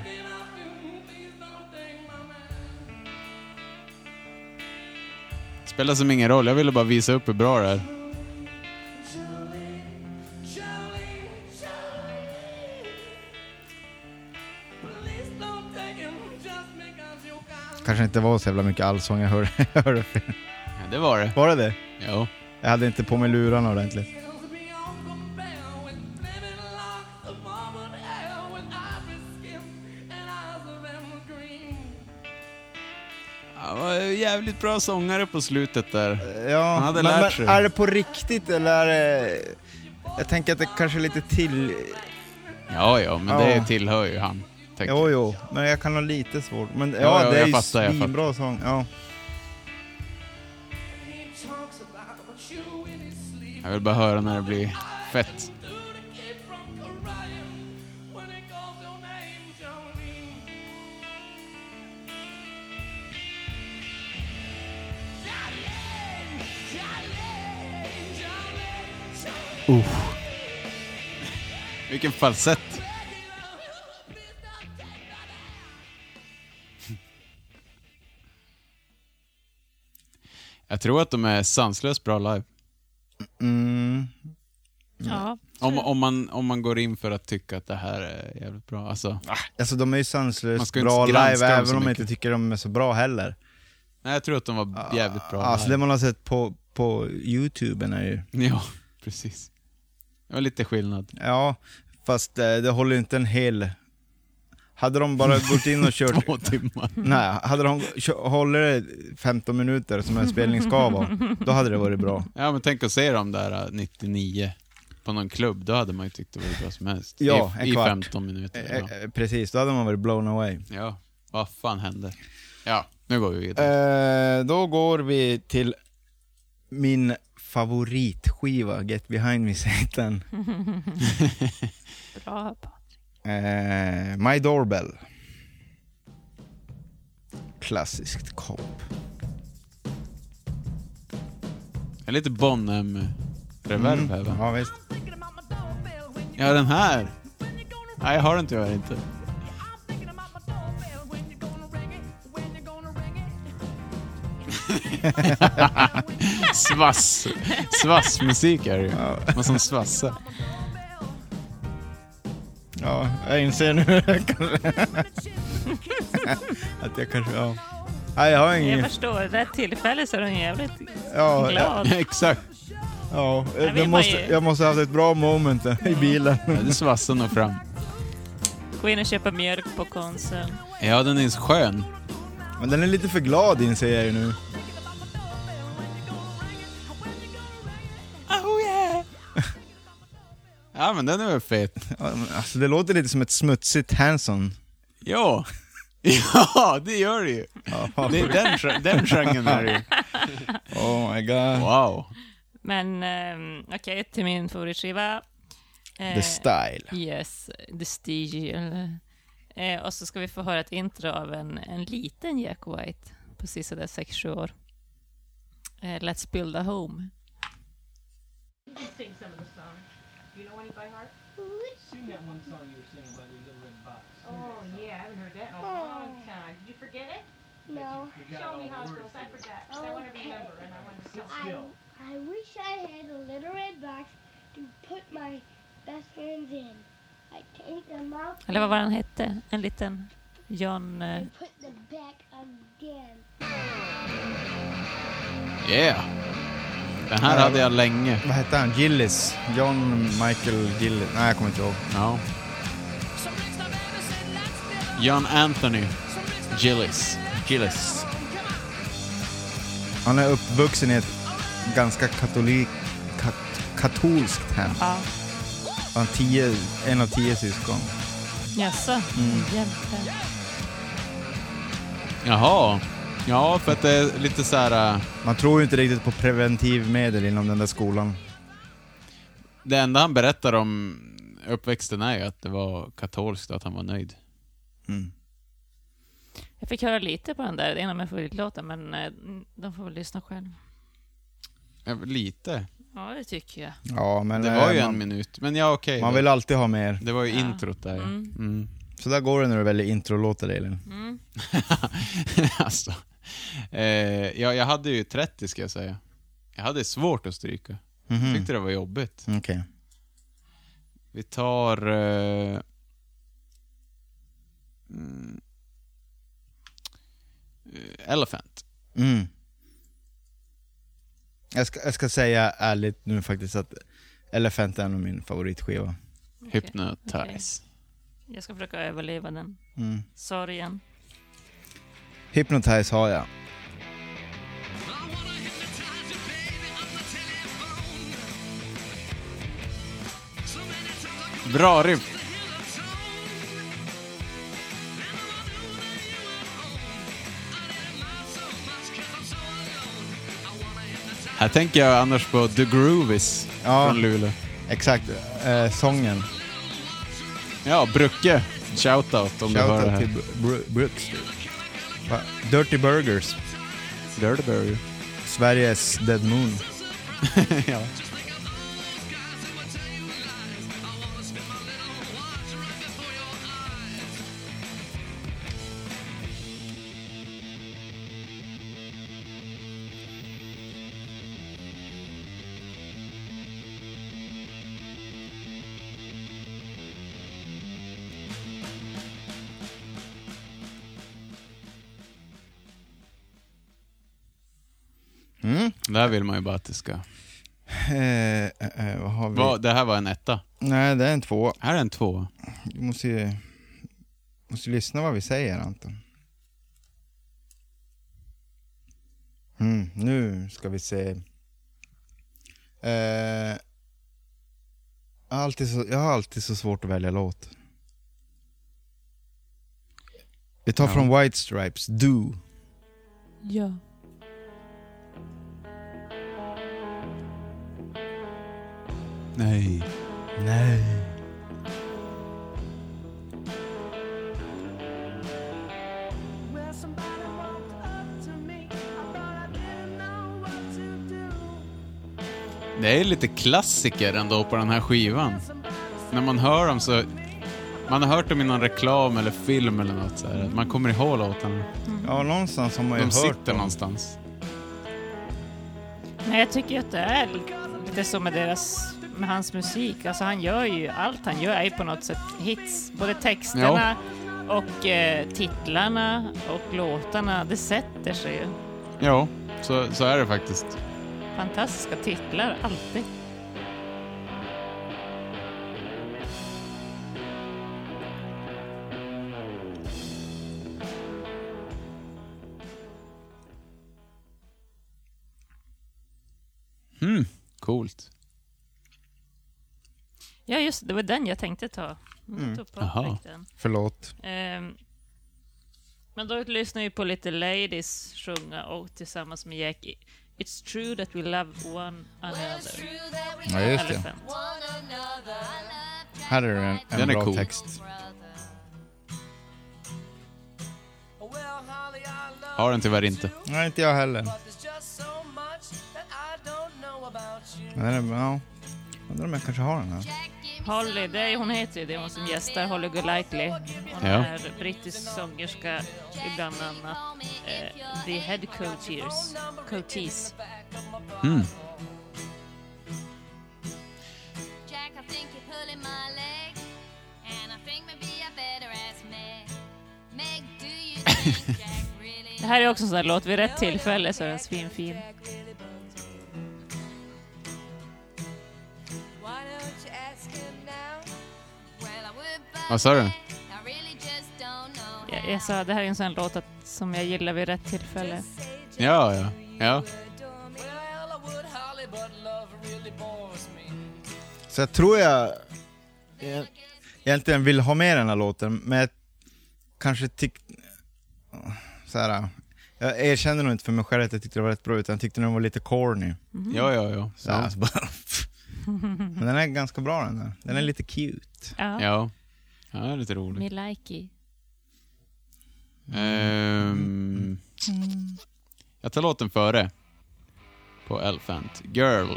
Speaker 2: Spelar som ingen roll, jag ville bara visa upp hur bra det är.
Speaker 9: Please don't take him, just because you
Speaker 1: kanske inte var så jävla mycket allsång jag hörde. Jag hörde fel.
Speaker 2: Ja, det var det.
Speaker 1: var det det?
Speaker 2: Jo.
Speaker 1: Jag hade inte på mig lurarna ordentligt.
Speaker 2: Han var ju jävligt bra sångare på slutet där.
Speaker 1: Ja,
Speaker 2: Han hade
Speaker 1: men,
Speaker 2: lärt
Speaker 1: men
Speaker 2: sig.
Speaker 1: är det på riktigt eller är det... Jag tänker att det kanske är lite till...
Speaker 2: Ja, ja, men
Speaker 1: Ja.
Speaker 2: det tillhör ju han. tänker
Speaker 1: Jo, jo, men jag kan ha lite svårt. Men ja,
Speaker 2: jo,
Speaker 1: det är
Speaker 2: jag
Speaker 1: ju
Speaker 2: fattar, jag
Speaker 1: svinbra sång. Ja.
Speaker 2: jag. Jag vill bara höra när det blir fett. Vilken falsett. Jag tror att de är sanslöst bra live.
Speaker 1: Mm.
Speaker 3: Ja.
Speaker 2: Om, om, man, om man går in för att tycka att det här är jävligt bra. Alltså,
Speaker 1: Alltså de är ju
Speaker 2: Man
Speaker 1: sanslöst
Speaker 2: ska ju
Speaker 1: bra
Speaker 2: inte granska
Speaker 1: live,
Speaker 2: dem så
Speaker 1: även om jag
Speaker 2: mycket.
Speaker 1: inte tycker de är så bra heller.
Speaker 2: nej, jag tror att de var jävligt bra
Speaker 1: Alltså
Speaker 2: live.
Speaker 1: det man har sett på, på Youtube är ju...
Speaker 2: Ja, precis. Det var lite skillnad.
Speaker 1: Ja, fast eh, det håller ju inte en hel... Hade de bara gått in och kört...
Speaker 2: Två timmar.
Speaker 1: Nej, hade de kö- håller det 15 minuter som en spelning ska vara, då hade det varit bra.
Speaker 2: Ja, men tänk att se dem där äh, 99 på någon klubb. Då hade man ju tyckt det var bra som helst.
Speaker 1: Ja,
Speaker 2: I,
Speaker 1: en
Speaker 2: i
Speaker 1: kvart.
Speaker 2: 15 minuter.
Speaker 1: Eh,
Speaker 2: Ja.
Speaker 1: eh, Precis, då hade man varit blown away.
Speaker 2: ja, vad fan hände? Ja, nu går vi vidare.
Speaker 1: Eh, då går vi till min favoritskiva, Get Behind Me Satan.
Speaker 3: Bra.
Speaker 1: Eh, My Doorbell. Klassiskt komp.
Speaker 2: Det är lite Bonham-reverb här va?
Speaker 1: Mm. Ja, visst.
Speaker 2: Ja, den här. Nej, jag har den tyvärr inte. Svass. Svassmusik är det ju. Man som svassar.
Speaker 1: Ja, jag inser nu att jag kanske... Ja. Nej, jag har
Speaker 3: Jag
Speaker 1: ingen...
Speaker 3: förstår. Det här tillfället så är den jävligt
Speaker 1: Ja, ja,
Speaker 3: glad.
Speaker 2: Exakt.
Speaker 1: ja.
Speaker 3: vet
Speaker 1: Jag,
Speaker 3: man
Speaker 1: måste,
Speaker 3: ju.
Speaker 1: jag måste ha haft ett bra moment i bilen.
Speaker 2: Ja, det svassar nog fram.
Speaker 3: Gå in och köpa mjölk på Konsum.
Speaker 2: Ja, den är skön.
Speaker 1: Men den är lite för glad inser jag ju nu.
Speaker 2: Ja, men den är väl fet.
Speaker 1: Ja, men Alltså, det låter lite som ett smutsigt Hanson.
Speaker 2: Ja. Ja, det gör det ju. Det är den, gen- den genren är det ju.
Speaker 1: Oh my god.
Speaker 2: Wow.
Speaker 3: Men ehm, okej, till min favoritskiva. Eh,
Speaker 1: The style.
Speaker 3: Yes, The Stegial. Eh, och så ska vi få höra ett intro av en, en liten Jack White på sista 6-7 år. Eh, Let's build a home.
Speaker 9: Oh, No. Show me how it's supposed I forget. I want to Oh. remember and I want to I, I wish I had a little red box to put my best friends in. I take them out
Speaker 3: Eller vad var han hette? En liten John... Eh,
Speaker 9: and put them back again.
Speaker 2: Yeah. Den här hade jag länge.
Speaker 1: Vad hette han? Gillis? John Michael Gillis? Nej, jag kommer inte ihåg.
Speaker 2: Ja. John Anthony Gillis. Gillis.
Speaker 1: Han är uppvuxen i ett ganska katolik, kat, katolskt hem.
Speaker 3: ja.
Speaker 1: Han är tio, en av tio syskon.
Speaker 3: Jaså? Hjälpe.
Speaker 2: Jaha. Ja, för att det är lite så här... äh,
Speaker 1: Man tror ju inte riktigt på preventivmedel inom den där skolan.
Speaker 2: Det enda han berättar om uppväxten är ju att det var katolskt och att han var nöjd. Mm.
Speaker 3: Jag fick höra lite på den där, det är en av mina favoritlåtar, men eh, de får väl lyssna själv.
Speaker 2: Ja, Lite.
Speaker 3: Ja, det tycker jag.
Speaker 1: Ja, men
Speaker 2: Det var
Speaker 1: eh,
Speaker 2: ju
Speaker 1: man,
Speaker 2: en minut. Men ja, okej.
Speaker 1: man vill alltid ha mer.
Speaker 2: Det var ju introt där. ja.
Speaker 3: Mm.
Speaker 2: Mm.
Speaker 1: Så där går det när du väljer introlåtar, Elin.
Speaker 2: alltså, eh, jag, jag hade ju 30 ska jag säga. Jag hade svårt att stryka. Jag
Speaker 1: Mhm.
Speaker 2: tyckte det var jobbigt.
Speaker 1: Okej.
Speaker 2: Vi tar... Eh, mm, eh, Elephant.
Speaker 1: Mm. Jag, ska, jag ska säga ärligt nu faktiskt att Elephant är en av min favoritskiva.
Speaker 2: Hypnotize.
Speaker 3: Jag ska försöka överleva den
Speaker 1: Mm.
Speaker 3: sorgen.
Speaker 1: Hypnotize har jag.
Speaker 2: Bra riff. Här tänker jag annars på The Groovies
Speaker 1: Ja.
Speaker 2: från Luleå.
Speaker 1: Exakt, eh, sången.
Speaker 2: Ja, Brucke. Shoutout om du hör det
Speaker 1: Shoutout
Speaker 2: här.
Speaker 1: till Br- Brooks. Va? Dirty Burgers,
Speaker 2: Dirty Burger.
Speaker 1: Sveriges Dead Moon.
Speaker 2: ja.
Speaker 1: Mm.
Speaker 2: Där vill man ju bara att det ska...
Speaker 1: Eh, eh, eh, vad har vi?
Speaker 2: Va, det här var en etta.
Speaker 1: Nej, det är en två.
Speaker 2: Här är en två.
Speaker 1: Du måste ju måste ju lyssna vad vi säger Anton. Mm, nu ska vi se. Eh, alltid så, jag har alltid så svårt att välja låt. Vi tar
Speaker 2: Ja.
Speaker 1: från White Stripes, Do.
Speaker 10: Ja.
Speaker 2: Nej.
Speaker 1: Nej.
Speaker 7: Well, somebody walked up to me. I thought I didn't know what to do.
Speaker 2: Det är lite klassiker ändå på den här skivan. När man hör dem så... Man har hört dem i någon reklam eller film eller något så här. att Man kommer ihåg låten.
Speaker 1: Ja, någonstans har man ju hört
Speaker 2: De sitter
Speaker 1: dem.
Speaker 2: någonstans.
Speaker 3: Men jag tycker att det är lite så med deras, med hans musik. Alltså han gör ju, allt han gör är ju på något sätt hits. Både texterna och eh, titlarna och låtarna. Det sätter sig ju.
Speaker 2: Ja, så, så är det faktiskt.
Speaker 3: Fantastiska titlar, alltid.
Speaker 2: Hmm, coolt.
Speaker 3: Ja, just det, det var den jag tänkte ta. Jag
Speaker 1: Mm.
Speaker 3: tog på
Speaker 2: Jaha.
Speaker 3: direkt den.
Speaker 1: Förlåt.
Speaker 3: Ehm, men då lyssnar vi på lite Ladies sjunga och tillsammans med Jack i- It's true that we love one another.
Speaker 1: Ja, just det.
Speaker 3: Elephant.
Speaker 1: Här är en, en
Speaker 2: Den är
Speaker 1: bra
Speaker 2: cool.
Speaker 1: text.
Speaker 7: Well, Holly, I love
Speaker 2: Har den tyvärr inte.
Speaker 1: Nej, inte jag heller.
Speaker 7: But there's just so much that I don't know about you.
Speaker 1: Men den är, ja. Undrar om jag kanske har den här.
Speaker 3: Holly, det är, hon heter ju det, hon som gästar Holly Golightly. Hon
Speaker 2: Ja.
Speaker 3: är brittisk sångerska i bland annat eh, The Head Coaches. Coaches.
Speaker 2: Hmm.
Speaker 11: Jack, I think you're pulling my leg. And I think maybe I better ask Meg. Meg, do you think Jack really
Speaker 3: Det här är också en sån här låt, vid rätt tillfälle så är den svinfin.
Speaker 7: Why don't you ask him now?
Speaker 11: Well, I would, but
Speaker 2: Vad sa du?
Speaker 11: I really just don't know.
Speaker 3: Jag, jag sa, det här är en sån här låt att, som jag gillar vid rätt tillfälle.
Speaker 2: Ja, ja. Ja,
Speaker 7: Well, I would, Holly, but love really bores me.
Speaker 1: Så jag tror jag jag egentligen vill ha med den här låten, men jag kanske tyck... Så här, jag erkänner nog inte för mig själv att jag tyckte det var rätt bra, utan jag tyckte den var lite corny.
Speaker 2: ja, ja. ja.
Speaker 1: Så här,
Speaker 2: ja.
Speaker 1: så bara, men den är ganska bra den där. Den är lite cute.
Speaker 3: Ja.
Speaker 2: ja. ja det är lite roligt.
Speaker 3: Me likey.
Speaker 2: Ehm, jag tar låten före. På Elephant. Girl,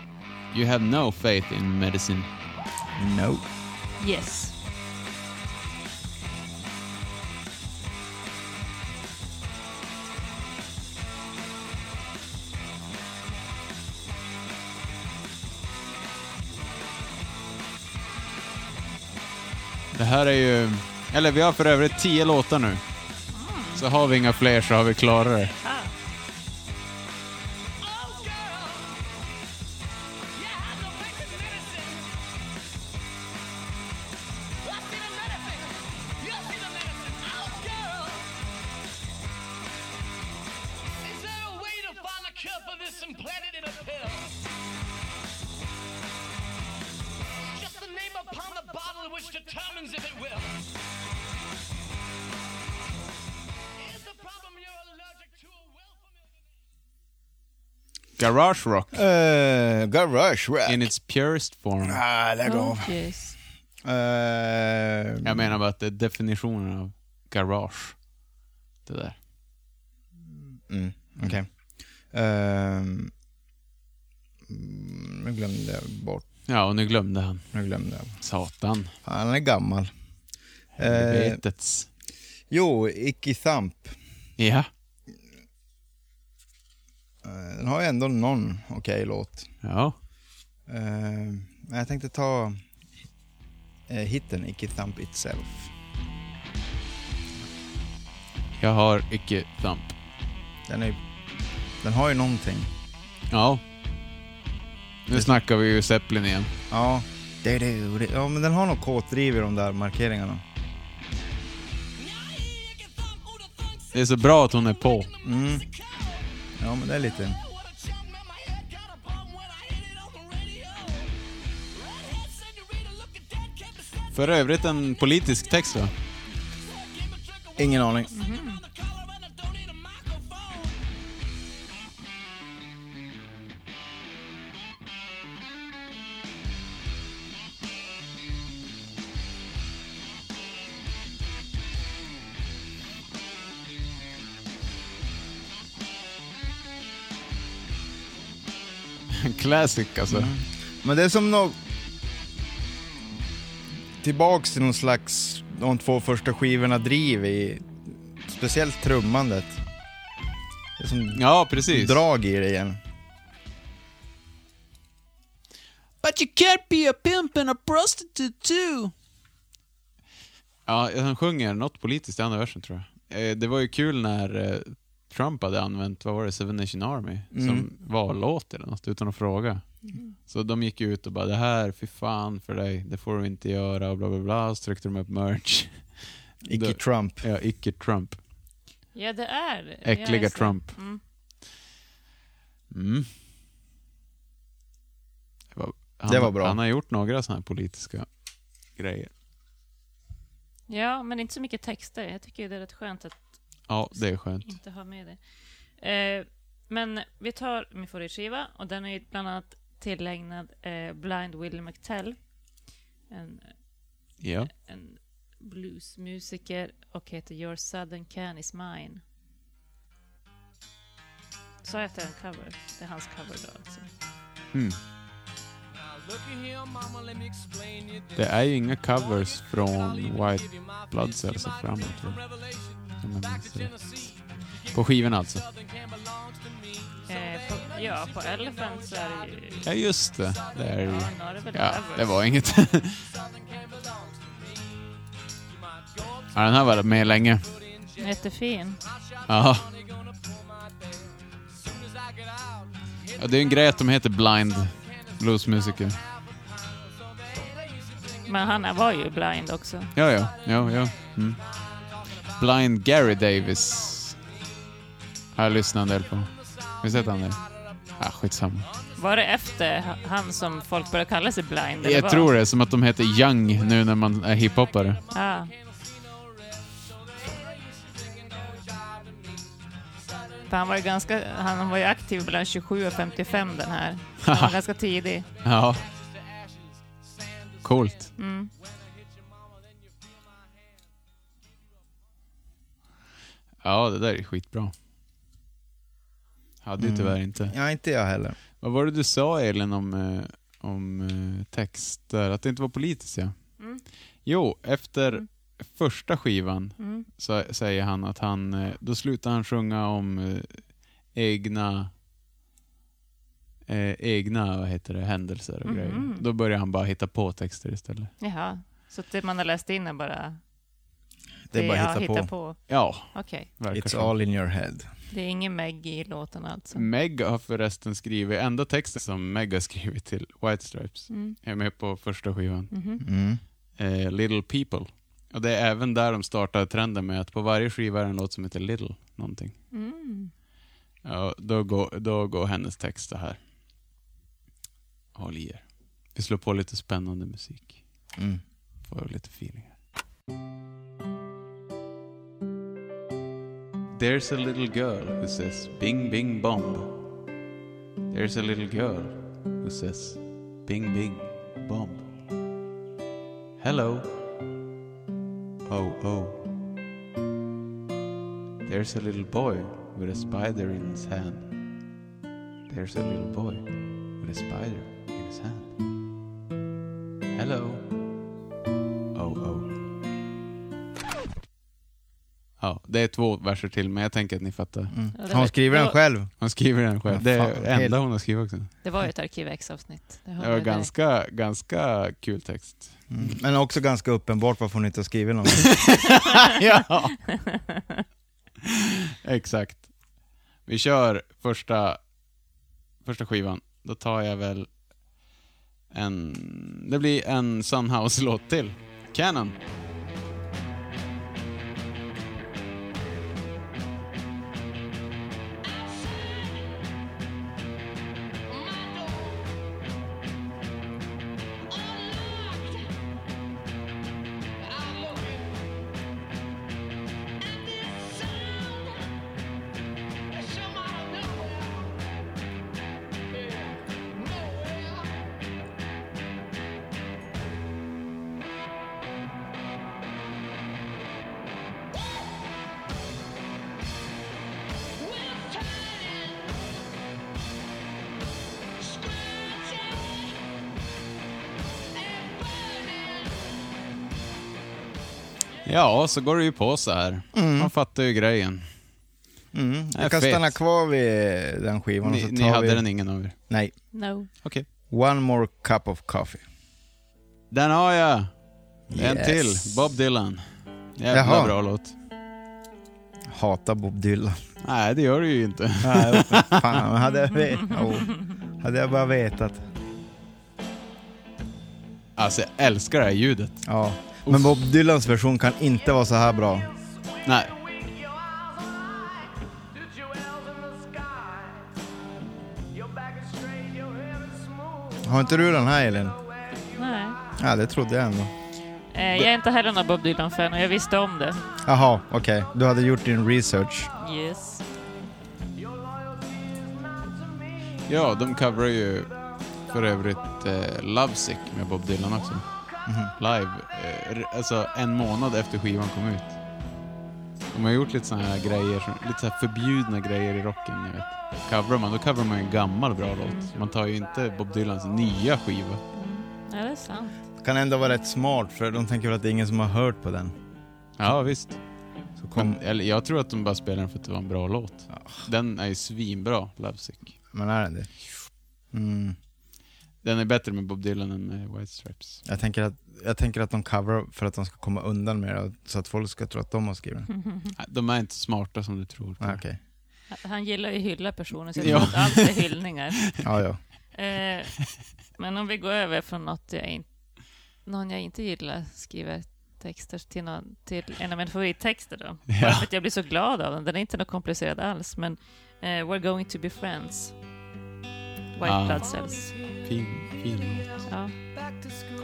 Speaker 2: you have no faith in medicine.
Speaker 1: No.
Speaker 3: Yes.
Speaker 2: Det här är ju... Eller vi har för övrigt tio låtar nu. Så har vi inga fler så har vi klarat det.
Speaker 7: Implanted in a pill. Just the name upon the bottle which determines if it will. Here's the problem you're allergic to a well familiar.
Speaker 2: Garage rock
Speaker 1: Uh, garage rock.
Speaker 2: in its purest form.
Speaker 1: Ah, lägg av.
Speaker 12: Oh, yes.
Speaker 1: Eh,
Speaker 2: Jag menar bara att det är definitionen av garage. Det där.
Speaker 1: Mm, okej. Ehm, mm, nu glömde jag bort.
Speaker 2: Ja, och nu glömde han.
Speaker 1: Nu glömde jag.
Speaker 2: Satan.
Speaker 1: Han är gammal. Eh,
Speaker 2: Helvetets.
Speaker 1: jo, Icky Thump.
Speaker 2: Ja.
Speaker 1: Eh, Den har ju ändå någon okej låt.
Speaker 2: Ja.
Speaker 1: Eh, men jag tänkte ta eh, hitten Icky Thump Itself.
Speaker 2: Jag har icke thump.
Speaker 1: Den, är, den har ju någonting.
Speaker 2: Ja. Nu snackar vi ju Zeppelin igen.
Speaker 1: Ja. Det, det, det. ja, men den har något kåtdriv i de där markeringarna.
Speaker 2: Det är så bra att hon är på.
Speaker 1: Mm. Ja, men det är lite...
Speaker 2: För övrigt en politisk text va?
Speaker 1: Ingen aning.
Speaker 2: Classic alltså.
Speaker 1: Men det är som något... Tillbaks till någon slags, de två första skivorna driv i... Speciellt trummandet. Det är som
Speaker 2: Ja, precis.
Speaker 1: drag i det igen.
Speaker 2: But you can't be a pimp and a prostitute too. Ja, han sjunger något politiskt i andra versen tror jag. Eh, Det var ju kul när eh, Trump hade använt, vad var det, Seven Nation Army som vallåt eller något utan att fråga. Så de gick ju ut och bara det här, fy fan för dig, det får du inte göra och bla bla bla. Så tryckte de upp merch.
Speaker 1: Icke
Speaker 2: Då-
Speaker 1: Trump.
Speaker 2: Ja, icke Trump.
Speaker 3: Ja, det är.
Speaker 2: Äckliga
Speaker 3: Ja,
Speaker 2: Trump.
Speaker 3: Mm.
Speaker 2: Mm. Det, var, han,
Speaker 1: Det var bra.
Speaker 2: Han har gjort några sådana här politiska grejer.
Speaker 3: Ja, men inte så mycket texter. Jag tycker det är rätt skönt att
Speaker 2: Ja, det är skönt.
Speaker 3: inte ha med det. Eh, men vi tar min favoritskiva och den är ju bland annat tillägnad eh, Blind Willie McTell. En,
Speaker 2: Ja.
Speaker 3: en bluesmusiker och heter Your Southern Can Is Mine. Så jag att det är en cover? Det är hans cover då alltså.
Speaker 2: Mm. Det är ju inga covers från White Blood Cells och framåt. va? Om jag minns rätt. På skivorna alltså.
Speaker 3: Eh, på, ja, på Elephant så är det ju...
Speaker 2: Ja, just det. Det är det ju.
Speaker 3: Ja, nu är det väl
Speaker 2: Ja,
Speaker 3: covers.
Speaker 2: det var inget. ja, den här var med länge.
Speaker 3: Jättefin.
Speaker 2: Ja. ja. Det är ju en grej att de heter blind bluesmusiker.
Speaker 3: Men han var ju blind också.
Speaker 2: Ja, ja. ja, ja. Mm. Blind Gary Davis har jag lyssnat en del på. Visst heter han det? Ah, skitsamma.
Speaker 3: Var det efter ha- han som folk började kalla sig blind? eller
Speaker 2: Jag
Speaker 3: vad?
Speaker 2: tror det, som att de heter Young nu när man är hiphoppare.
Speaker 3: Ja. För han var ju ganska, han var ju aktiv mellan 27 och 55 den här. Han var ganska tidig.
Speaker 2: Ja. Coolt.
Speaker 3: Mm.
Speaker 2: Ja, det där är skitbra. Hade ju tyvärr inte.
Speaker 1: Ja, inte jag heller.
Speaker 2: Vad var det du sa Elin om, eh, om eh, texter? Att det inte var politiskt ja. Jo, efter första skivan
Speaker 3: mm.
Speaker 2: så säger han att han, eh, då slutar han sjunga om eh, egna eh, egna vad heter det, händelser och grejer. Då börjar han bara hitta på texter istället.
Speaker 3: Jaha. Så det man har läst in är bara...
Speaker 1: Det är bara
Speaker 3: ja,
Speaker 1: att hitta på.
Speaker 2: Ja,
Speaker 3: Okej.
Speaker 2: verkar
Speaker 1: It's
Speaker 2: så.
Speaker 1: all in your head.
Speaker 3: Det är ingen Meg i låten alltså.
Speaker 1: Mm.
Speaker 2: Meg har förresten skrivit, enda texten som Meg har skrivit till White Stripes
Speaker 3: Mm.
Speaker 2: är med på första skivan,
Speaker 3: Mhm.
Speaker 1: Mm.
Speaker 2: eh, Little People. Och det är även där de startade trenden med att på varje skiva är det en låt som heter Little någonting.
Speaker 3: Mm.
Speaker 2: Ja, då, går, då går hennes text så här. Håll i er. Vi slår på lite spännande musik.
Speaker 1: Mm.
Speaker 2: Får lite feeling här. There's a little girl who says bing bing bomb. There's a little girl who says bing bing bomb. Hello. Oh oh. There's a little boy with a spider in his hand. There's a little boy with a spider in his hand. Hello. Oh oh. Ja, det är två verser till, men jag tänker att ni fattar.
Speaker 3: Ja,
Speaker 1: Mm.
Speaker 3: det
Speaker 1: Hon
Speaker 3: var-
Speaker 1: skriver
Speaker 3: det
Speaker 1: den
Speaker 3: var-
Speaker 1: själv.
Speaker 2: Hon skriver den själv.
Speaker 1: Vad
Speaker 2: Det är
Speaker 1: fan,
Speaker 2: det enda
Speaker 1: helt-
Speaker 2: hon har skrivit också.
Speaker 3: Det var ju ett Arkiv X-avsnitt.
Speaker 2: Det
Speaker 3: Det hörde
Speaker 2: var
Speaker 3: jag direkt.
Speaker 2: ganska, ganska kul text.
Speaker 1: Mm. Men också ganska uppenbart varför hon inte har skrivit någon.
Speaker 2: ja. Exakt. Vi kör första, första skivan. Då tar jag väl en... Det blir en Sunhouse-låt till. Canon. Ja, så går det ju på så här. Man fattar ju grejen.
Speaker 1: Mm.
Speaker 2: Nej,
Speaker 1: Jag kan
Speaker 2: fet.
Speaker 1: stanna kvar vid den skivan. och
Speaker 2: Ni,
Speaker 1: så
Speaker 2: ni
Speaker 1: tar
Speaker 2: hade
Speaker 1: vi...
Speaker 2: den ingen av er.
Speaker 1: Nej.
Speaker 3: No.
Speaker 2: Okej.
Speaker 1: One more cup of coffee.
Speaker 2: Den har jag! En
Speaker 1: Yes.
Speaker 2: till. Bob Dylan. Jävla
Speaker 1: Jaha.
Speaker 2: bra låt.
Speaker 1: Hatar Bob Dylan.
Speaker 2: Nej, det gör du ju inte.
Speaker 1: Nej, fan, hade jag, vet... oh. hade jag bara vetat.
Speaker 2: Alltså, jag älskar det här ljudet.
Speaker 1: Ja. Men Bob Dylans version kan inte vara så här bra.
Speaker 2: Nej.
Speaker 1: Har inte du den här Elin?
Speaker 3: Nej.
Speaker 1: Ja, det trodde jag ändå.
Speaker 3: Eh, jag är inte heller någon Bob Dylan-fan och jag visste om det.
Speaker 1: Jaha, okej. Du hade gjort din research.
Speaker 3: Yes.
Speaker 2: Ja, de coverar ju för övrigt eh, Lovesick med Bob Dylan också. Mhm. Live. Eh, r- alltså en månad efter skivan kom ut. De har gjort lite såna här grejer, som- lite så här förbjudna grejer i rocken, ni vet. Coverar man, då coverar man ju en gammal bra låt. Man tar ju inte Bob Dylans nya skiva.
Speaker 3: Ja, det är sant.
Speaker 1: Kan ändå vara rätt smart för de tänker väl att det är ingen som har hört på den.
Speaker 2: Ja, visst.
Speaker 1: Så kom...
Speaker 2: Men,
Speaker 1: Men,
Speaker 2: eller, jag tror att de bara spelar den för att det var en bra låt. Den är ju svinbra, Lovesick.
Speaker 1: är den det? Mm.
Speaker 2: Den är bättre med Bob Dylan än med White Stripes.
Speaker 1: Jag, tänker att, jag tänker att de coverar för att de ska komma undan med det så att folk ska tro att de har skrivit den.
Speaker 2: Nej, De är inte smarta som du tror.
Speaker 1: Ah, okej.
Speaker 3: Han gillar ju att hylla personer, så jag
Speaker 2: Ja.
Speaker 3: tror att allt är hyllningar.
Speaker 1: Ja, ja.
Speaker 3: Eh, men om vi går över från något jag in, någon jag inte gillar skriver texter till, någon, till en av mina favorittexter då. Bara för att jag blir så glad av den. Den är inte något komplicerad alls, men eh, We're going to be friends. White
Speaker 2: Ah.
Speaker 3: blood cells.
Speaker 2: Fin, fin låt.
Speaker 3: Ja.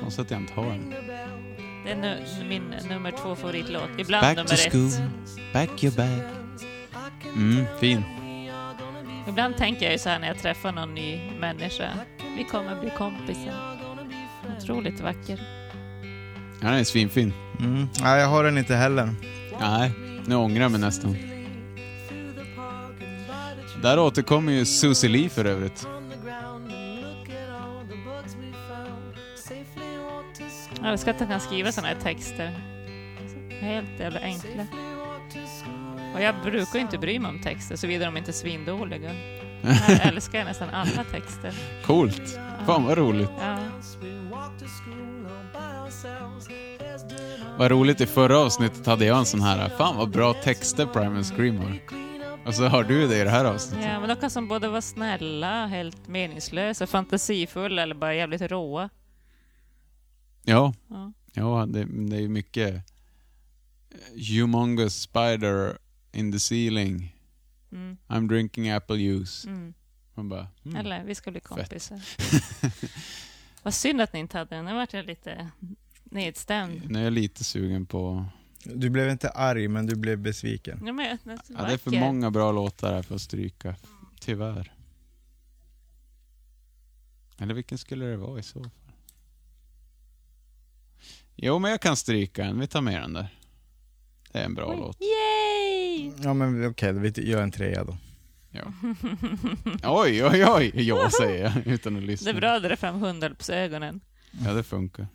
Speaker 2: Konstigt att jag inte har den.
Speaker 3: Det är nu, min nummer två favoritlåt. Ibland
Speaker 2: Back
Speaker 3: nummer
Speaker 2: to school, back your bag. Mm, fin.
Speaker 3: ett. Ibland tänker jag ju så här när jag träffar någon ny människa. Vi kommer bli kompisar. Otroligt vacker.
Speaker 2: Ja, den är svinfin.
Speaker 1: Mm. Nej, jag har den inte heller.
Speaker 2: Nej, nu ångrar jag mig nästan. Där återkommer ju Susie Lee för övrigt.
Speaker 3: Jag älskar att han kan skriva sådana här texter. Helt jävla enkla. Och jag brukar ju inte bry mig om texter, såvida de inte är svindåliga. Här älskar jag nästan alla texter.
Speaker 2: Coolt. Fan vad roligt.
Speaker 3: Ja.
Speaker 2: Vad roligt, i förra avsnittet hade jag en sån här, fan vad bra texter Primus Scream har. Och så har du det i det här avsnittet.
Speaker 3: ja, men de kan som både vara snälla, helt meningslösa, fantasifulla eller bara jävligt råa.
Speaker 2: Ja,
Speaker 3: Ja.
Speaker 2: ja det, det är ju mycket eh, humongous spider in the ceiling.
Speaker 3: Mm.
Speaker 2: I'm drinking apple juice.
Speaker 3: Mm.
Speaker 2: Man bara, mm.
Speaker 3: Eller, vi ska bli kompisar. Vad synd att ni inte hade den, nu vart jag lite nedstämd.
Speaker 2: nu är jag lite sugen på...
Speaker 1: Du blev inte arg, men du blev besviken.
Speaker 3: Ja, men, jag- den
Speaker 2: Ja, det är för
Speaker 3: vacker.
Speaker 2: många bra låtar här för att stryka. Tyvärr. Eller vilken skulle det vara i så fall? Jo, men jag kan stryka den. Vi tar med den där. Det är en bra låt.
Speaker 3: Yay!
Speaker 1: Ja, men okej, då vi gör en trea då.
Speaker 2: Ja. Oj, oj, oj! Jag säger jag utan att lyssna.
Speaker 3: Det är bra att dra fram hundvalpsögonen.
Speaker 2: Ja, det funkar.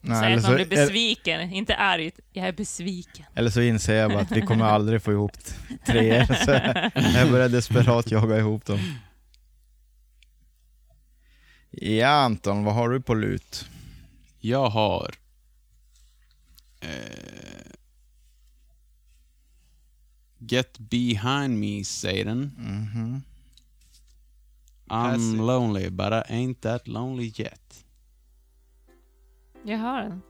Speaker 1: Nej, eller,
Speaker 3: Säg att man
Speaker 1: så,
Speaker 3: blir
Speaker 1: eller,
Speaker 3: besviken, inte arg. Jag är besviken.
Speaker 1: eller så inser jag bara att vi kommer aldrig få ihop t- treor, så jag börjar desperat jaga ihop dem. Ja, Anton, vad har du på lut?
Speaker 2: Jag har... Eh, Get behind me, Satan.
Speaker 1: Mhm.
Speaker 2: I'm lonely, but I ain't that lonely yet.
Speaker 3: Jag har den.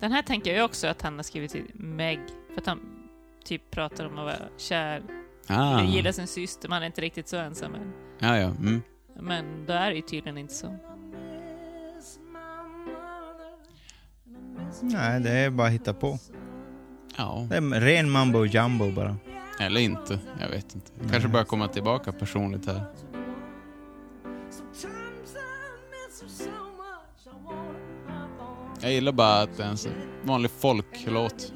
Speaker 3: Den här tänker jag också att han har skrivit till Meg. För att han typ pratar om att vara kär,
Speaker 2: Ah.
Speaker 3: eller gilla sin syster, man är inte riktigt så ensam än.
Speaker 2: Ja, ja. Mm.
Speaker 3: Men då är det ju tydligen inte så.
Speaker 1: Nej, det är bara att hitta på.
Speaker 2: ja.
Speaker 1: Det är ren mambo jumbo bara.
Speaker 2: Eller inte. Jag vet inte. Jag kanske börjar komma tillbaka personligt här. Jag gillar bara att det är en så vanlig folklåt.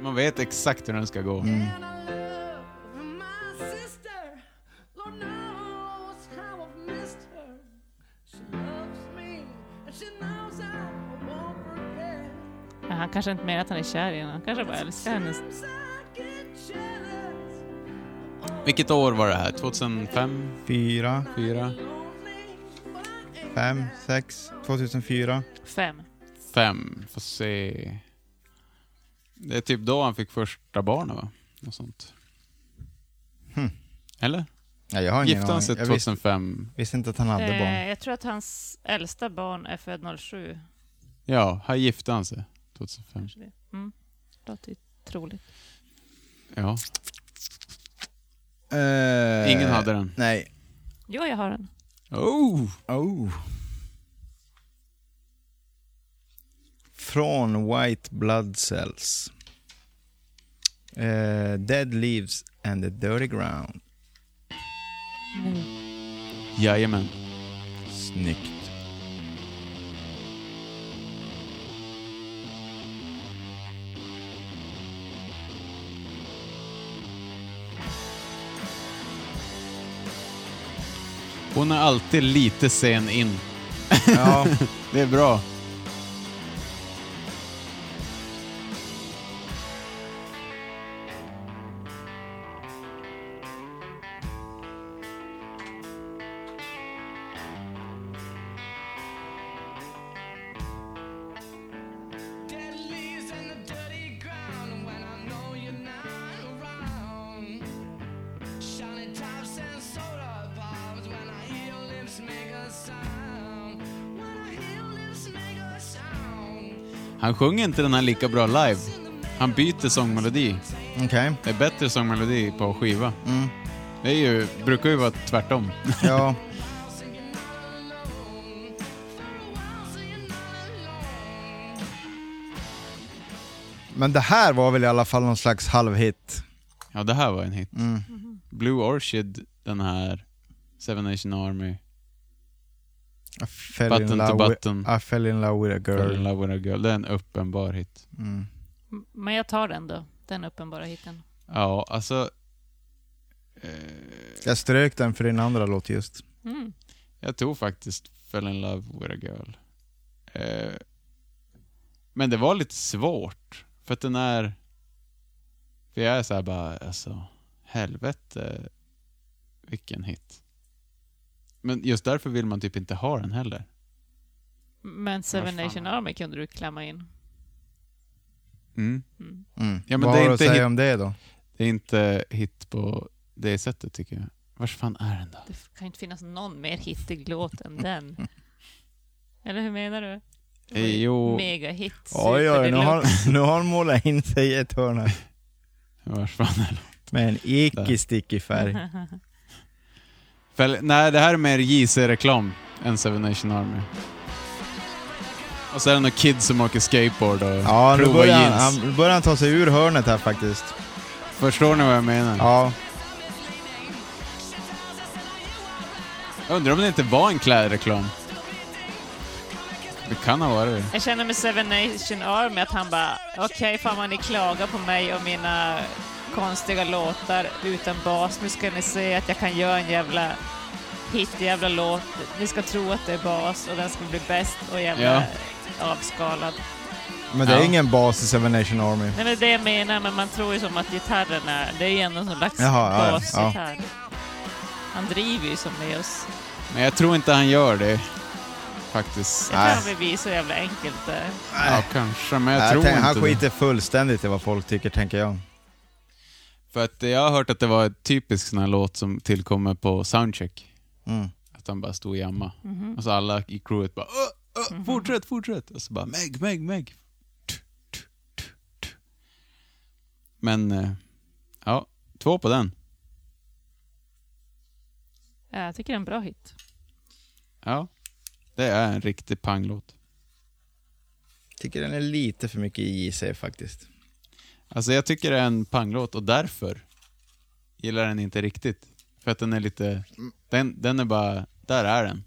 Speaker 2: Man vet exakt hur den ska gå.
Speaker 13: Mm.
Speaker 3: Ja, han kanske inte menar att han är kär i henne, han kanske bara älskar henne.
Speaker 2: Vilket år var det här? 2005?
Speaker 1: Fyra,
Speaker 2: 4?
Speaker 1: fem, sex, 2004.
Speaker 3: Fem.
Speaker 2: 5? Får se. Det är typ då han fick första barnet va? Något sånt. Eller?
Speaker 1: Ja, Hm. jag har ingen
Speaker 2: Gifte han sig
Speaker 1: aning. Jag visste,
Speaker 2: 2005?
Speaker 1: visste inte att han hade barn.
Speaker 3: Eh, jag tror att hans äldsta barn är född 07.
Speaker 2: Ja, här gifte han sig 2005.
Speaker 3: Kanske det. Mm. Låter ju troligt.
Speaker 2: Ja,
Speaker 1: Eh,
Speaker 2: ingen hade den.
Speaker 1: Nej.
Speaker 3: Jo, jag har den.
Speaker 2: Oh!
Speaker 1: Oh. Från White Blood Cells. Eh, dead Leaves and the Dirty Ground.
Speaker 2: Jajamän.
Speaker 1: Snyggt.
Speaker 2: Hon är alltid lite sen in.
Speaker 1: Ja,
Speaker 2: Det är bra.
Speaker 7: Dead leaves in the dirty ground when I know you're not around. Shiny tops and soda pops when I hear your lips make a sound. When I hear your lips make a sound.
Speaker 2: Han sjunger inte den här lika bra live. Han byter sångmelodi.
Speaker 1: okej.
Speaker 2: Det är bättre sångmelodi på skiva.
Speaker 1: Mm.
Speaker 2: Det är ju, brukar ju vara tvärtom.
Speaker 1: Ja. Men det här var väl i alla fall någon slags halvhit? Mm.
Speaker 2: Ja, det här var en hit. Blue Orchid, den här Seven Nation Army,
Speaker 1: I fell,
Speaker 2: Button
Speaker 1: in
Speaker 2: to
Speaker 1: love
Speaker 2: button.
Speaker 1: With, I fell in love with a
Speaker 2: Girl in
Speaker 1: girl.
Speaker 2: Love with a Girl. Det är en uppenbar hit.
Speaker 1: Mm.
Speaker 3: M- Men jag tar den då, den uppenbara hiten.
Speaker 2: Ja, alltså, eh,
Speaker 1: Jag strök den för din andra låt just.
Speaker 3: Mm.
Speaker 2: jag tog faktiskt Fell in Love with a Girl. Eh, men det var lite svårt, för att den är... För jag är så här bara, alltså, helvete vilken hit. Men just därför vill man typ inte ha den heller.
Speaker 3: Men Seven
Speaker 2: fan.
Speaker 3: Nation Army kunde du klämma in.
Speaker 2: Mm.
Speaker 1: Mm.
Speaker 2: Ja, men
Speaker 1: Vad
Speaker 2: det är
Speaker 1: har du att
Speaker 2: inte
Speaker 1: säga
Speaker 2: hit-
Speaker 1: om det då?
Speaker 2: Det är inte hit på det sättet tycker jag. Vars fan är den då?
Speaker 3: Det f- kan ju inte finnas någon mer hittig låt än den. Eller hur menar du? Det var ju
Speaker 2: Jo,
Speaker 3: Megahit.
Speaker 1: Oj, oj, nu
Speaker 3: superdeluxe.
Speaker 1: har, nu har de målat in sig i ett hörn här.
Speaker 2: vars fan är den?
Speaker 1: Med en
Speaker 2: Där.
Speaker 1: icke-stickig färg.
Speaker 2: Fel, nej, det här är mer JC-reklam än Seven Nation Army. Och så är det några kids som åker skateboard och
Speaker 1: Ja, nu
Speaker 2: provar
Speaker 1: börjar han,
Speaker 2: jeans.
Speaker 1: han, nu börjar han ta sig ur hörnet här faktiskt.
Speaker 2: Förstår ni vad jag menar?
Speaker 1: Ja,
Speaker 2: Jag undrar om det inte var en klädreklam. Det kan ha varit det.
Speaker 3: Jag känner med Seven Nation Army att han bara, okej fan vad ni klagar på mig och mina konstiga låtar utan bas. Nu ska ni se att jag kan göra en jävla hit jävla låt. Ni ska tro att det är bas och den ska bli bäst och jävla
Speaker 2: Ja.
Speaker 3: avskalad.
Speaker 1: men det är
Speaker 2: Ja.
Speaker 1: ingen bas i Seven Nation Army.
Speaker 3: Nej men det jag menar, men man tror ju som att gitarren är, det är ju ändå någon slags
Speaker 1: Jaha, ja,
Speaker 3: basgitarr. Han driver ju som med oss.
Speaker 2: Men jag tror inte han gör det. Faktiskt.
Speaker 3: Jag tror han vill bli så jävla enkelt eh, där.
Speaker 2: Ja, kanske, men jag
Speaker 1: Nej,
Speaker 2: tror
Speaker 1: Äh, tänk-
Speaker 2: inte
Speaker 1: han
Speaker 2: det.
Speaker 1: skiter fullständigt i vad folk tycker, tänker jag.
Speaker 2: För att jag har hört att det var en typisk sån här låt som tillkommer på soundcheck.
Speaker 1: Mm.
Speaker 2: Att han bara stod och jammade. Och så alla i crewet bara "Ö, ö, fortsätt, fortsätt. Och så bara Meg, Meg, Meg. Tu, tu, tu, tu. Men, eh, ja, två på den.
Speaker 3: Ja, jag tycker det är en bra hit.
Speaker 2: Ja, det är en riktig panglåt.
Speaker 1: Tycker den är lite för mycket i sig faktiskt.
Speaker 2: Alltså jag tycker det är en panglåt och därför gillar jag den inte riktigt. För att den är lite, den, den är bara, där är den.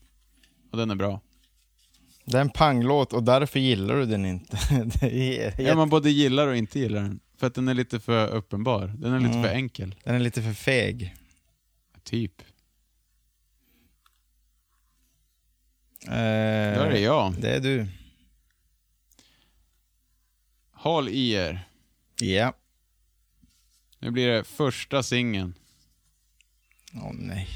Speaker 2: Och den är bra.
Speaker 1: Det är en panglåt och därför gillar du den inte. det är,
Speaker 2: Ja, man både gillar och inte gillar den. För att den är lite för uppenbar. Den är lite
Speaker 1: Mm.
Speaker 2: för enkel.
Speaker 1: Den är lite för feg.
Speaker 2: Typ.
Speaker 1: Eh,
Speaker 2: Då är det jag.
Speaker 1: det är du.
Speaker 2: Håll i er.
Speaker 1: Ja.
Speaker 2: Nu blir det första singeln.
Speaker 1: Åh nej.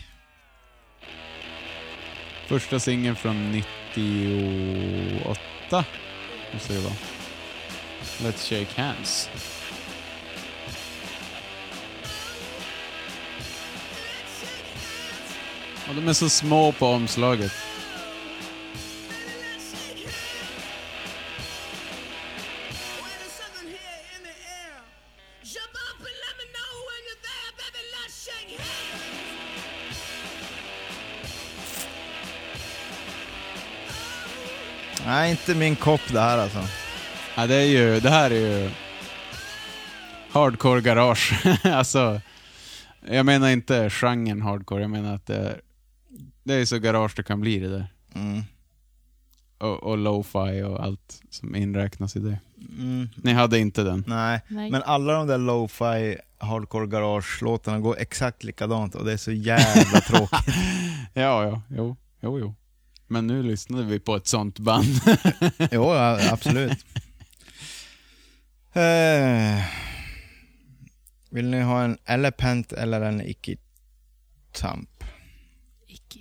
Speaker 2: Första singeln från 98. Måste det vara. Let's shake hands. Och de är så små på omslaget.
Speaker 4: Jump up and let me know when you're there, baby. Let's shake hands.
Speaker 1: Nej, inte min kopp det här alltså.
Speaker 2: Ja, det, är ju, det här är ju hardcore garage. alltså, jag menar inte genren hardcore, jag menar att det är, det är så garage det kan bli det där.
Speaker 1: Mm.
Speaker 2: Och, och lo-fi och allt som inräknas i det.
Speaker 1: Mm.
Speaker 2: Ni hade inte den?
Speaker 1: Nej.
Speaker 3: Nej.
Speaker 1: men alla de där lo-fi hardcore garage-låtarna går exakt likadant och det är så jävla tråkigt.
Speaker 2: Ja, ja, jo, jo, jo. Men nu lyssnade vi på ett sånt band.
Speaker 1: jo, ja, absolut. Eh, vill ni ha en elephant eller en icke-tamp?
Speaker 3: Icke.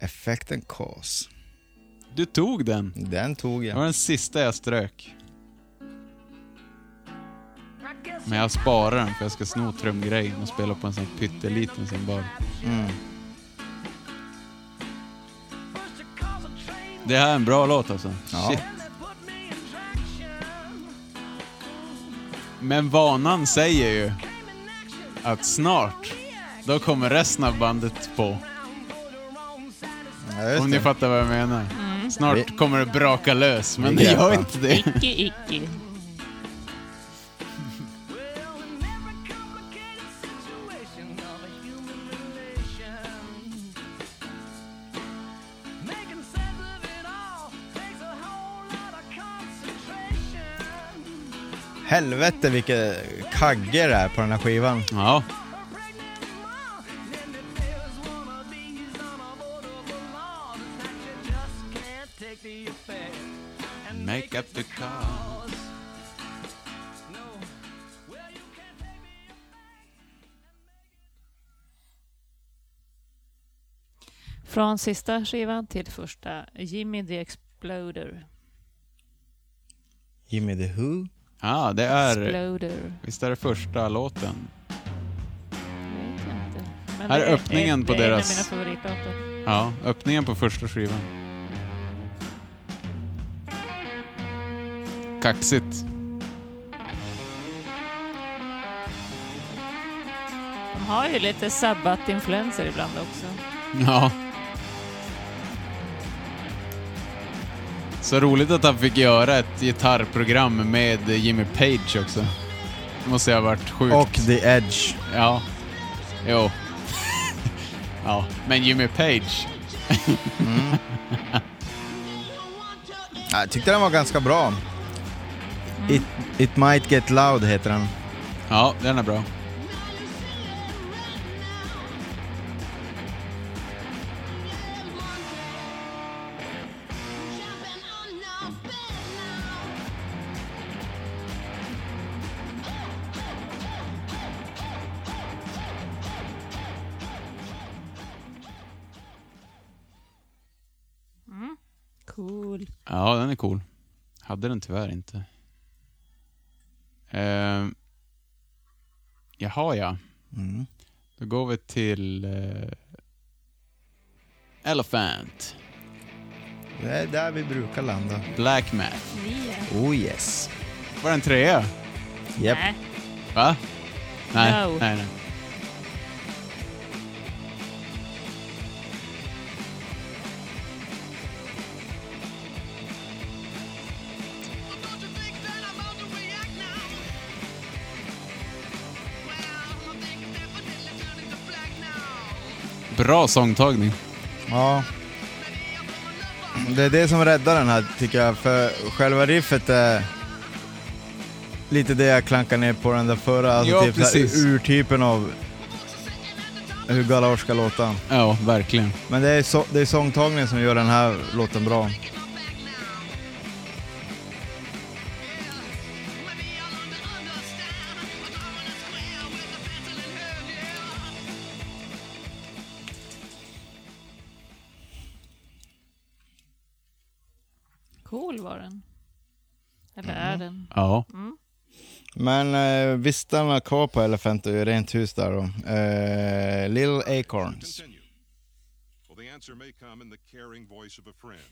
Speaker 1: Effekten kaos.
Speaker 2: Du tog den.
Speaker 1: Den tog
Speaker 2: Det var
Speaker 1: jag.
Speaker 2: den sista jag strök. Men jag sparar den för jag ska sno trumgrejen och spela på en sån pytteliten cymbal.
Speaker 1: Mm.
Speaker 2: Det här är en bra låt alltså.
Speaker 1: Ja.
Speaker 2: Shit. Men vanan säger ju att snart, då kommer resten av bandet på.
Speaker 1: Ja, just
Speaker 2: Om ni
Speaker 1: det.
Speaker 2: fattar vad jag menar. Snart
Speaker 1: Vi-
Speaker 2: kommer det braka lös, men
Speaker 1: Vi
Speaker 2: det gör
Speaker 1: greppar.
Speaker 2: inte det.
Speaker 3: Icke, icke.
Speaker 1: Helvete vilket kagge det är på den här skivan.
Speaker 2: Ja, make up the call.
Speaker 7: No. Well, you
Speaker 3: Från sista skivan till första, Jimmy the Exploder.
Speaker 1: Jimmy the Who?
Speaker 2: Ja, det är...
Speaker 3: Exploder.
Speaker 2: Visst är det första låten?
Speaker 3: Jag vet inte. Men
Speaker 2: Här
Speaker 3: det
Speaker 2: är öppningen på
Speaker 3: det är
Speaker 2: deras-
Speaker 3: en av mina favoritlåtar.
Speaker 2: Ja, öppningen på första skivan. Kaxigt.
Speaker 3: De har ju lite sabbat-influenser ibland också.
Speaker 2: Ja. Så roligt att han fick göra ett gitarrprogram med Jimmy Page också. Det måste ju ha varit sjukt.
Speaker 1: Och The Edge.
Speaker 2: Ja. Jo. ja, men Jimmy Page.
Speaker 1: Ja, Jag tyckte den var ganska bra. It, it might get loud heter den.
Speaker 2: Ja, den är bra.
Speaker 3: Cool.
Speaker 2: Ja, den är cool. Hade den tyvärr inte. Uh, jaha, ja.
Speaker 1: Mm.
Speaker 2: Då går vi till eh, Elephant,
Speaker 1: Det är där vi brukar landa.
Speaker 2: Black Math.
Speaker 1: Oh yes.
Speaker 2: Var den trea?
Speaker 1: Japp.
Speaker 3: Nej.
Speaker 2: Va? Nej,
Speaker 3: No.
Speaker 2: nej, nej. Bra sångtagning.
Speaker 1: Ja. Det är det som räddar den här tycker jag, för själva riffet är lite det jag klankar ner på den där förra, alltså
Speaker 2: Ja,
Speaker 1: typ så här
Speaker 2: precis.
Speaker 1: urtypen av hur galage ska låta.
Speaker 2: Ja, verkligen.
Speaker 1: Men det är, så, det är sångtagningen som gör den här låten bra.
Speaker 3: Cool var den. Eller
Speaker 2: Mhm.
Speaker 3: är den.
Speaker 2: Ja.
Speaker 1: Men eh, vi stannar kvar på Elephant och gör rent hus där då. Eh, Little Acorns.
Speaker 13: Continue. Well, the answer may come in the caring voice of a friend,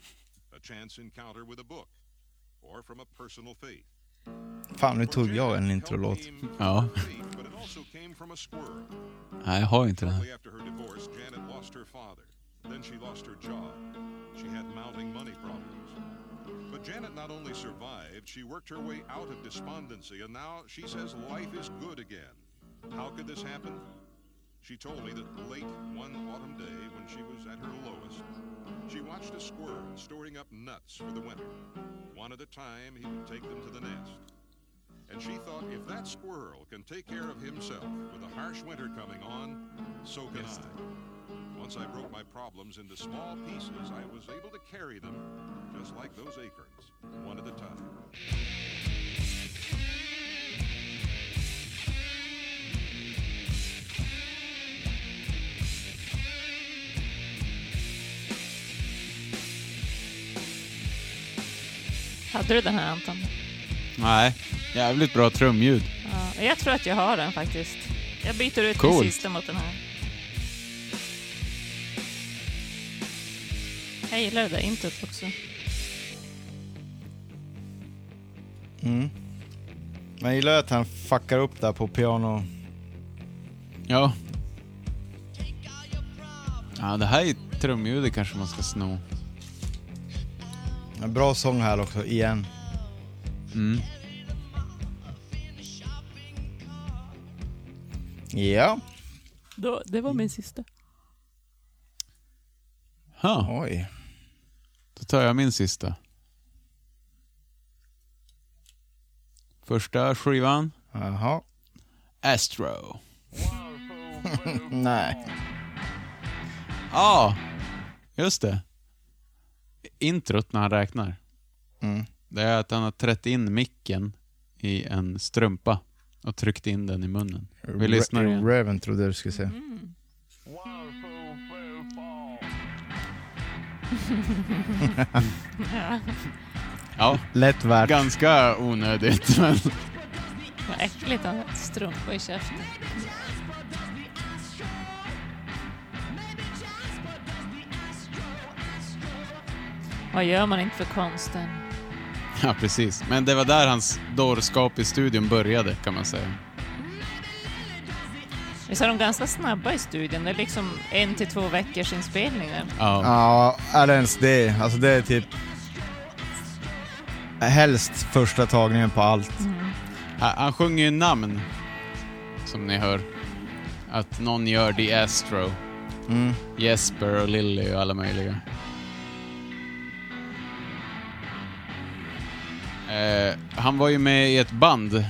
Speaker 13: a chance encounter with a book, or from a personal faith.
Speaker 1: Fan, nu tog jag en introlåt.
Speaker 2: Ja.
Speaker 13: But it also came from a squirrel.
Speaker 2: Nej, jag har inte den.
Speaker 13: Shortly after her divorce, Janet lost her father. Then she lost her job. She had mounting money problems. But Janet not only survived, she worked her way out of despondency, and now she says life is good again. How could this happen? She told me that late one autumn day, when she was at her lowest, she watched a squirrel storing up nuts for the winter. One at a time, he would take them to the nest. And she thought if that squirrel can take care of himself with a harsh winter coming on, so can I. Once I broke my problems into small pieces, I was able to carry them just like those acorns, one at a time.
Speaker 3: Hade du den här Anton?
Speaker 2: Nej, jävligt bra trumljud.
Speaker 3: Ja, jag tror att jag har den faktiskt. Jag byter ut
Speaker 2: Coolt.
Speaker 3: min sista mot den här. Jag gillar det där introt också.
Speaker 1: Mm. Men jag gillar att han fuckar upp där på piano.
Speaker 2: Ja. Ja, det här är trumljudet kanske man ska sno.
Speaker 1: En bra sång här också, igen.
Speaker 2: Mm.
Speaker 1: Ja.
Speaker 3: Då, det var min sista.
Speaker 2: Ha,
Speaker 1: Oj.
Speaker 2: då tar jag min sista. Första skivan,
Speaker 1: Jaha.
Speaker 2: Astro.
Speaker 1: Nej.
Speaker 2: Ja, just det. Introt när han räknar.
Speaker 1: Mm.
Speaker 2: Det är att han har trätt in micken i en strumpa och tryckt in den i munnen. Vi lyssnar igen.
Speaker 1: Raven trodde jag du skulle säga.
Speaker 3: Ja.
Speaker 2: Ja,
Speaker 1: Lätt värt.
Speaker 2: ganska onödigt. Men
Speaker 3: Vad äckligt att ha strumpor i käften. Vad gör man inte för konsten?
Speaker 2: ja, precis. Men det var där hans dårskap i studion började, kan man säga.
Speaker 3: Visst är de ganska snabba i studion? Det är liksom en till två veckors inspelningar.
Speaker 2: Ja,
Speaker 1: Ja, eller ens det. Alltså det är typ... Helst första tagningen på allt.
Speaker 2: Han han sjunger ju namn, som ni hör. Att någon gör The Astro.
Speaker 1: Mm.
Speaker 2: Jesper och Lilly och alla möjliga. Eh, han var ju med i ett band.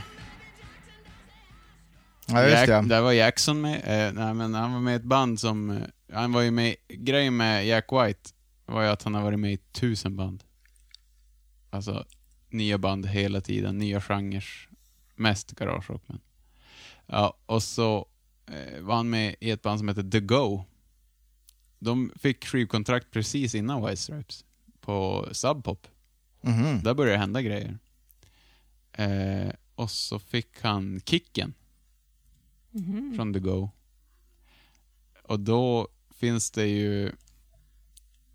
Speaker 1: Ja, just
Speaker 2: Jack,
Speaker 1: det.
Speaker 2: Där var Jackson med. Eh, nej, men han var med i ett band som... eh, Han var ju med... Grejen med Jack White var ju att han har varit med i tusen band. Alltså, nya band hela tiden, nya genrer. Mest garagerock, men... Ja, och så eh, var han med i ett band som heter The Go. De fick skivkontrakt precis innan White Stripes på Sub Pop.
Speaker 1: Mhm.
Speaker 2: Där började det hända grejer. Eh, och så fick han kicken från The Go. Och då finns det ju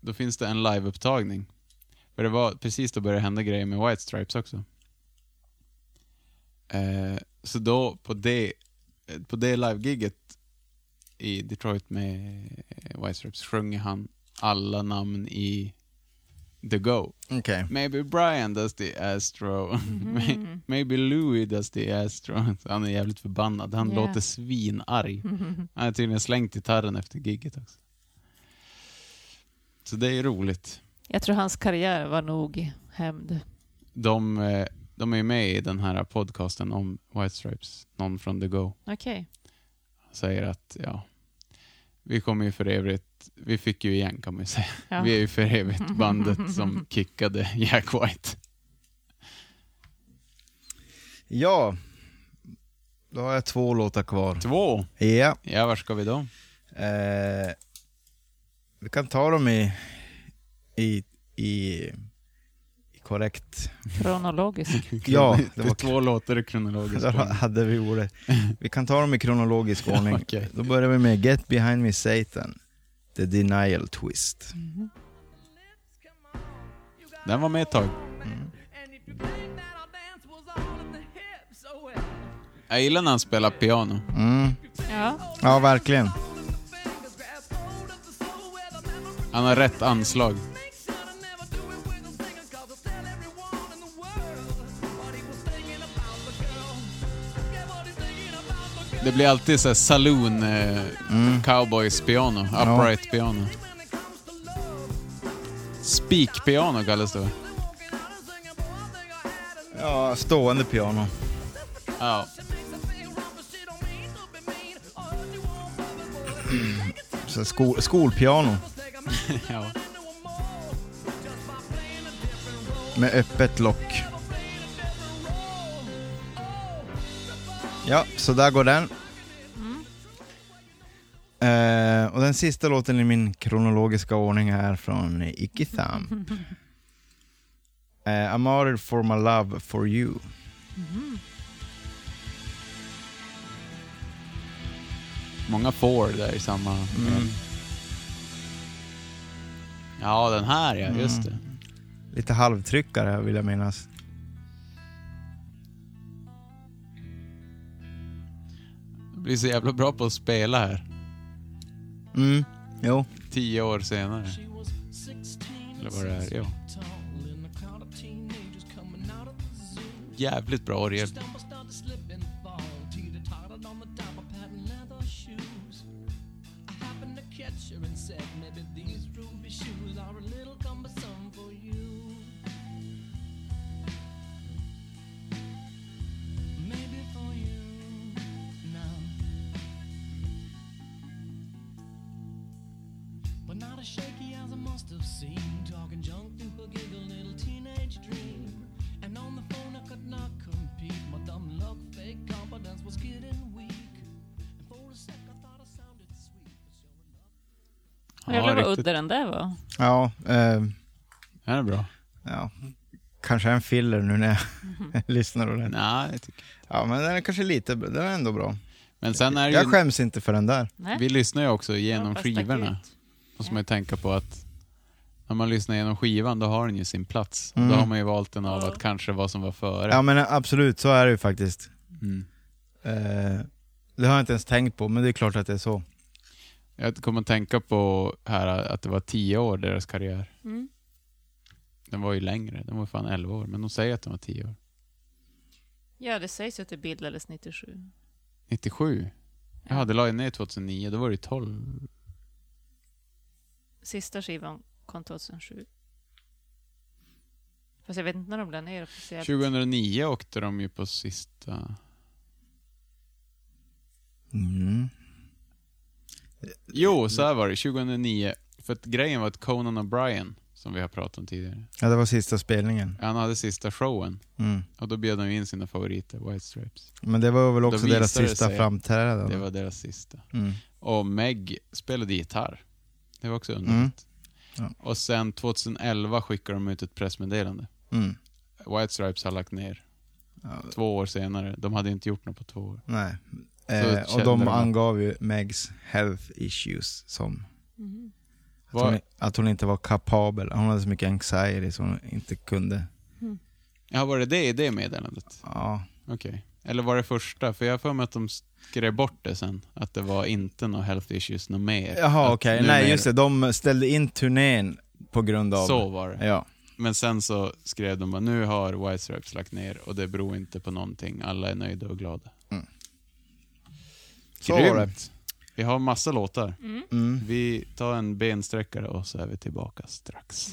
Speaker 2: då finns det en liveupptagning. För det var precis då började det hända grejer med White Stripes också. Eh, så då på det, eh, på det live-giget i Detroit med eh, White Stripes sjunger han alla namn i The Go.
Speaker 1: Okej.
Speaker 2: Maybe Brian does the Astro. May- Maybe Louis does the Astro. Så Han är jävligt förbannad. Han
Speaker 3: Yeah.
Speaker 2: låter svinarg. Han har tydligen slängt gitarren efter gigget också. Så det är roligt.
Speaker 3: Jag tror hans karriär var nog hämnd.
Speaker 2: De, eh, de är ju med i den här podcasten om White Stripes. Någon från The Go
Speaker 3: Okej.
Speaker 2: säger att ja, vi kommer ju för övrigt, vi fick ju igen kan man ju säga.
Speaker 3: Ja.
Speaker 2: Vi är ju för evigt bandet som kickade Jack White.
Speaker 1: Ja. Då har jag två låtar kvar.
Speaker 2: Två!
Speaker 1: Ja.
Speaker 2: Ja, var ska vi då?
Speaker 1: Eh, vi kan ta dem i, i, i, i korrekt...
Speaker 3: Kronologisk.
Speaker 1: Ja,
Speaker 2: det
Speaker 1: det
Speaker 2: var
Speaker 1: var-
Speaker 2: två låtar i kronologisk
Speaker 1: Där
Speaker 2: ordning.
Speaker 1: hade vi ordet. Vi kan ta dem i kronologisk ordning.
Speaker 2: Okej.
Speaker 1: Då börjar vi med Get Behind Me Satan, The Denial Twist.
Speaker 2: Den var med ett tag. Jag gillar när han spelar piano.
Speaker 1: Mm.
Speaker 3: Ja.
Speaker 1: Ja, verkligen.
Speaker 2: Han har rätt anslag. Det blir alltid så här saloon eh, cowboys piano, upright piano. Speak piano kallas det va?
Speaker 1: Ja, stående piano.
Speaker 2: Ja.
Speaker 7: Oh.
Speaker 1: Så sko- skolpiano
Speaker 2: ja.
Speaker 1: med öppet lock. Ja, så där går den.
Speaker 2: Mm.
Speaker 1: Eh, och den sista låten i min kronologiska ordning är från Icky Thump. Eh, I'm married for my love for you.
Speaker 2: Många får där i samma... Ja, den här ja, just det.
Speaker 1: Lite halvtryckare vill jag minnas.
Speaker 2: Jag blir så jävla bra på att spela här.
Speaker 1: Mm, jo.
Speaker 2: Tio år senare. Eller vad det är, ja. Jävligt bra orgel.
Speaker 3: Jävlar vad
Speaker 2: riktigt.
Speaker 3: udda den där var.
Speaker 1: Ja, eh,
Speaker 2: Den är bra.
Speaker 1: ja. Kanske en filler nu när jag lyssnar på den.
Speaker 2: Nej, jag tycker-
Speaker 1: Ja, men den är kanske lite, den är ändå bra.
Speaker 2: men sen är det
Speaker 1: Jag
Speaker 2: ju,
Speaker 1: skäms inte för den där.
Speaker 3: Nej.
Speaker 2: vi lyssnar ju också genom
Speaker 3: Fast
Speaker 2: skivorna.
Speaker 3: akut.
Speaker 2: måste man ju tänka på att när man lyssnar genom skivan, då har den ju sin plats. Och
Speaker 1: Mm.
Speaker 2: Då har man ju valt den av att kanske vad som var före.
Speaker 1: Ja men absolut, så är det ju faktiskt.
Speaker 2: Mm.
Speaker 1: Eh, det har jag inte ens tänkt på, men det är klart att det är så.
Speaker 2: Jag kommer att tänka på här att det var tio år deras karriär.
Speaker 3: Mm.
Speaker 2: Den var ju längre, den var fan elva år, men de säger att den var tio år.
Speaker 3: Ja, det sägs ju att det bildades 97.
Speaker 2: 97? Jaha, det la ju ner 2009, då var det ju 12.
Speaker 3: Sista skivan kom 2007. Fast jag vet inte när de la ner officiellt.
Speaker 2: 2009 åkte de ju på sista...
Speaker 1: Mm.
Speaker 2: Jo, så här var det, 2009. För att grejen var att Conan O'Brien, som vi har pratat om tidigare,
Speaker 1: Ja, det var sista spelningen.
Speaker 2: han hade sista showen.
Speaker 1: Mm.
Speaker 2: Och då bjöd de ju in sina favoriter, White Stripes.
Speaker 1: Men det var väl också
Speaker 2: visade
Speaker 1: deras
Speaker 2: det
Speaker 1: sista
Speaker 2: sig.
Speaker 1: framträdande.
Speaker 2: Det var deras sista.
Speaker 1: Mm.
Speaker 2: Och Meg spelade gitarr. Det var också underligt.
Speaker 1: Mm.
Speaker 2: Och sen 2011 skickade de ut ett pressmeddelande.
Speaker 1: Mm.
Speaker 2: White Stripes har lagt ner.
Speaker 1: Ja,
Speaker 2: Två år senare. De hade inte gjort något på två år.
Speaker 1: nej.
Speaker 2: kände
Speaker 1: Eh, och
Speaker 2: de
Speaker 1: de
Speaker 2: att-
Speaker 1: angav ju Megs health issues som att
Speaker 2: Var,
Speaker 1: hon, att hon inte var kapabel. Hon hade så mycket anxiety som hon inte kunde.
Speaker 2: ja, var det det i det meddelandet?
Speaker 1: Ja,
Speaker 2: Okej. Eller var det första? För jag har för mig att de skrev bort det sen. Att det var inte några health issues något mer.
Speaker 1: Jaha
Speaker 2: Att
Speaker 1: okej,
Speaker 2: numera-
Speaker 1: nej just det, de ställde in turnén på grund av...
Speaker 2: Så var det.
Speaker 1: Ja.
Speaker 2: Men sen så skrev de bara, nu har White Stripes lagt ner och det beror inte på någonting. Alla är nöjda och glada.
Speaker 1: Så
Speaker 2: Grymt.
Speaker 1: var det.
Speaker 2: Vi har massa låtar.
Speaker 1: Mm.
Speaker 2: Vi tar en bensträckare och så är vi tillbaka strax.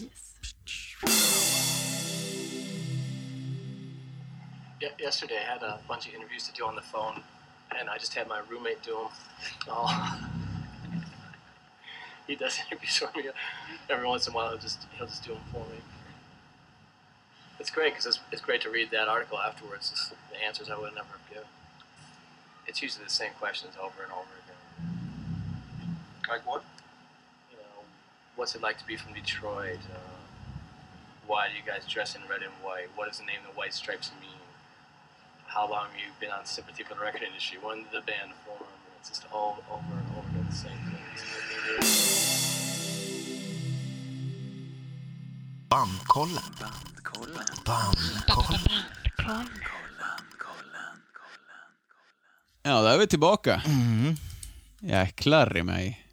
Speaker 7: Ye- yesterday I had a bunch of interviews to do on the phone, and I just had my roommate do them. All. he does interviews for me every once in a while. He'll just he'll just do them for me. It's great because it's, it's great to read that article afterwards. It's the answers I would never have given. It's usually the same questions over and over again. Like what? You know, what's it like to be from Detroit? Uh, why do you guys dress in red and white? What does the name the White Stripes mean? How long have you been on sympathy for the record industry? When did the band form? It's just all over and over again the same things.
Speaker 2: Ja, då är vi tillbaka. Jäklar i mig.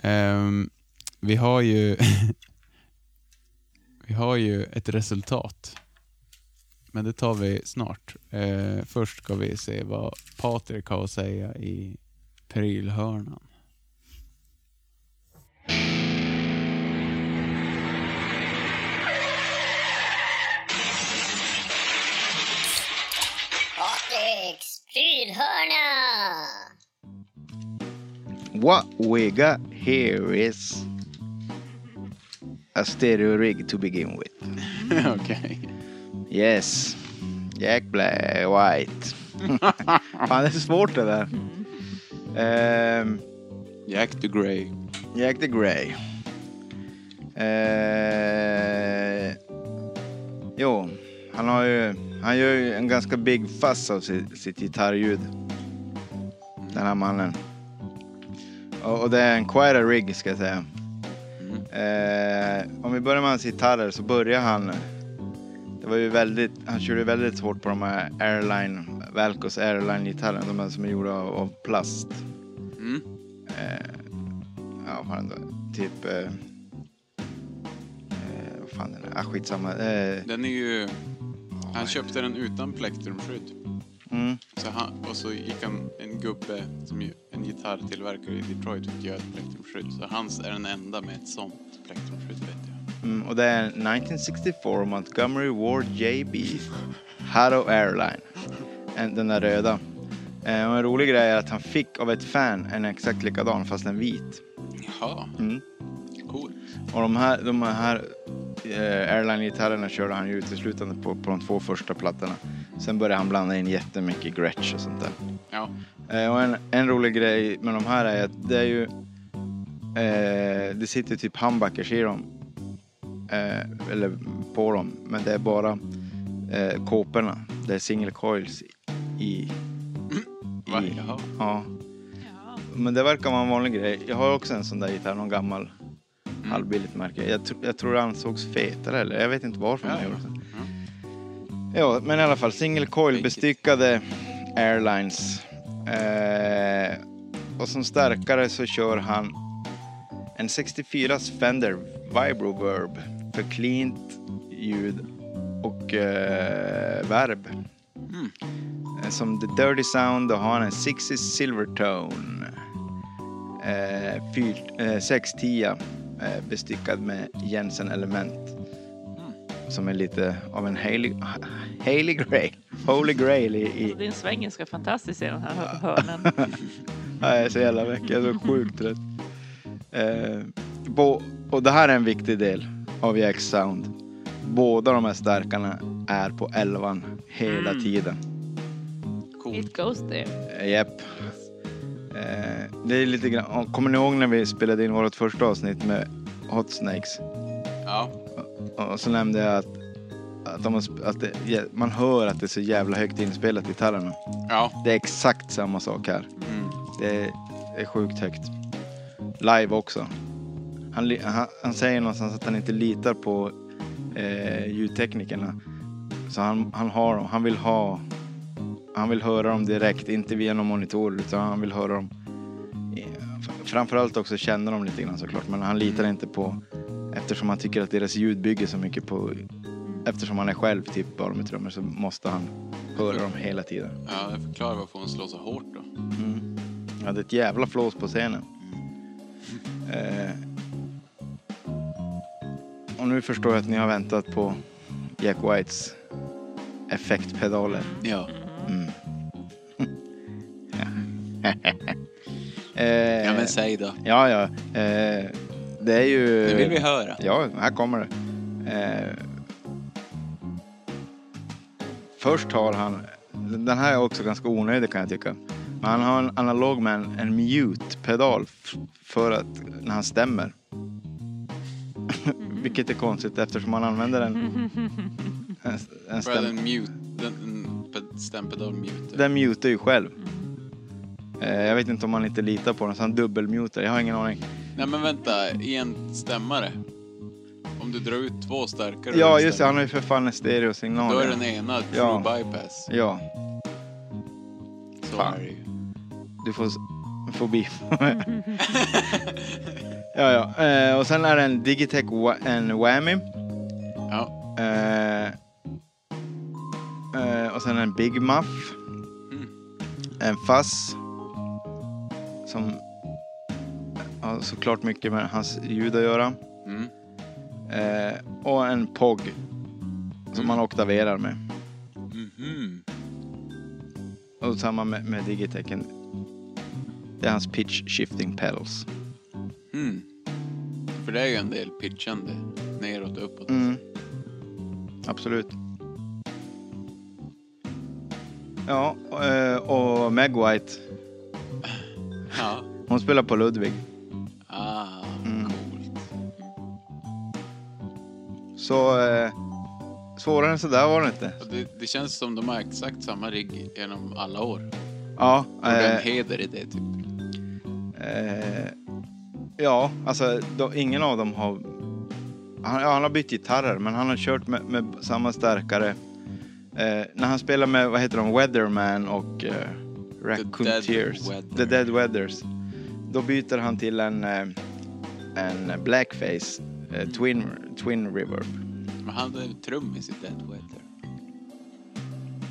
Speaker 2: Ehm, vi har ju... vi har ju ett resultat. Men det tar vi snart. Ehm, först ska vi se vad Patrik har att säga i prylhörnan.
Speaker 9: Patriks prylhörna!
Speaker 1: What we got here is a stereo rig to begin with.
Speaker 2: Okej.
Speaker 1: Yes. Jack Black White. Fan, det är svårt det där. Ehm,
Speaker 2: Jack the Grey.
Speaker 1: Jack the Grey. Eh, jo, han har ju... Han gör ju en ganska big fuss av sitt, sitt gitarrljud. Den här mannen. Och, och det är en quite a rig ska jag säga. Eh, om vi börjar med hans gitarrer så börjar han... Det var ju väldigt, han körde väldigt hårt på de här airline, Valcos airline-gitarrerna, de här som är gjorda av, av plast Eh, ja, vad fan då? Typ... Eh, eh, vad fan är det? Ah, skitsamma. Eh,
Speaker 2: Den är ju... Han köpte den utan plektrumskydd.
Speaker 1: mm,
Speaker 2: Så han, och så gick han, en gubbe, som ju, en gitarrtillverkare i Detroit, fick göra ett plektrumskydd. Så hans är den enda med ett sånt plektrumskydd, vet jag.
Speaker 1: mm, och det är 1964 Montgomery Ward JB Harrow Airline. En- Den där röda. Eh, och en rolig grej är att han fick av ett fan en exakt likadan fast en vit.
Speaker 2: Jaha,
Speaker 1: Mm.
Speaker 2: cool.
Speaker 1: Och de här, de här eh, airline-gitarrerna körde han ju uteslutande på, på de två första plattorna. Sen började han blanda in jättemycket Gretsch och sånt där.
Speaker 2: Ja.
Speaker 1: Eh, Och en, en rolig grej med de här är att det är ju Eh, det sitter typ handbackers i dem. Eh, eller på dem. Men det är bara eh, kåporna. Det är single coils i...
Speaker 2: Va?
Speaker 1: i
Speaker 2: Jaha.
Speaker 1: ja. Men det verkar vara en vanlig grej. Jag har också en sån där gitarr. Någon gammal halvbilligt märke. Jag, tr- jag tror det ansågs fetare. Eller jag vet inte varför man
Speaker 2: Ja,
Speaker 1: gjorde så. Ja, men i alla fall single coil bestyckade airlines. Eh, och som stärkare så kör han en 64s Fender Vibroverb för cleant ljud och eh, verb. Eh, Som The Dirty Sound och har han en 60 Silvertone. Eh, fyr- eh, 610 eh, bestyckad med Jensen Element som är lite av en Hailey, Hailey Grail. Holy Grail i... i
Speaker 3: Alltså, Din sväng är så fantastisk i den här hör- hörnen.
Speaker 2: Mm.
Speaker 1: jag är så jävla väck, jag är så sjukt trött. Eh, bo, och det här är en viktig del av Jack Sound. Båda de här stärkarna är på 11 hela tiden.
Speaker 3: It goes there.
Speaker 1: Eh, Japp. Eh, det är lite grann, och kommer ni ihåg när vi spelade in vårt första avsnitt med Hot Snakes?
Speaker 2: Ja.
Speaker 1: Och så nämnde jag att, att, de har, sp- att det, man hör att det är så jävla högt inspelat i gitarrerna.
Speaker 2: Ja.
Speaker 1: Det är exakt samma sak här.
Speaker 2: Mm.
Speaker 1: Det är sjukt högt. Live också. Han, li- han, han säger någonstans att han inte litar på eh, ljudteknikerna. Så han, han har dem. Han vill ha... Han vill höra dem direkt, inte via någon monitor, utan han vill höra dem... eh, f- Framförallt också känna dem lite grann såklart, men han litar inte på... Eftersom han tycker att deras ljud bygger så mycket på... Eftersom han är själv typ bara med trummor så måste han höra dem hela tiden.
Speaker 2: Ja, det förklarar varför hon slår så hårt då.
Speaker 1: Ja, det är ett jävla flås på scenen. Eh, och nu förstår jag att ni har väntat på Jack Whites effektpedaler.
Speaker 2: Ja.
Speaker 1: Eh,
Speaker 2: Ja, men säg då.
Speaker 1: ja, ja. Eh, det är ju...
Speaker 2: Nu vill vi höra.
Speaker 1: Ja, här kommer det. Eh, först har han, den här är också ganska onödig kan jag tycka. Men han har en analog med en, en mute-pedal f- för att när han stämmer. Vilket är konstigt eftersom han använder en, en, en
Speaker 2: För den
Speaker 1: stäm.
Speaker 2: mute, den, den pe- stämpedal mute.
Speaker 1: Den mutar ju själv. Eh, jag vet inte om han inte litar på den så han dubbelmutar. Jag har ingen aning.
Speaker 2: Nej men vänta, i en stämmare. Om du drar ut två starkare ur
Speaker 1: Ja
Speaker 2: en
Speaker 1: just det,
Speaker 2: stämmare,
Speaker 1: han har ju för fan en stereosignal.
Speaker 2: Då är
Speaker 1: ja.
Speaker 2: den ena true
Speaker 1: Ja.
Speaker 2: bypass.
Speaker 1: Ja.
Speaker 2: Så
Speaker 1: Fan.
Speaker 2: är det ju.
Speaker 1: Du får s- fobi. ja, ja. Eh, och sen är det en Digitech wa- en Whammy.
Speaker 2: Ja.
Speaker 1: Eh, eh, och sen en Big Muff.
Speaker 2: Mm.
Speaker 1: En Fuzz. Som har såklart mycket med hans ljud att göra.
Speaker 2: Mm.
Speaker 1: Eh, och en POG.
Speaker 2: Mm.
Speaker 1: Som man oktaverar med.
Speaker 2: Mhm.
Speaker 1: Och samma med, med Digitechen. Det är hans pitch shifting pedals.
Speaker 2: Mm. För det är ju en del pitchande. Neråt och uppåt.
Speaker 1: Mm. Absolut. Ja, och, eh, och Meg White,
Speaker 2: Ja.
Speaker 1: hon spelar på Ludwig.
Speaker 2: Ah,
Speaker 1: Mm.
Speaker 2: coolt.
Speaker 1: Så eh, svårare än sådär var det inte.
Speaker 2: Och Det, det känns som de har exakt samma rigg genom alla år.
Speaker 1: Ja,
Speaker 2: Och det är
Speaker 1: eh,
Speaker 2: en heder i det typ.
Speaker 1: eh, ja alltså de, ingen av dem har... Han, ja, han har bytt gitarrer, men han har kört med, med samma stärkare. Eh, när han spelar med, vad heter de, Weatherman och eh, Raccoon
Speaker 2: Dead
Speaker 1: Tears.
Speaker 2: Weather.
Speaker 1: The Dead Weathers. Då byter han till en, eh, en blackface, eh, twin, twin reverb.
Speaker 2: Men han är trummis i Dead Weather.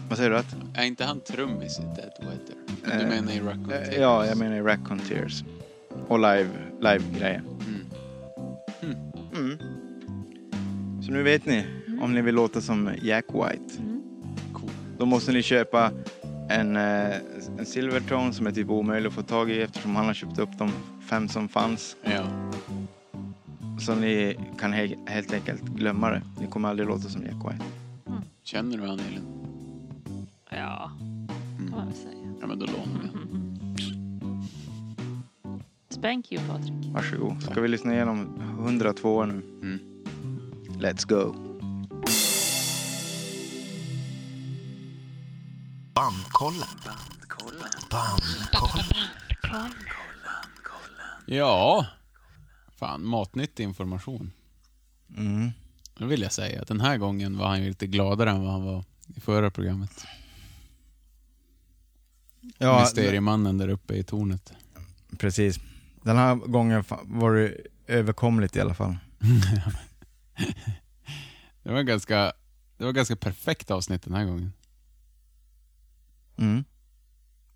Speaker 1: Vad säger du? Att?
Speaker 2: Är inte han trummis i Dead Weather? Du
Speaker 1: Eh,
Speaker 2: menar i Raccoon
Speaker 1: Eh,
Speaker 2: Tales?
Speaker 1: Ja, jag menar Raccoon Tears. Och live, live-grejen. Mm. Så nu vet ni om ni vill låta som Jack White.
Speaker 2: Cool.
Speaker 1: Då måste ni köpa en, eh, en Silvertone som är typ omöjlig att få tag i eftersom han har köpt upp de fem som fanns.
Speaker 2: Ja.
Speaker 1: Så ni kan he- helt enkelt glömma det. Ni kommer aldrig låta som Jack White.
Speaker 2: Känner du han Elin?
Speaker 3: Ja,
Speaker 2: Mm.
Speaker 3: vad man vill säga.
Speaker 2: Ja men då lånar vi han.
Speaker 3: Thank you Patrik.
Speaker 1: Varsågod. Ska vi lyssna igenom 102 nu?
Speaker 2: Mm.
Speaker 1: Let's go.
Speaker 11: Bandkollen. Bandkollen.
Speaker 2: Ja. Fan, matnyttig information.
Speaker 1: Mm.
Speaker 2: Det vill jag säga. Den här gången var han ju lite gladare än vad han var i förra programmet.
Speaker 1: Ja,
Speaker 2: Mysteriemannen där uppe i tornet.
Speaker 1: precis. Den här gången fa- var det överkomligt i alla fall.
Speaker 2: Det var ganska, det var ganska perfekt avsnitt den här gången.
Speaker 1: Mm.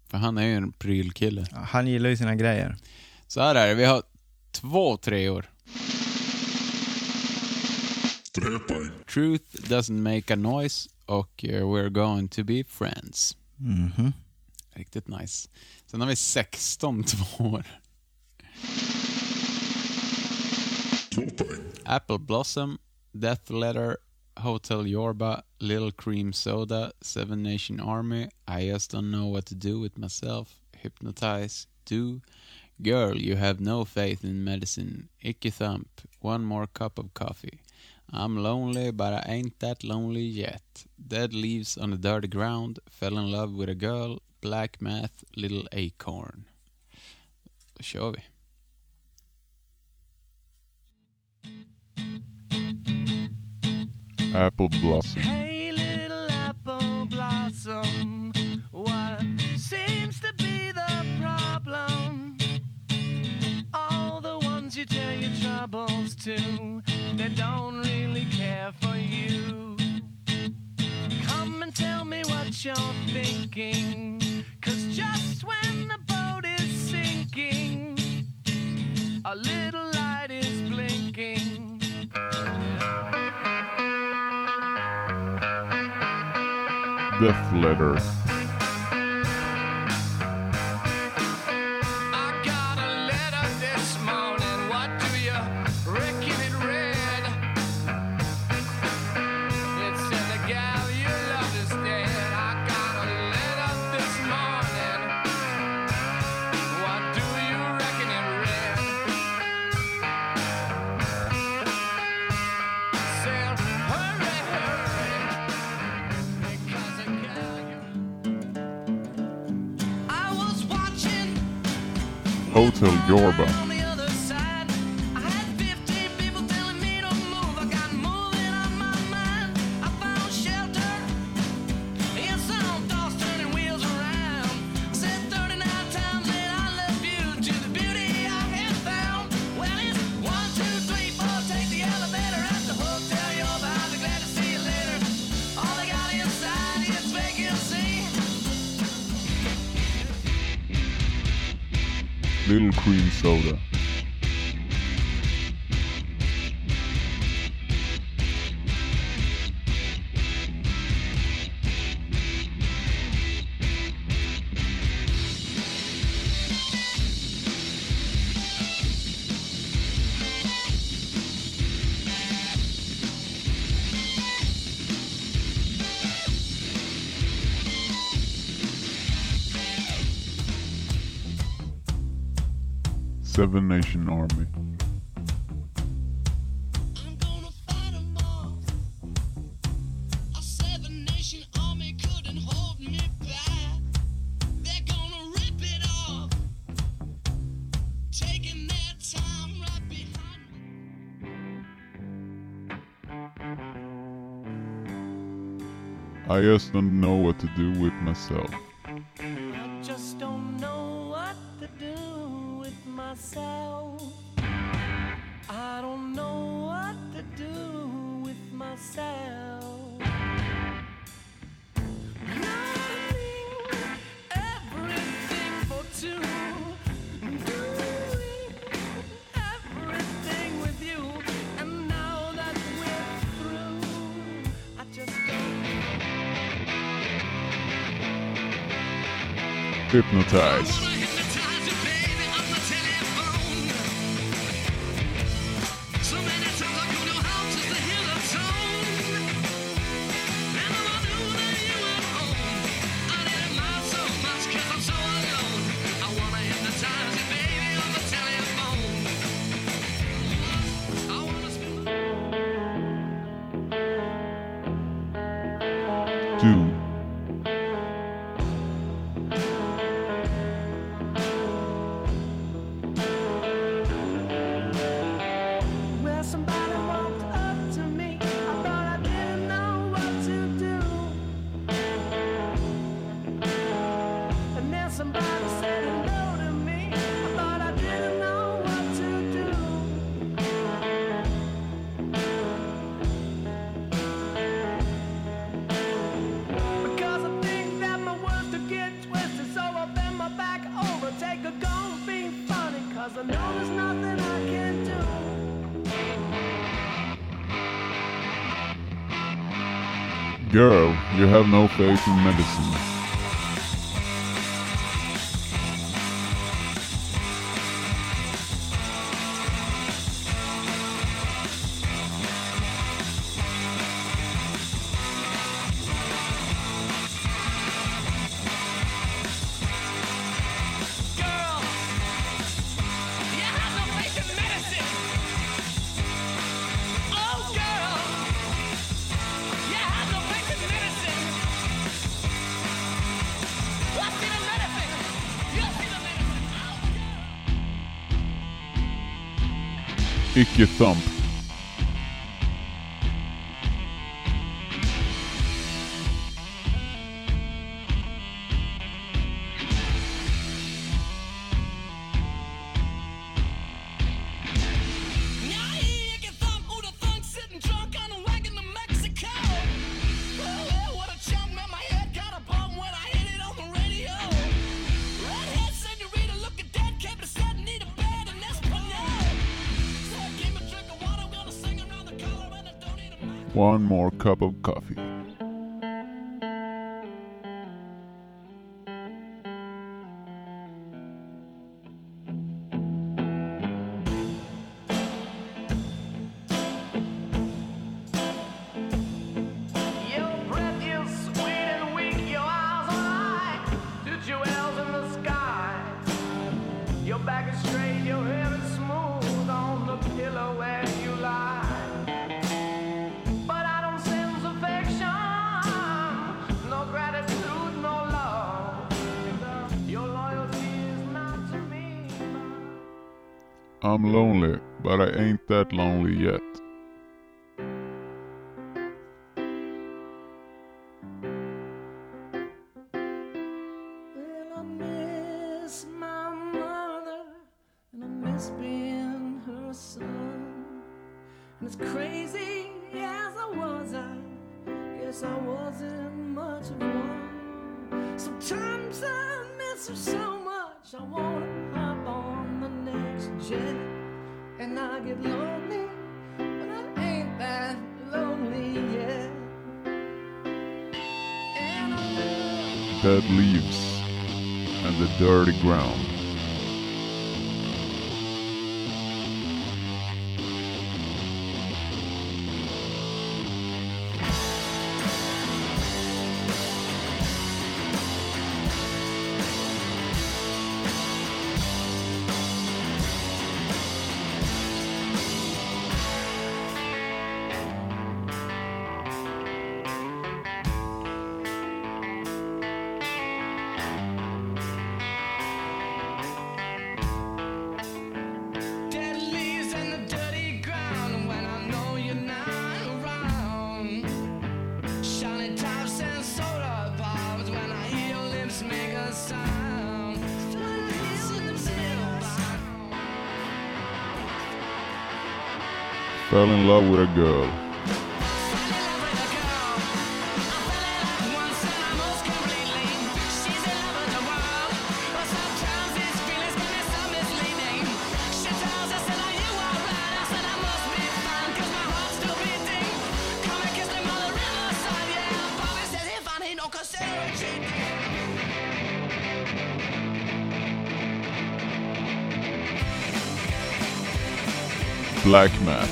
Speaker 2: För han är ju en prylkille.
Speaker 1: Han gillar ju sina grejer.
Speaker 2: Så här är det, vi har två treor.
Speaker 6: Träpaj.
Speaker 2: Truth doesn't make a noise och eh, We're going to be friends.
Speaker 1: Mhm.
Speaker 2: Riktigt nice. Sen har vi 16 tvåor.
Speaker 6: Två poäng.
Speaker 2: Apple Blossom, Death Letter, Hotel Yorba, Little Cream Soda, Seven Nation Army, I Just Don't Know What to Do With Myself, Hypnotize, Do, Girl You Have No Faith in Medicine, Icky Thump, One More Cup of Coffee, I'm Lonely But I Ain't That Lonely Yet, Dead Leaves on the Dirty Ground, Fell in Love with a Girl, Black Math, Little Acorn. Då kör vi.
Speaker 11: Apple Blossom.
Speaker 7: Hey, little apple blossom, what seems to be the problem? All the ones you tell your troubles to, they don't really care for you. Come and tell me what you're thinking, cause just when the boat is sinking, a little light is blinking.
Speaker 11: Death Letter.
Speaker 7: I got a letter this morning. What do you reckon it read? It said the gal you love is dead. I got a letter this morning. What do you reckon it read? Said hurry, hurry, because the gal you. I was watching.
Speaker 11: Hotel Yorba.
Speaker 7: On the other side, I had 15 people telling me to move. I got moving on my mind. I found shelter in some thoughts turning wheels around. Said 39 times that I love you to the beauty I had found. Well, it's one, two, three, four. Take the elevator at the hotel. You're behind. Be glad to see you later. All I got inside is vacancy.
Speaker 11: Little Cream Soda. Seven Nation Army.
Speaker 7: I'm gonna fight 'em all. A seven-nation army couldn't hold me back. They're gonna rip it off, taking their time right behind me.
Speaker 11: I just don't know what to do with myself.
Speaker 7: I just don't know what to do with myself. I don't know what to do with myself. Loving everything for two. Doing everything with you. And now that we're through, I just don't
Speaker 11: Hypnotize.
Speaker 7: I wanna hypnotize you, baby, on the telephone. Somebody said hello to me, but I didn't know what to do. Because I think that my words to get twisted, so I bend my back over, take a go, be funny, cause I know there's nothing I can do.
Speaker 11: Girl, you have no faith in medicine. Icke-thump. One more cup of coffee.
Speaker 7: Your breath is sweet and weak, your eyes are high, two jewels in the sky. Your back is straight, your hair is smooth on the pillow where you lie. But I don't sense affection, no gratitude, no love. Your loyalty is not to me.
Speaker 11: I'm lonely, but I ain't that lonely yet.
Speaker 7: Well, I miss my mother, and I miss being her son. And as crazy as I was, I guess I wasn't much of one. Sometimes I miss her so much, I wanna hop on the next jet. And I get lonely, but I ain't that lonely yet. And I
Speaker 11: Dead leaves and the dirty ground.
Speaker 7: Dead leaves and the dirty ground when I know you're not around. Shiny tops and soda pops when I hear your lips make a sound. When I hear your lips make a sound.
Speaker 11: Fell in love with a girl. Black math.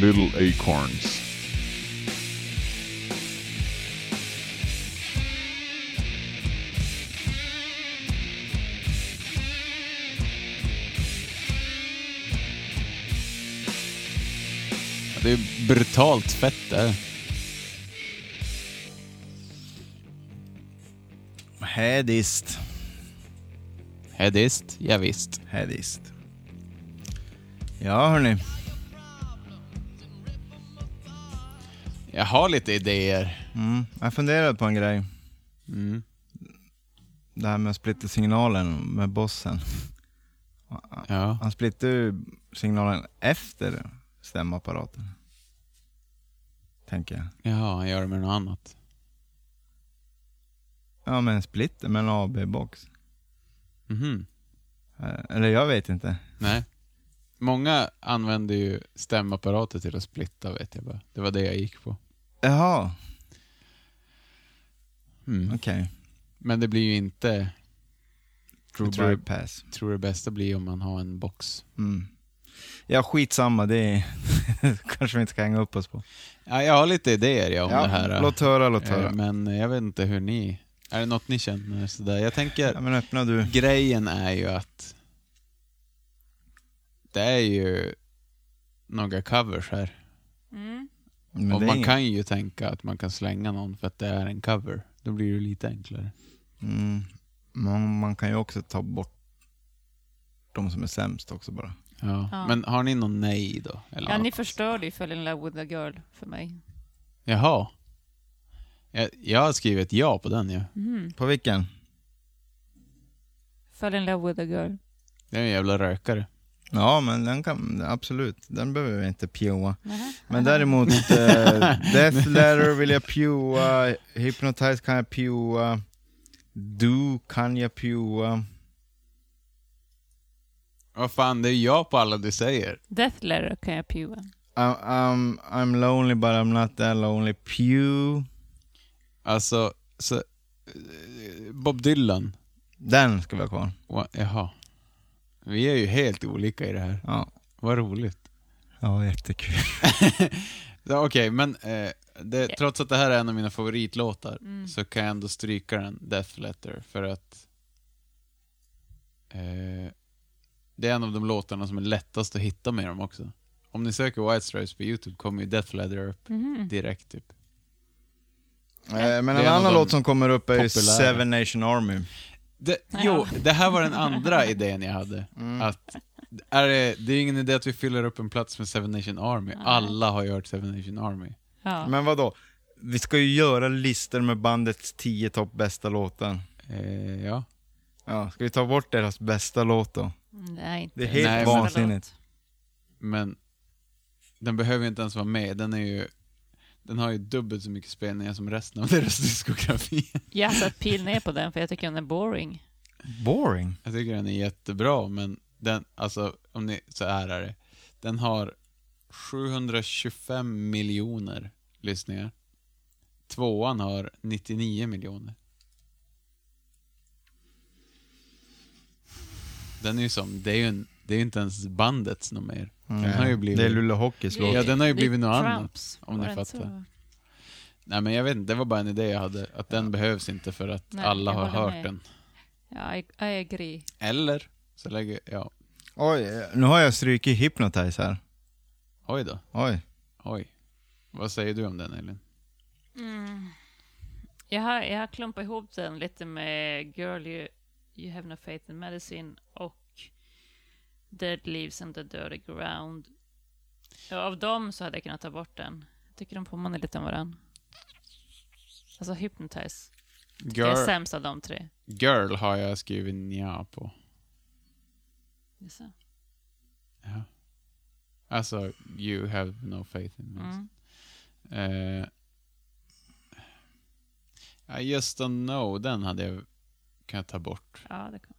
Speaker 11: Little acorns.
Speaker 2: Det är brutalt fett det.
Speaker 1: Hädist.
Speaker 2: Hedist, ja, visst.
Speaker 1: Hädist. Ja, hörni.
Speaker 2: Jag har lite idéer.
Speaker 1: Mm. Jag funderade på en grej.
Speaker 2: Mm.
Speaker 1: Det här med att splitta signalen med bossen.
Speaker 2: Ja.
Speaker 1: Han splittade ju signalen efter stämapparaten. Tänker jag.
Speaker 2: Jaha, han gör det med något annat.
Speaker 1: Ja, men en splitter med en AB-box.
Speaker 2: Mhm.
Speaker 1: Eh, Eller jag vet inte.
Speaker 2: Nej. Många använder ju stämapparater till att splitta, vet jag bara. Det var det jag gick på.
Speaker 1: Jaha,
Speaker 2: Mm.
Speaker 1: okej.
Speaker 2: Men det blir ju inte...
Speaker 1: True
Speaker 2: Jag tror-
Speaker 1: bypass.
Speaker 2: tror det bästa blir om man har en box.
Speaker 1: Mm. Ja, skitsamma. Det är... kanske vi inte ska hänga upp oss på.
Speaker 2: Ja, jag har lite idéer ja, om
Speaker 1: ja,
Speaker 2: det här.
Speaker 1: Låt höra, låt
Speaker 2: eh,
Speaker 1: höra.
Speaker 2: Men jag vet inte hur ni... Är det något ni känner sådär? Jag tänker...
Speaker 1: Ja, men öppna du.
Speaker 2: Grejen är ju att det är ju några covers här.
Speaker 3: Mm.
Speaker 1: Men
Speaker 2: och
Speaker 1: det är
Speaker 2: man
Speaker 1: inget-
Speaker 2: kan ju tänka att man kan slänga någon för att det är en cover. Då blir det lite enklare.
Speaker 1: Mm. Man, man kan ju också ta bort de som är sämst också bara.
Speaker 2: Ja.
Speaker 3: Ja.
Speaker 2: Men har ni någon nej då? Eller
Speaker 3: Ja, ni
Speaker 2: något?
Speaker 3: förstörde ju Fell in love with a girl för mig.
Speaker 2: Jaha. Jag, jag har skrivit ja på den ju.
Speaker 3: Mm.
Speaker 1: På vilken?
Speaker 3: Fell in love with a girl.
Speaker 2: Det är en jävla rökare.
Speaker 1: Ja, men den kan absolut. Den behöver vi inte pjoa.
Speaker 3: Nähä.
Speaker 1: Men däremot eh, Death Letter vill jag pjoa, Hypnotize kan jag pjoa, Do kan jag pjoa.
Speaker 2: Vad fan, det är ja på alla du säger.
Speaker 3: Death letter kan jag pua.
Speaker 1: I'm, I'm, I'm lonely but I'm not that lonely. Pew.
Speaker 2: Alltså, så, eh, Bob Dylan.
Speaker 1: Den ska vi ha kvar.
Speaker 2: Wa- Jaha. Vi är ju helt olika i det här.
Speaker 1: Ja,
Speaker 2: Vad roligt.
Speaker 1: ja jättekul.
Speaker 2: Ja, Okej, men eh, det, trots att det här är en av mina favoritlåtar så kan jag ändå stryka den, Death Letter, för att eh, det är en av de låtarna som är lättast att hitta med dem också. Om ni söker White Stripes på YouTube kommer ju Death Letter upp direkt. Typ.
Speaker 1: Eh, men
Speaker 2: Det är
Speaker 1: en
Speaker 2: en av
Speaker 1: annan
Speaker 2: de
Speaker 1: låt som kommer upp är ju
Speaker 2: populära.
Speaker 1: Seven Nation Army.
Speaker 2: Det, jo, det här var den andra idén jag hade. Att, är det, det är ju ingen idé att vi fyller upp en plats med Seven Nation Army. Alla har ju hört Seven Nation Army.
Speaker 3: Ja.
Speaker 1: Men vad då? Vi ska ju göra listor med bandets 10 topp bästa låtar.
Speaker 2: Eh, ja.
Speaker 1: Ja, ska vi ta bort deras bästa låt då?
Speaker 3: Nej, inte.
Speaker 1: Det är helt
Speaker 2: Nej, men-
Speaker 1: vansinnigt.
Speaker 2: Men den behöver ju inte ens vara med. Den är ju den har ju dubbelt så mycket spelningar som resten av deras diskografi.
Speaker 3: Jag har satt pil ner på den för jag tycker den är boring.
Speaker 1: Boring.
Speaker 2: Jag tycker den är jättebra, men den, alltså, om ni, så här är det. Den har 725 miljoner lyssningar. Tvåan har 99 miljoner. Den är ju som, det är ju, en, det är ju inte ens bandets något mer. Den har ju blivit...
Speaker 1: Mm. Det är Luleå Hockeys låt.
Speaker 2: Ja, den har ju
Speaker 3: Det är
Speaker 2: blivit något
Speaker 3: Trumps,
Speaker 2: annat, om
Speaker 3: var
Speaker 2: ni
Speaker 3: det inte
Speaker 2: fattar.
Speaker 3: så?
Speaker 2: Nej men jag vet inte, det var bara en idé jag hade. Att den behövs inte för att
Speaker 3: Nej,
Speaker 2: alla
Speaker 3: jag
Speaker 2: har
Speaker 3: håller
Speaker 2: hört
Speaker 3: med.
Speaker 2: den.
Speaker 3: Ja, I, I agree.
Speaker 2: Eller? Så lägger ja.
Speaker 1: Oj, eh, nu har jag strykit Hypnotize här.
Speaker 2: Oj då.
Speaker 1: Oj.
Speaker 2: Oj. Vad säger du om den Elin?
Speaker 3: Jag har, jag har klumpat ihop den lite med Girl you, you have no faith in medicine och Dead leaves and the dirty ground. Ja, Av dem så hade jag kunnat ta bort den. Jag tycker de påminner lite om varandra. Alltså Hypnotize. Jag är
Speaker 2: Girl,
Speaker 3: sämst av de tre.
Speaker 2: girl har jag skrivit nja på.
Speaker 3: Jaså?
Speaker 2: Alltså, you have no faith in me.
Speaker 3: Mm.
Speaker 2: Eh, I just don't know, den hade jag kunnat ta bort.
Speaker 3: Ja, det kan vi.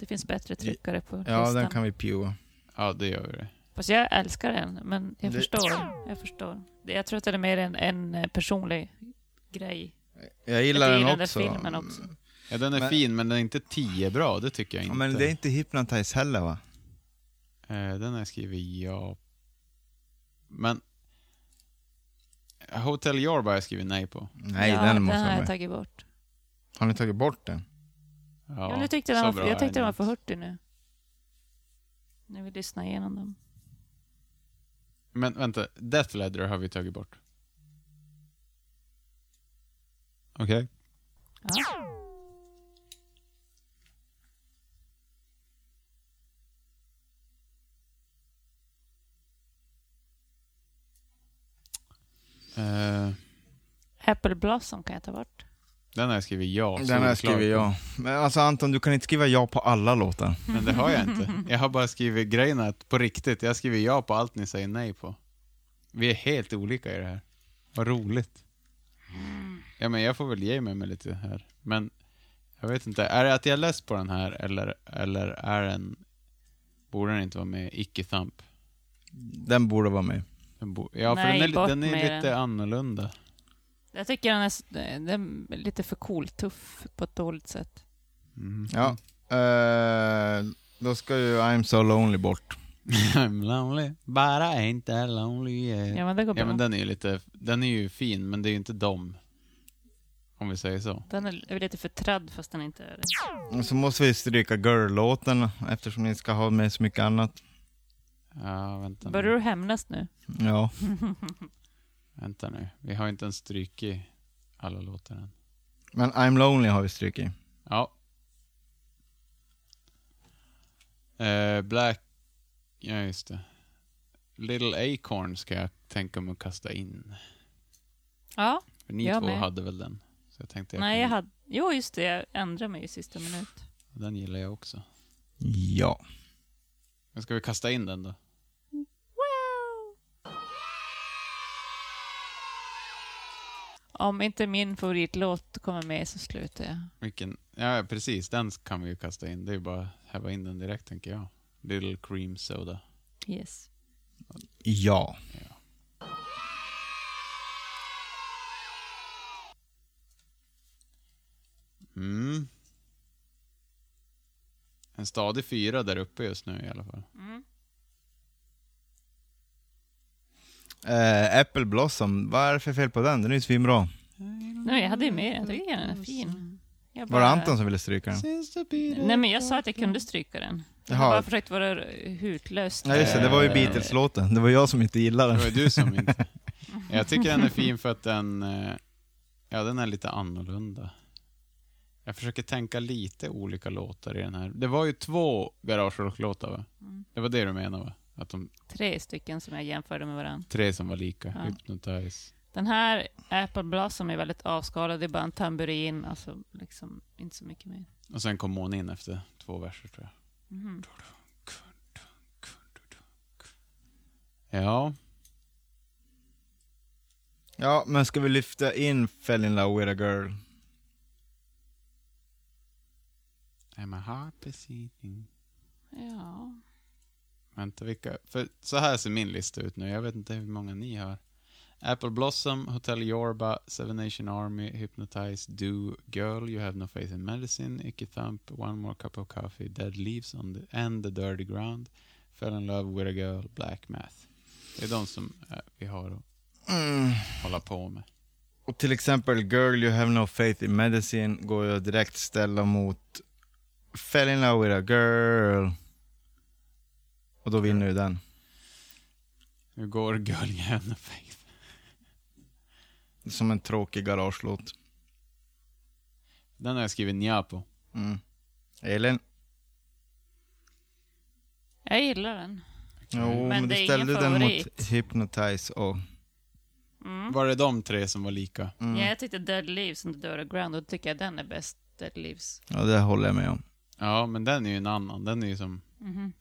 Speaker 3: Det finns bättre tryckare på
Speaker 1: Ja,
Speaker 3: listan.
Speaker 1: den kan vi pjoa.
Speaker 2: Ja, det gör vi det.
Speaker 3: Fast jag älskar den, men jag
Speaker 1: Det-
Speaker 3: förstår. Jag förstår. Det- Jag tror att det är mer en, en eh, personlig grej.
Speaker 1: Jag
Speaker 3: Jag
Speaker 1: gillar
Speaker 3: gillar
Speaker 1: den
Speaker 3: den
Speaker 1: också.
Speaker 3: filmen också.
Speaker 2: Ja, den är
Speaker 1: Men-
Speaker 2: fin, men den är inte tio bra, det tycker jag
Speaker 1: Ja,
Speaker 2: inte.
Speaker 1: Men det är inte Hypnotize heller va?
Speaker 2: Eh, den har jag skrivit ja. Men Hotel Yorba har jag skrivit nej på.
Speaker 1: Nej,
Speaker 3: ja,
Speaker 1: den måste
Speaker 3: har
Speaker 1: vara
Speaker 3: jag
Speaker 1: med.
Speaker 3: tagit bort.
Speaker 1: Har ni tagit bort den?
Speaker 2: Ja,
Speaker 3: Ja, men jag tyckte den
Speaker 2: så
Speaker 3: var,
Speaker 2: bra
Speaker 3: jag
Speaker 2: är
Speaker 3: tyckte den var
Speaker 2: inte.
Speaker 3: för hurtig nu. Nu vill lyssna igenom dem.
Speaker 2: Men vänta, Death Leather har vi tagit bort. Okej.
Speaker 3: Ja.
Speaker 2: Eh,
Speaker 3: Apple Blossom kan jag ta bort.
Speaker 2: den har jag skrivit ja.
Speaker 1: Den här
Speaker 2: solklart.
Speaker 1: skriver jag. Men alltså Anton, du kan inte skriva ja på alla låtar.
Speaker 2: Men det har jag inte. Jag har bara skrivit grejen är att på riktigt, jag skriver ja på allt ni säger nej på. Vi är helt olika i det här. Vad roligt. Ja, men jag får väl ge mig med lite här. Men jag vet inte, är det att jag läst på den här eller, eller är den... Borde den inte vara med icke-thump?
Speaker 1: Den borde vara med.
Speaker 2: Den bo, ja, för
Speaker 3: Nej,
Speaker 2: den är, li-
Speaker 3: bort
Speaker 2: den är
Speaker 3: med
Speaker 2: lite
Speaker 3: den.
Speaker 2: annorlunda.
Speaker 3: Jag tycker den är, s- eh, den är lite för cool, tuff på ett dåligt sätt.
Speaker 2: Mm.
Speaker 1: Ja. Eh, då ska ju I'm so lonely bort.
Speaker 2: I'm lonely, but I ain't that lonely yet.
Speaker 3: Ja, men det går bra.
Speaker 2: Ja men den är ju lite, den är ju fin men det är ju inte dem. Om vi säger så.
Speaker 3: Den är lite för tradd fast den inte är det.
Speaker 1: Och Så måste vi stryka girl-låten eftersom ni ska ha med så mycket annat.
Speaker 2: Ja vänta
Speaker 3: Börjar du
Speaker 2: nu.
Speaker 3: hämnas nu?
Speaker 1: Ja.
Speaker 2: Vänta nu. Vi har ju inte ens strykit alla låtar än.
Speaker 1: Men I'm lonely har vi strykit.
Speaker 2: Ja. Eh, Black, ja just det. Little Acorn ska jag tänka mig att kasta in.
Speaker 3: Ja.
Speaker 2: För ni
Speaker 3: Jag
Speaker 2: två
Speaker 3: med.
Speaker 2: hade väl den? Så jag tänkte
Speaker 3: Nej, jag
Speaker 2: kan-
Speaker 3: hade... Jo, just det. Jag ändrade mig i sista minut.
Speaker 2: Den gillar jag också.
Speaker 1: Ja.
Speaker 2: Men ska vi kasta in den då?
Speaker 3: Om inte min favoritlåt kommer med så slutar jag.
Speaker 2: Vilken? Ja, precis. Den kan vi ju kasta in. Det är ju bara att häva in den direkt, tänker jag. Little Cream Soda.
Speaker 3: Yes.
Speaker 1: Ja.
Speaker 2: Mm. En stadig fyra där uppe just nu i alla fall.
Speaker 1: Eh, Apple Blossom, vad är det för fel på den? Den är ju svinbra.
Speaker 3: Nej, jag hade ju med den. Jag tycker den är fin. Jag
Speaker 1: Var det Anton som ville stryka den?
Speaker 3: Nej, men jag sa att jag kunde stryka den. Jag har
Speaker 1: Jaha.
Speaker 3: bara försökt vara hutlös.
Speaker 1: Ja just det, det var ju
Speaker 2: Eh.
Speaker 1: Beatles-låten. Det var jag som inte gillade
Speaker 2: Det
Speaker 1: den.
Speaker 2: var ju du som inte... Jag tycker den är fin för att den... eh, Ja, den är lite annorlunda. Jag försöker tänka lite olika låtar i den här. Det var ju två Garage Rock-låtar, va?
Speaker 3: Mm.
Speaker 2: Det var det du menade, va? Att de
Speaker 3: Tre stycken som jag jämförde med varandra.
Speaker 2: tre som var lika.
Speaker 3: Ja.
Speaker 2: Hypnotize.
Speaker 3: Den här Apple Blossom är väldigt avskalad. Det är bara en tamburin. Alltså, liksom inte så mycket mer.
Speaker 2: Och sen kom Måne in efter två verser, tror jag.
Speaker 3: Mhm.
Speaker 2: Ja.
Speaker 1: Ja, men ska vi lyfta in Fell in love with a girl?
Speaker 2: I'm a heart beating.
Speaker 3: Ja.
Speaker 2: Vänta, vilka? För så här ser min lista ut nu. Jag vet inte hur många ni har. Apple Blossom, Hotel Yorba, Seven Nation Army, Hypnotize, Do, Girl, You Have No Faith in Medicine, Icky Thump, One More Cup of Coffee, Dead Leaves on the, and the Dirty Ground, Fell in Love with a Girl, Black Math. Det är de som eh, vi har att
Speaker 1: Mm.
Speaker 2: hålla på med.
Speaker 1: Och till exempel Girl You Have No Faith in Medicine går ju att direkt ställa mot Fell in love with a girl. Och då vinner ju den.
Speaker 2: Hur går Girl, You Have No Faith?
Speaker 1: Som en tråkig garagelåt.
Speaker 2: Den har jag skrivit nja på.
Speaker 1: Mm. Elin?
Speaker 3: Jag gillar den.
Speaker 1: Jo, men,
Speaker 3: Men det
Speaker 1: du
Speaker 3: är
Speaker 1: ställde
Speaker 3: ingen
Speaker 1: den mot
Speaker 3: favorit.
Speaker 1: Hypnotize och...
Speaker 3: Mm.
Speaker 2: Var det de tre som var lika?
Speaker 1: Mm.
Speaker 3: Ja, jag tyckte Dead Leaves and the Dirty Ground. Och då tycker jag den är bäst. Dead Leaves.
Speaker 1: Ja, det håller jag med om.
Speaker 2: Ja, men den är ju en annan. Den är ju som...
Speaker 3: Mhm.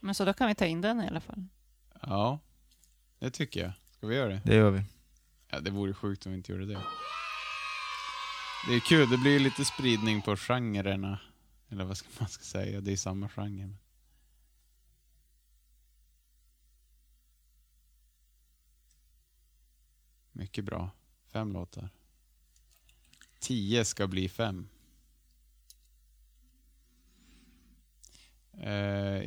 Speaker 3: Men så då kan vi ta in den i alla fall.
Speaker 2: Ja, det tycker jag. Ska vi göra det?
Speaker 1: Det gör vi.
Speaker 2: Ja, det vore sjukt om vi inte gjorde det. Det är kul, det blir ju lite spridning på genrerna. Eller vad ska man ska säga, det är samma genre. Mycket bra. Fem låtar. Tio ska bli fem. Eh,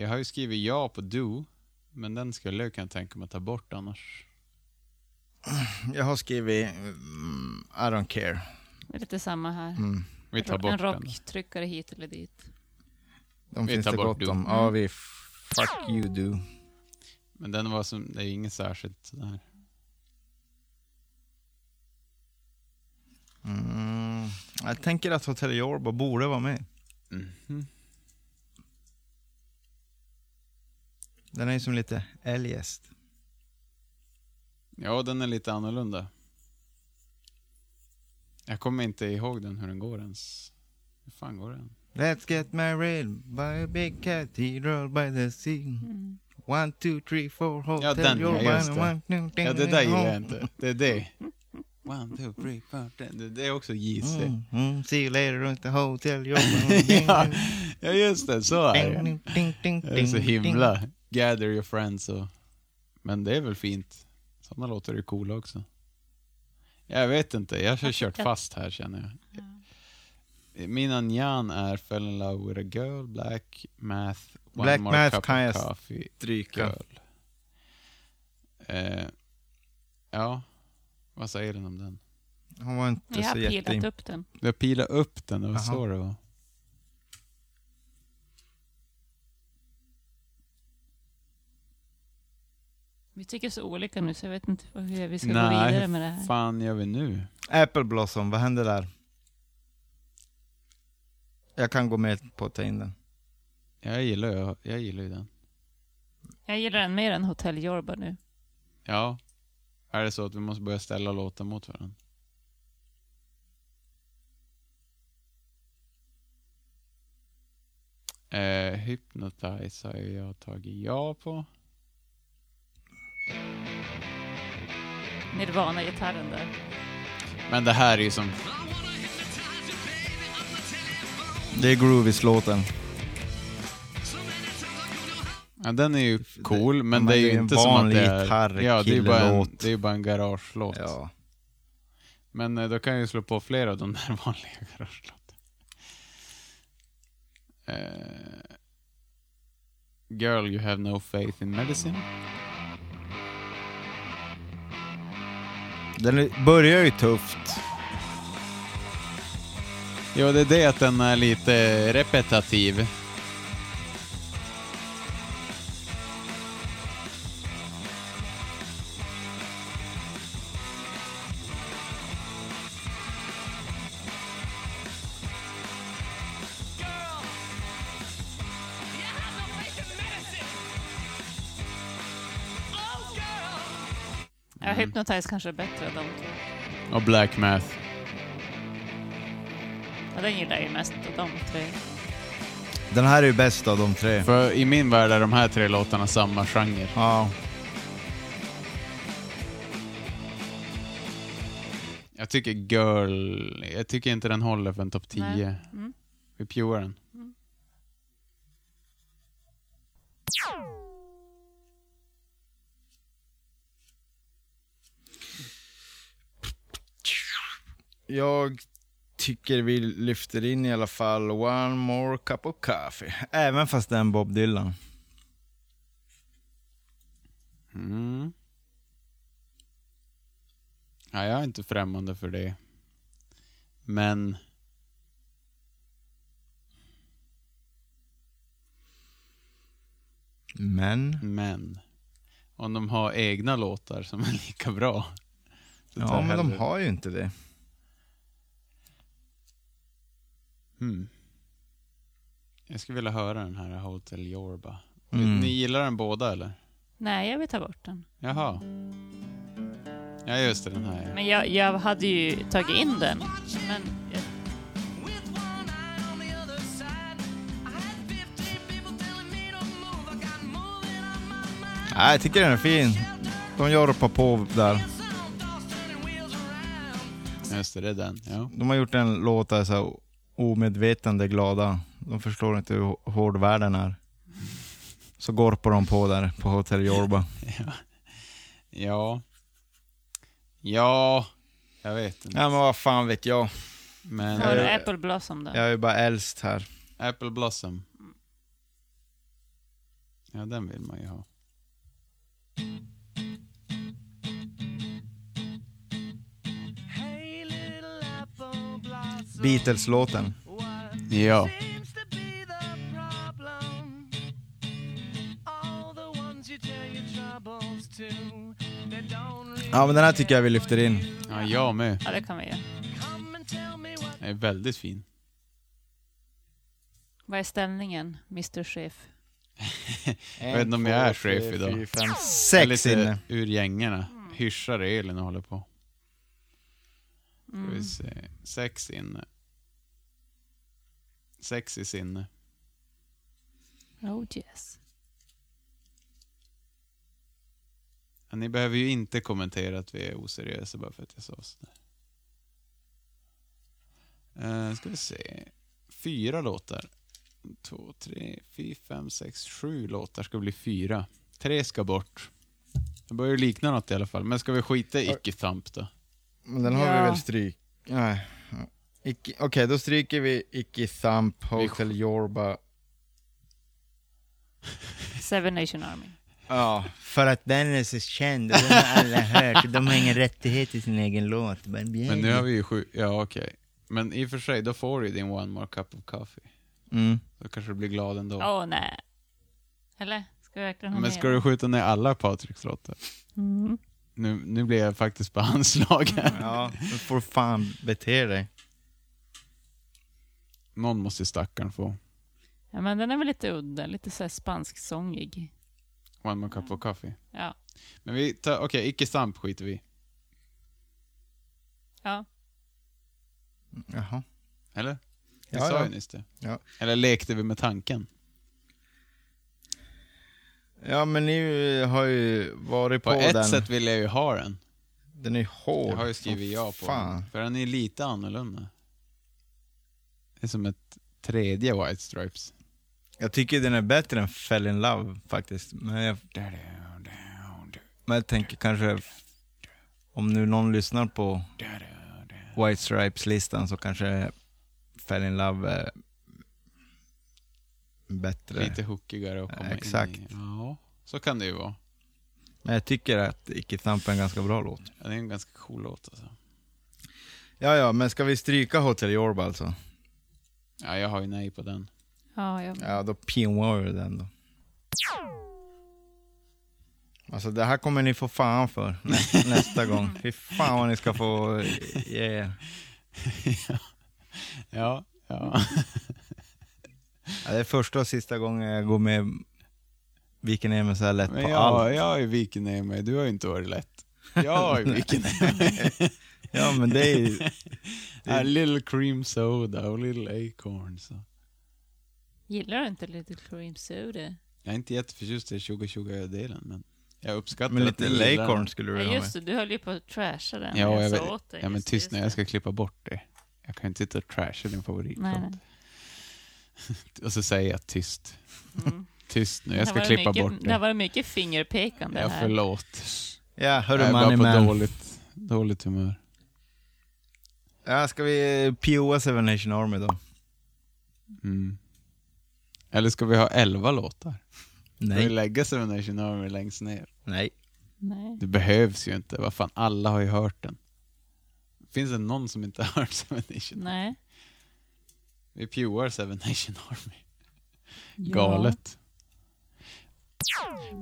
Speaker 2: jag har ju skrivit ja på Do, men den skulle jag kunna tänka mig att ta bort annars.
Speaker 1: Jag har skrivit mm, I don't care.
Speaker 3: Det är lite samma här.
Speaker 1: Mm.
Speaker 2: Vi tar bort
Speaker 3: en
Speaker 2: den. då.
Speaker 3: rocktryckare hit eller dit.
Speaker 1: De
Speaker 2: Vi
Speaker 1: finns
Speaker 2: tar
Speaker 1: det
Speaker 2: bort
Speaker 1: gott
Speaker 2: du.
Speaker 1: om. Ja, vi fuck you do.
Speaker 2: Men den var som, det är inget särskilt sådär.
Speaker 1: Mm. Jag tänker att Hotel Jorba borde vara med.
Speaker 2: Mhm.
Speaker 1: Den är ju som lite eljest.
Speaker 2: Ja, den är lite annorlunda. Jag kommer inte ihåg den, hur den går ens. Hur fan går den?
Speaker 1: Let's get married by a big cathedral by the sea.
Speaker 3: Mm.
Speaker 1: One, two, three, four, Hotel
Speaker 2: Ja, den, ja,
Speaker 1: Yorba.
Speaker 2: just det.
Speaker 1: One, two, three,
Speaker 2: Ja, det där gillar jag
Speaker 1: four.
Speaker 2: inte. Det är det. One, two, three, four, ten. Det- Det är också JC.
Speaker 1: Mm, mm. See you later at the Hotel Yorba.
Speaker 2: ja, ja, just det. Så är det.
Speaker 1: Ding, ding, ding,
Speaker 2: Det är så
Speaker 1: ding,
Speaker 2: himla. Gather your friends och... Men det är väl fint. Sådana låtar är coola också. Jag vet inte, jag har kört fast här känner jag. Mina njan är Fell in love with a girl, Black Math, One
Speaker 1: Black
Speaker 2: more
Speaker 1: Math
Speaker 2: cup
Speaker 1: kan
Speaker 2: of
Speaker 1: jag
Speaker 2: coffee,
Speaker 1: stryka.
Speaker 2: Girl. Eh, ja, vad säger den om den?
Speaker 1: Han var inte
Speaker 3: Jag har
Speaker 1: så
Speaker 3: pilat
Speaker 1: jätte...
Speaker 3: upp den.
Speaker 2: Jag pilade upp den, det var så
Speaker 1: Jaha.
Speaker 2: det var.
Speaker 3: Vi tycker så olika nu så jag vet inte hur vi ska gå
Speaker 2: Nej,
Speaker 3: vidare med det här.
Speaker 2: hur fan gör vi nu?
Speaker 1: Apple Blossom, vad hände där? Jag kan gå med på att ta in den.
Speaker 2: Jag gillar, jag, jag gillar ju den.
Speaker 3: Jag gillar den mer än Hotel Jorba nu.
Speaker 2: Ja. Är det så att vi måste börja ställa låtar mot varandra? Eh, Hypnotize har jag tagit ja på.
Speaker 3: Nirvana-gitarren där.
Speaker 2: Men det här är ju som...
Speaker 1: Det är Groovies-låten.
Speaker 2: Ja, den är ju cool, men,
Speaker 1: men
Speaker 2: det är
Speaker 1: det
Speaker 2: ju
Speaker 1: är en
Speaker 2: inte som att
Speaker 1: vanlig
Speaker 2: det är...
Speaker 1: gitarr-
Speaker 2: Ja, det är ju bara en,
Speaker 1: killelåt.
Speaker 2: det är ju bara en garagelåt.
Speaker 1: Ja.
Speaker 2: Men eh, då kan jag ju slå på flera av de där vanliga garagelåtarna. Eh, Girl, you have no faith in medicine.
Speaker 1: Den börjar ju tufft.
Speaker 2: Ja, det är det att den är lite repetitiv. Mm.
Speaker 3: Ja, Hypnotize kanske är bättre än de två.
Speaker 2: Och Black Math.
Speaker 3: Ja, den gillar jag ju mest av de tre.
Speaker 1: Den här är ju bäst av de tre.
Speaker 2: För i min värld är de här tre låtarna samma genre.
Speaker 1: Ja.
Speaker 2: Jag tycker Girl... Jag tycker inte den håller för en topp 10.
Speaker 3: Nej. Mm.
Speaker 2: Vi pure den.
Speaker 1: Jag tycker vi lyfter in i alla fall One More Cup of Coffee. Även fast det är en Bob Dylan.
Speaker 2: Mm. Ja, jag är inte främmande för det. Men...
Speaker 1: Men...
Speaker 2: Men... Om de har egna låtar som är lika bra. så tar
Speaker 1: Ja,
Speaker 2: jag
Speaker 1: men de
Speaker 2: hellre-
Speaker 1: har ju inte det.
Speaker 2: Mm.
Speaker 1: Hmm.
Speaker 2: Jag skulle vilja höra den här Hotel Yorba.
Speaker 1: Mm.
Speaker 2: Ni gillar den båda eller?
Speaker 3: Nej, jag vill ta bort den.
Speaker 2: Jaha. Ja just det, den här. ja.
Speaker 3: Men jag, jag hade ju tagit in den. Men jag,
Speaker 1: Nej, jag tycker den är fin. De jorpar på där.
Speaker 2: Just det, det är den. Ja.
Speaker 1: De har gjort en låt där så här, omedvetande glada. De förstår inte hur hård världen är. Så gorpar de på där på Hotel Jorba.
Speaker 2: Ja. Ja. Jag vet inte.
Speaker 1: Ja men vad fan vet jag.
Speaker 2: Men eh,
Speaker 3: har du Apple Blossom där?
Speaker 1: Jag är ju bara äldst här.
Speaker 2: Apple Blossom. Ja, den vill man ju ha.
Speaker 1: Beatles-låten.
Speaker 2: Ja.
Speaker 7: Seems to be the problem.
Speaker 1: Ja men den här tycker jag vi lyfter in.
Speaker 2: Ja, jag med.
Speaker 3: Ja, det kan vi göra.
Speaker 2: Den är väldigt fin.
Speaker 3: Vad är ställningen, Mr Chef?
Speaker 2: Jag vet inte om jag är chef idag. Jag är
Speaker 1: Sex
Speaker 2: lite
Speaker 1: inne.
Speaker 2: ur gängerna. Hyschar elen och håller på. Ska vi se. Sex inne. Sex i sinne.
Speaker 3: Oh yes.
Speaker 2: Ja, Ni behöver ju inte kommentera att vi är oseriösa bara för att jag sa sådär. Uh, ska vi se. Fyra låtar. Två, tre, fyra, fem, sex, sju låtar ska bli fyra. Tre ska bort. Det börjar ju likna något i alla fall. Men ska vi skita i Icke Thump då?
Speaker 1: Men den har
Speaker 3: Ja.
Speaker 1: vi väl stryk... Nej. Icke- Okej, då stryker vi Icky Thump, Hotel Yorba.
Speaker 3: Seven Nation Army.
Speaker 1: Ja, för att den är så känd, den har alla hört. De har ingen rättighet till sin egen låt.
Speaker 2: Men nu har vi ju sju... Ja, okej. Men i och för sig, då får du ju din One More Cup of Coffee.
Speaker 1: Mm.
Speaker 2: Då kanske du blir glad ändå.
Speaker 3: Åh nej. Eller? Ska vi verkligen ha
Speaker 2: Men
Speaker 3: med
Speaker 2: ska
Speaker 3: den?
Speaker 2: du skjuta ner alla Patriks låtar? Nu, nu blir jag faktiskt på hans lag här.
Speaker 1: Ja, men får fan bete dig.
Speaker 2: Någon måste ju stackaren få.
Speaker 3: Ja, men den är väl lite udda, lite så här spansksångig.
Speaker 2: One more cup of coffee.
Speaker 3: Ja.
Speaker 2: Men vi tar, okej, icke stamp skiter vi i.
Speaker 3: ja.
Speaker 1: Jaha.
Speaker 2: Eller? Vi
Speaker 1: Ja,
Speaker 2: sa
Speaker 1: ja.
Speaker 2: ju nyss det.
Speaker 1: Ja.
Speaker 2: Eller lekte vi med tanken?
Speaker 1: Ja, men ni har ju varit på,
Speaker 2: På, ett
Speaker 1: den.
Speaker 2: sätt vill jag ju ha den.
Speaker 1: Den är hård.
Speaker 2: Jag har ju skrivit
Speaker 1: som
Speaker 2: ja på
Speaker 1: fan.
Speaker 2: den. För den är lite annorlunda. Det är som ett tredje White Stripes.
Speaker 1: Jag tycker den är bättre än Fell in Love faktiskt. Men jag, men jag tänker kanske, om nu någon lyssnar på White Stripes-listan så kanske Fell in Love är bättre.
Speaker 2: Lite hookigare att komma
Speaker 1: Exakt.
Speaker 2: in i. Ja, så kan det ju vara.
Speaker 1: Men jag tycker att Icke Thump är en ganska bra låt.
Speaker 2: Ja, Det är en ganska cool låt alltså.
Speaker 1: Ja, ja, men ska vi stryka Hotel Yorba alltså?
Speaker 2: Ja, jag har ju nej på den.
Speaker 3: Ja, jag...
Speaker 1: Ja, då pinwar vi den då. Alltså det här kommer ni få fan för nä- nästa gång. Fy fan vad ni ska få ge er.
Speaker 2: Ja, ja.
Speaker 1: Ja, det är första och sista gången jag går med viker ner mig så här lätt på
Speaker 2: Men
Speaker 1: allt.
Speaker 2: jag, jag har ju vikit ner mig. Du har ju inte varit lätt. Jag har ju vikit ner mig.
Speaker 1: Ja, men det är ju...
Speaker 2: A little cream soda och little acorn. Så.
Speaker 3: Gillar du inte Little Cream Soda?
Speaker 2: Jag är inte jätteförtjust i 2020-delen, men jag uppskattar
Speaker 1: Men
Speaker 2: att ni
Speaker 1: lite
Speaker 2: gillar
Speaker 1: Lacorn
Speaker 2: den.
Speaker 1: skulle du
Speaker 3: Ja,
Speaker 1: vilja ha med.
Speaker 3: just det, du höll ju på att trasha den.
Speaker 2: Ja, jag
Speaker 3: sa
Speaker 2: vet.
Speaker 3: åt dig,
Speaker 2: Ja, men
Speaker 3: just det,
Speaker 2: tyst när
Speaker 3: just
Speaker 2: jag
Speaker 3: det.
Speaker 2: ska klippa bort det. Jag kan ju inte sitta och trasha din
Speaker 3: Nej,
Speaker 2: favoritlåt.
Speaker 3: nej.
Speaker 2: Och så säger jag tyst. Tyst nu,
Speaker 3: Där
Speaker 2: jag ska
Speaker 3: var Mm. det
Speaker 2: klippa
Speaker 3: mycket,
Speaker 2: bort
Speaker 3: Där
Speaker 2: det.
Speaker 3: var det mycket fingerpekande
Speaker 2: Ja,
Speaker 3: här.
Speaker 2: förlåt.
Speaker 1: Ja,
Speaker 2: Jag
Speaker 1: hörru
Speaker 2: är bara
Speaker 1: Money
Speaker 2: på
Speaker 1: Man.
Speaker 2: dåligt, dåligt humör.
Speaker 1: Ja, ska vi POA Seven Nation Army då?
Speaker 2: Mm. Eller ska vi ha elva låtar? Ska vi
Speaker 1: Nej.
Speaker 2: lägga Seven Nation Army längst ner?
Speaker 1: Nej.
Speaker 3: Nej.
Speaker 2: Det behövs ju inte. Vad fan, alla har ju hört den. Finns det någon som inte har hört Seven Nation?
Speaker 3: Nej.
Speaker 2: Vi pjuar Seven Nation Army. Galet.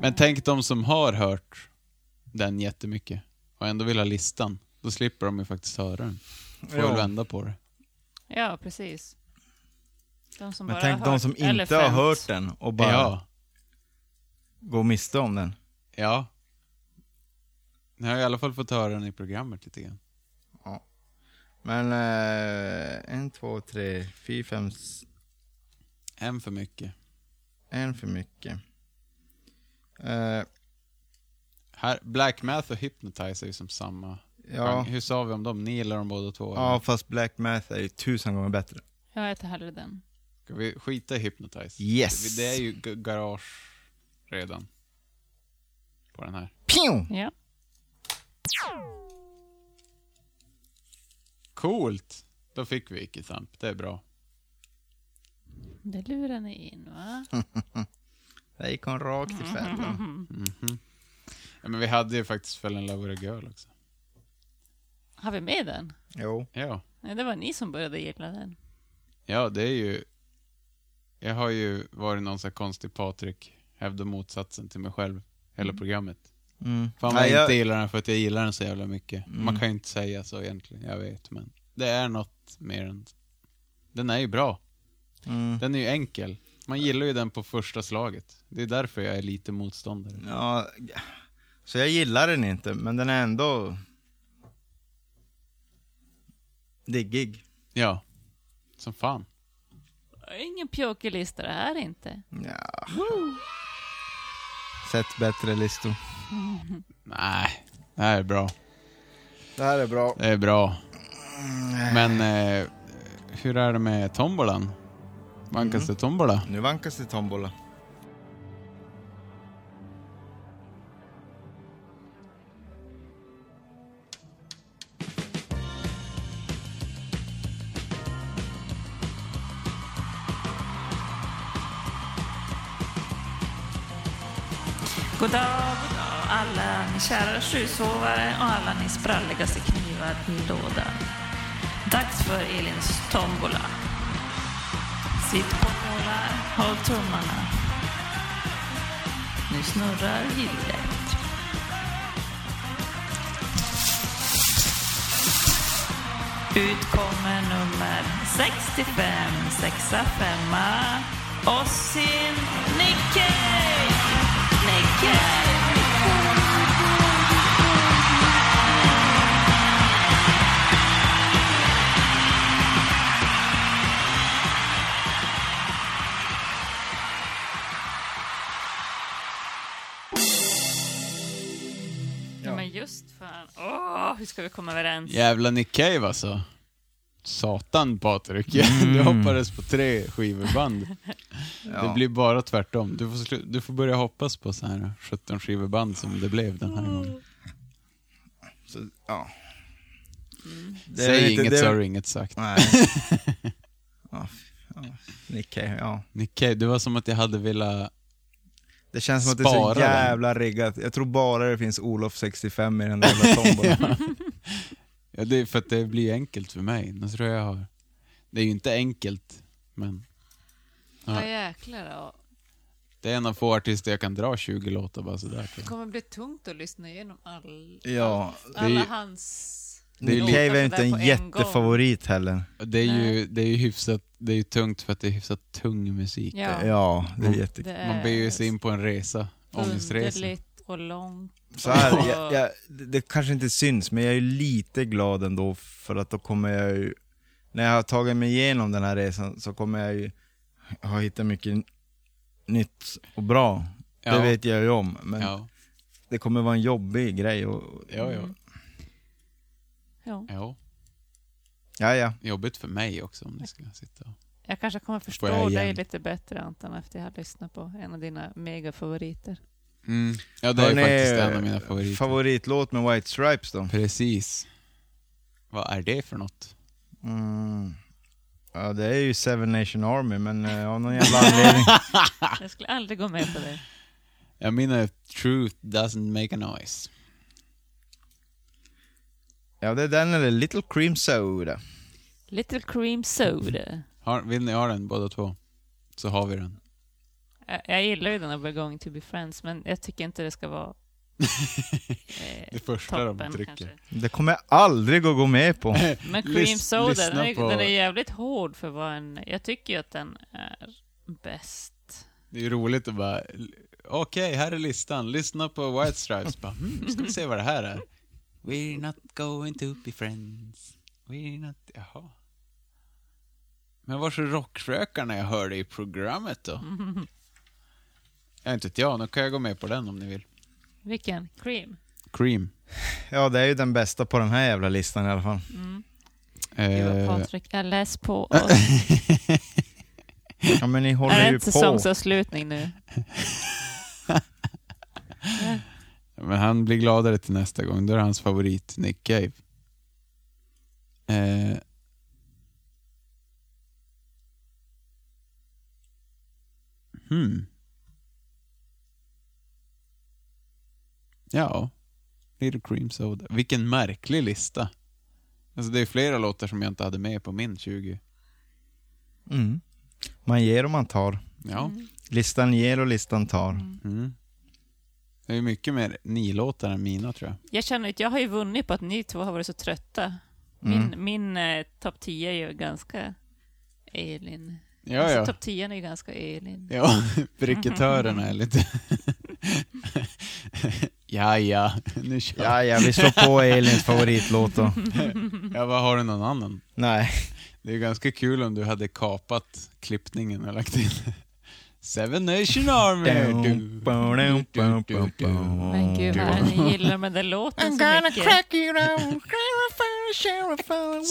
Speaker 2: Men tänk de som har hört den jättemycket och ändå vill ha listan. Då slipper de ju faktiskt höra den. Får väl
Speaker 1: Ja.
Speaker 2: vända på det.
Speaker 3: Ja, precis. De som
Speaker 1: Men
Speaker 3: bara
Speaker 1: tänk
Speaker 3: har
Speaker 1: de
Speaker 3: hört
Speaker 1: som inte har
Speaker 3: Elephant.
Speaker 1: hört den och bara
Speaker 2: Ja,
Speaker 1: går miste om den.
Speaker 2: ja. Ni har i alla fall fått höra den i programmet lite grann.
Speaker 1: Men eh, en, två, tre, fyra, fem, s-
Speaker 2: En för mycket.
Speaker 1: en för mycket. Eh,
Speaker 2: Här, Black Math och Hypnotize är ju som samma.
Speaker 1: ja,
Speaker 2: Hur sa vi om dem? Ni gillar dem båda två?
Speaker 1: ja, fast Black Math är ju tusen gånger bättre.
Speaker 3: Jag äter hellre den.
Speaker 2: Ska vi skita i Hypnotize?
Speaker 1: Yes.
Speaker 2: Det är ju g- garage redan. På den här.
Speaker 1: Pew!
Speaker 3: Ja.
Speaker 2: Coolt! Då fick vi Icke Thump. Det är bra.
Speaker 3: Det lurar ni in, va?
Speaker 1: Där gick hon rakt i fällan.
Speaker 2: Ja, men vi hade ju faktiskt Fell in Love with a Girl också.
Speaker 3: Har vi med den?
Speaker 1: Jo.
Speaker 2: Ja.
Speaker 3: Nej, det var ni som började gilla den.
Speaker 2: Ja, det är ju... Jag har ju varit någon sån här konstig Patrik. Hävdar motsatsen till mig själv. Hela programmet.
Speaker 1: Mm.
Speaker 2: Fan vad
Speaker 1: Nej,
Speaker 2: jag
Speaker 1: jag-
Speaker 2: inte gillar den för att jag gillar den så jävla mycket.
Speaker 1: Mm.
Speaker 2: Man kan ju inte säga så egentligen, jag vet. Men det är något mer än... Den är ju bra.
Speaker 1: Mm.
Speaker 2: Den är ju enkel. Man gillar ju den på första slaget. Det är därför jag är lite motståndare.
Speaker 1: Ja, så jag gillar den inte, men den är ändå... Diggig.
Speaker 2: Ja. Som fan.
Speaker 3: Ingen pjåkig lista det här inte.
Speaker 1: Ja. Sett bättre listor.
Speaker 2: Nej, det här är bra.
Speaker 1: Det här är bra.
Speaker 2: Det är bra.
Speaker 1: Mm.
Speaker 2: Men eh, hur är det med tombolan? Vankas
Speaker 1: Mm.
Speaker 2: det tombola?
Speaker 1: Nu vankas det tombola.
Speaker 14: God dag, god dag alla ni kära sjusovare och alla ni spralligaste knivar i lådan. Dags för Elins tombola. Sitt på nålar, håll tummarna. Nu snurrar hjulet. Ut kommer nummer 65, sexa, femma. Ossin Nikkei! Nikkei! Ja. Men just fan. Åh, hur ska vi komma överens?
Speaker 2: Jävla Nick Cave alltså. Satan Patrik,
Speaker 1: Mm.
Speaker 2: du hoppades på tre skivband. Det blir bara tvärtom. Du får, slu- du får börja hoppas på så här 17 skivband som det blev den här gången.
Speaker 1: Så, ja. Det är
Speaker 2: Säg
Speaker 1: inte-
Speaker 2: inget
Speaker 1: det är-
Speaker 2: så har du inget sagt.
Speaker 1: Nej. ja, f- ja. Nick Cave, ja.
Speaker 2: Nick Cave, det var som att jag hade velat...
Speaker 1: Det känns som att det är
Speaker 2: Spara
Speaker 1: så
Speaker 2: den.
Speaker 1: jävla riggat. Jag tror bara det finns Olof 65 i den där jävla tombolan.
Speaker 2: Ja, det är för att det blir enkelt för mig. Nu tror jag jag har... Det är ju inte enkelt, men
Speaker 3: Ja jäklar. ja.
Speaker 2: det är en av få artister jag kan dra 20 låtar bara sådär till.
Speaker 3: Det kommer bli tungt att lyssna igenom all,
Speaker 1: ja.
Speaker 2: är ju-
Speaker 3: alla hans...
Speaker 1: Nick
Speaker 3: låtar
Speaker 1: Cave är
Speaker 3: sådär
Speaker 1: inte
Speaker 3: på
Speaker 1: en
Speaker 3: gång.
Speaker 1: jättefavorit heller.
Speaker 2: Det är ju, det är ju hyfsat... Det är ju tungt för att det är hyfsat tung musik.
Speaker 3: Ja,
Speaker 1: Ja, det är
Speaker 2: Mm.
Speaker 1: jättekul.
Speaker 3: det
Speaker 2: eh, Man
Speaker 3: är
Speaker 2: beger sig in på en resa. Ångestresa.
Speaker 3: underligt och långt.
Speaker 1: Så här,
Speaker 3: och-
Speaker 1: jag, jag, det det kanske inte syns, men jag är lite glad ändå för att då kommer jag ju, när jag har tagit mig igenom den här resan så kommer jag ju ha hittat mycket nytt och bra.
Speaker 2: Ja.
Speaker 1: Det vet jag ju om, men
Speaker 2: Ja,
Speaker 1: det kommer vara en jobbig grej. Och,
Speaker 2: ja, ja.
Speaker 3: Ja.
Speaker 2: ja.
Speaker 1: ja, ja.
Speaker 2: Jobbigt för mig också om det ska sitta och...
Speaker 3: Jag kanske kommer förstå
Speaker 2: jag igen.
Speaker 3: dig lite bättre Anton efter jag har lyssnat på en av dina megafavoriter.
Speaker 2: Ja, det är
Speaker 1: Hörrni,
Speaker 2: faktiskt en av mina favoriter.
Speaker 1: favoritlåt med White Stripes då?
Speaker 2: Precis. Vad är det för något?
Speaker 1: Mm. Ja, det är ju Seven Nation Army, men eh, av någon jävla anledning.
Speaker 2: Ah.
Speaker 3: Jag skulle aldrig gå med på det.
Speaker 2: Jag menar Truth doesn't make a noise.
Speaker 1: Ja, det är den eller Little uh, Cream Soda.
Speaker 3: Little Cream Soda.
Speaker 2: Har, vill ni ha den båda två? Så har vi den.
Speaker 3: Jag, jag gillar ju den här We're going to be friends, men jag tycker inte det ska vara eh,
Speaker 2: Det första de
Speaker 3: toppen
Speaker 2: trycker.
Speaker 3: kanske.
Speaker 1: Det kommer jag aldrig att gå med på.
Speaker 3: Men Cream
Speaker 2: Lys-
Speaker 3: Soda,
Speaker 2: lyssna
Speaker 3: den är,
Speaker 2: på-
Speaker 3: den är jävligt hård för vad en... Jag tycker ju att den är bäst.
Speaker 2: Det är ju roligt att bara... Okej, här är listan. Lyssna på White Stripes. bara, hmm, ska vi se vad det här är. We're not going to be friends. We're not... Jaha. Men var så rockrökarna jag hörde i programmet då? Jag inte vet jag, nu kan jag gå med på den om ni vill.
Speaker 3: Vilken? Cream?
Speaker 2: Cream.
Speaker 1: Ja, det är ju den bästa på den här jävla listan i alla fall.
Speaker 3: Gud vad
Speaker 2: Eh,
Speaker 3: Patrik, jag läs på oss.
Speaker 1: Ja, men ni håller
Speaker 3: är det
Speaker 1: ju
Speaker 3: inte
Speaker 1: på.
Speaker 3: säsongsavslutning nu?
Speaker 2: men han blir gladare till nästa gång. Då är det hans favorit, Nick Cave. Eh, hmm. Ja, Little Cream Soda. Vilken märklig lista. Alltså det är flera låtar som jag inte hade med på min 20.
Speaker 1: Mm. Man ger och man tar.
Speaker 3: Mm.
Speaker 2: Ja.
Speaker 1: Listan ger och listan tar.
Speaker 2: Mm. Det är mycket mer ni-låtar än mina tror jag.
Speaker 3: Jag känner att jag har ju vunnit på att ni två har varit så trötta. Min,
Speaker 2: Mm.
Speaker 3: min eh, topp 10 är ju ganska Elin.
Speaker 2: Ja,
Speaker 3: alltså,
Speaker 2: ja.
Speaker 3: Topp 10 är ju ganska Elin.
Speaker 2: Ja, briketörerna är lite... ja, ja, nu kör
Speaker 1: Ja, ja, vi slår på Elins favoritlåt då.
Speaker 2: Ja, vad har du någon annan?
Speaker 1: Nej.
Speaker 2: Det är ganska kul om du hade kapat klippningen och lagt in Seven Nation Army. Du- du- du- du- du.
Speaker 3: Men gud vad är det ni gillar med den låten så mycket.
Speaker 4: you down, clarify, sheriff,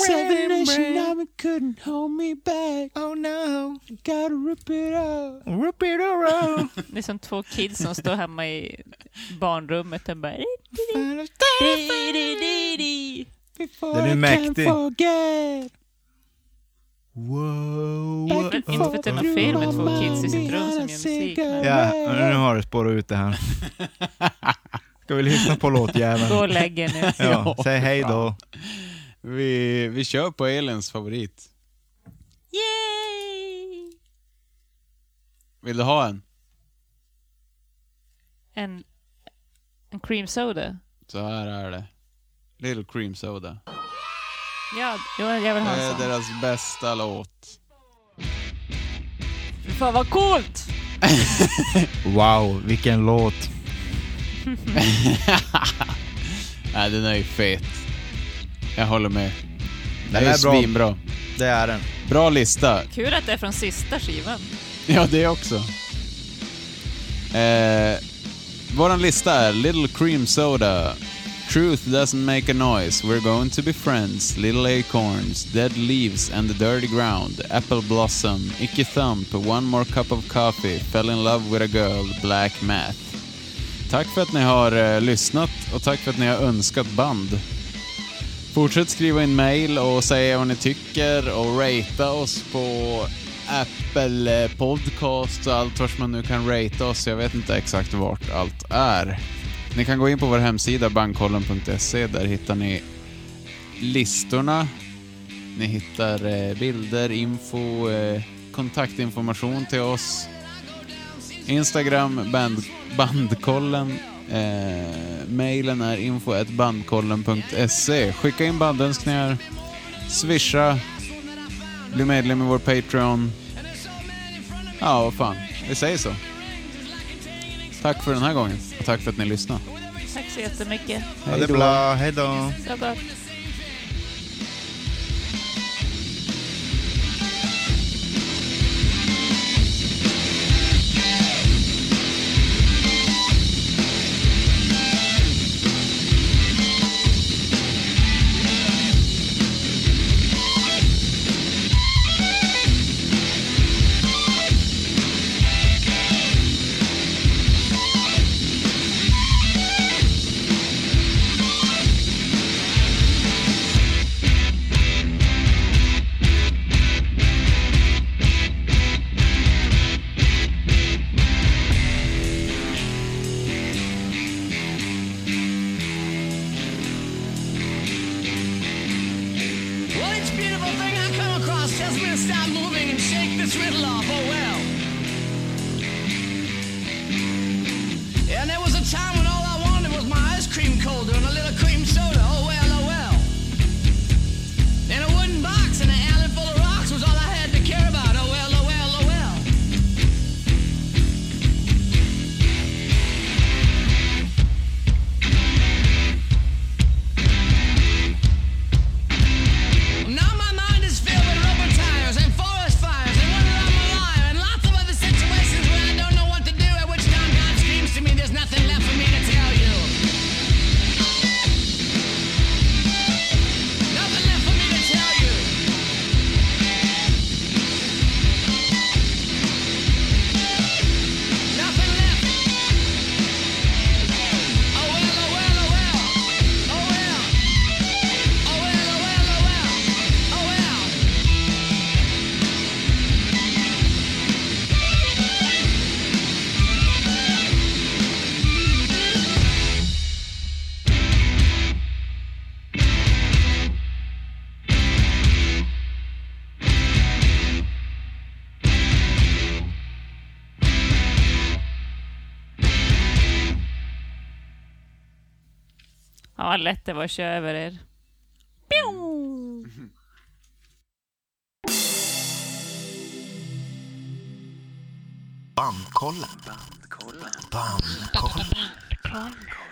Speaker 2: Seven Nation Army couldn't hold me back.
Speaker 4: Oh no,
Speaker 2: I gotta rip it up.
Speaker 1: Rip it around.
Speaker 3: Det är som två kids som står hemma i barnrummet och bara...
Speaker 2: Before
Speaker 1: Den är
Speaker 2: I
Speaker 1: mäktig.
Speaker 2: can forget.
Speaker 1: Wow.
Speaker 3: Inte för att
Speaker 1: typ
Speaker 3: det är något fel med två kids i sitt rum som gör musik. men-
Speaker 1: Ja, nu har det spårat ut det här. Ska vi lyssna på
Speaker 3: Gå och
Speaker 1: låtjäveln?
Speaker 3: lägg er nu.
Speaker 1: Ja, säg hej då.
Speaker 2: Vi, vi kör på Elins favorit.
Speaker 3: Yay!
Speaker 2: Vill du ha en?
Speaker 3: En, en cream soda.
Speaker 2: Så här är det. Little Cream Soda.
Speaker 3: Ja, jag jag vill
Speaker 2: Det
Speaker 3: ha en
Speaker 2: är
Speaker 4: Alltså.
Speaker 3: sån.
Speaker 2: deras bästa låt.
Speaker 3: Fy Fan vad coolt!
Speaker 1: Wow, vilken låt.
Speaker 2: Nej, den är ju fet. Jag håller med. Den
Speaker 1: är
Speaker 2: är,
Speaker 1: bra.
Speaker 2: svinbra.
Speaker 1: Det är den.
Speaker 2: Bra lista.
Speaker 3: Kul att det är från sista skivan.
Speaker 2: Ja, det också. Eh, våran lista är Little Cream Soda, Truth Doesn't Make a Noise, We're Going to Be Friends, Little Acorns, Dead Leaves and the Dirty Ground, Apple Blossom, Icky Thump, One More Cup of Coffee, Fell in Love with a Girl, Black Math. Tack för att ni har eh, lyssnat och tack för att ni har önskat band. Fortsätt skriva in mail och säga vad ni tycker och ratea oss på Apple eh, Podcast och allt vart man nu kan ratea oss. Jag vet inte exakt vart allt är. Ni kan gå in på vår hemsida bankkollen.se. Där hittar ni listorna. Ni hittar eh, bilder, info, eh, kontaktinformation till oss. Instagram, band, bandkollen. Eh, mailen är info.bandkollen.se. Skicka in bandönskningar. Swisha. Bli medlem i vår Patreon. Ja, vad fan. Vi säger så. Tack för den här gången. Och tack för att ni lyssnade.
Speaker 3: Tack så jättemycket.
Speaker 1: Ha det bra, hej då.
Speaker 3: Så gott.
Speaker 4: Well, each beautiful thing I come across tells me to stop moving and shake this riddle off. Oh well. And there was a time when all I wanted was my ice cream colder and a little cream soda. Oh well, oh well. And a wooden box and an alley full of rocks was all I had to care about. Oh well, oh well, oh well. Now my mind is filled with rubber tires and forest fires and whether I'm alive and
Speaker 3: Ja, lätt det var att köra över er. Pjong!
Speaker 15: Bandkollen. Bandkollen. Bandkollen.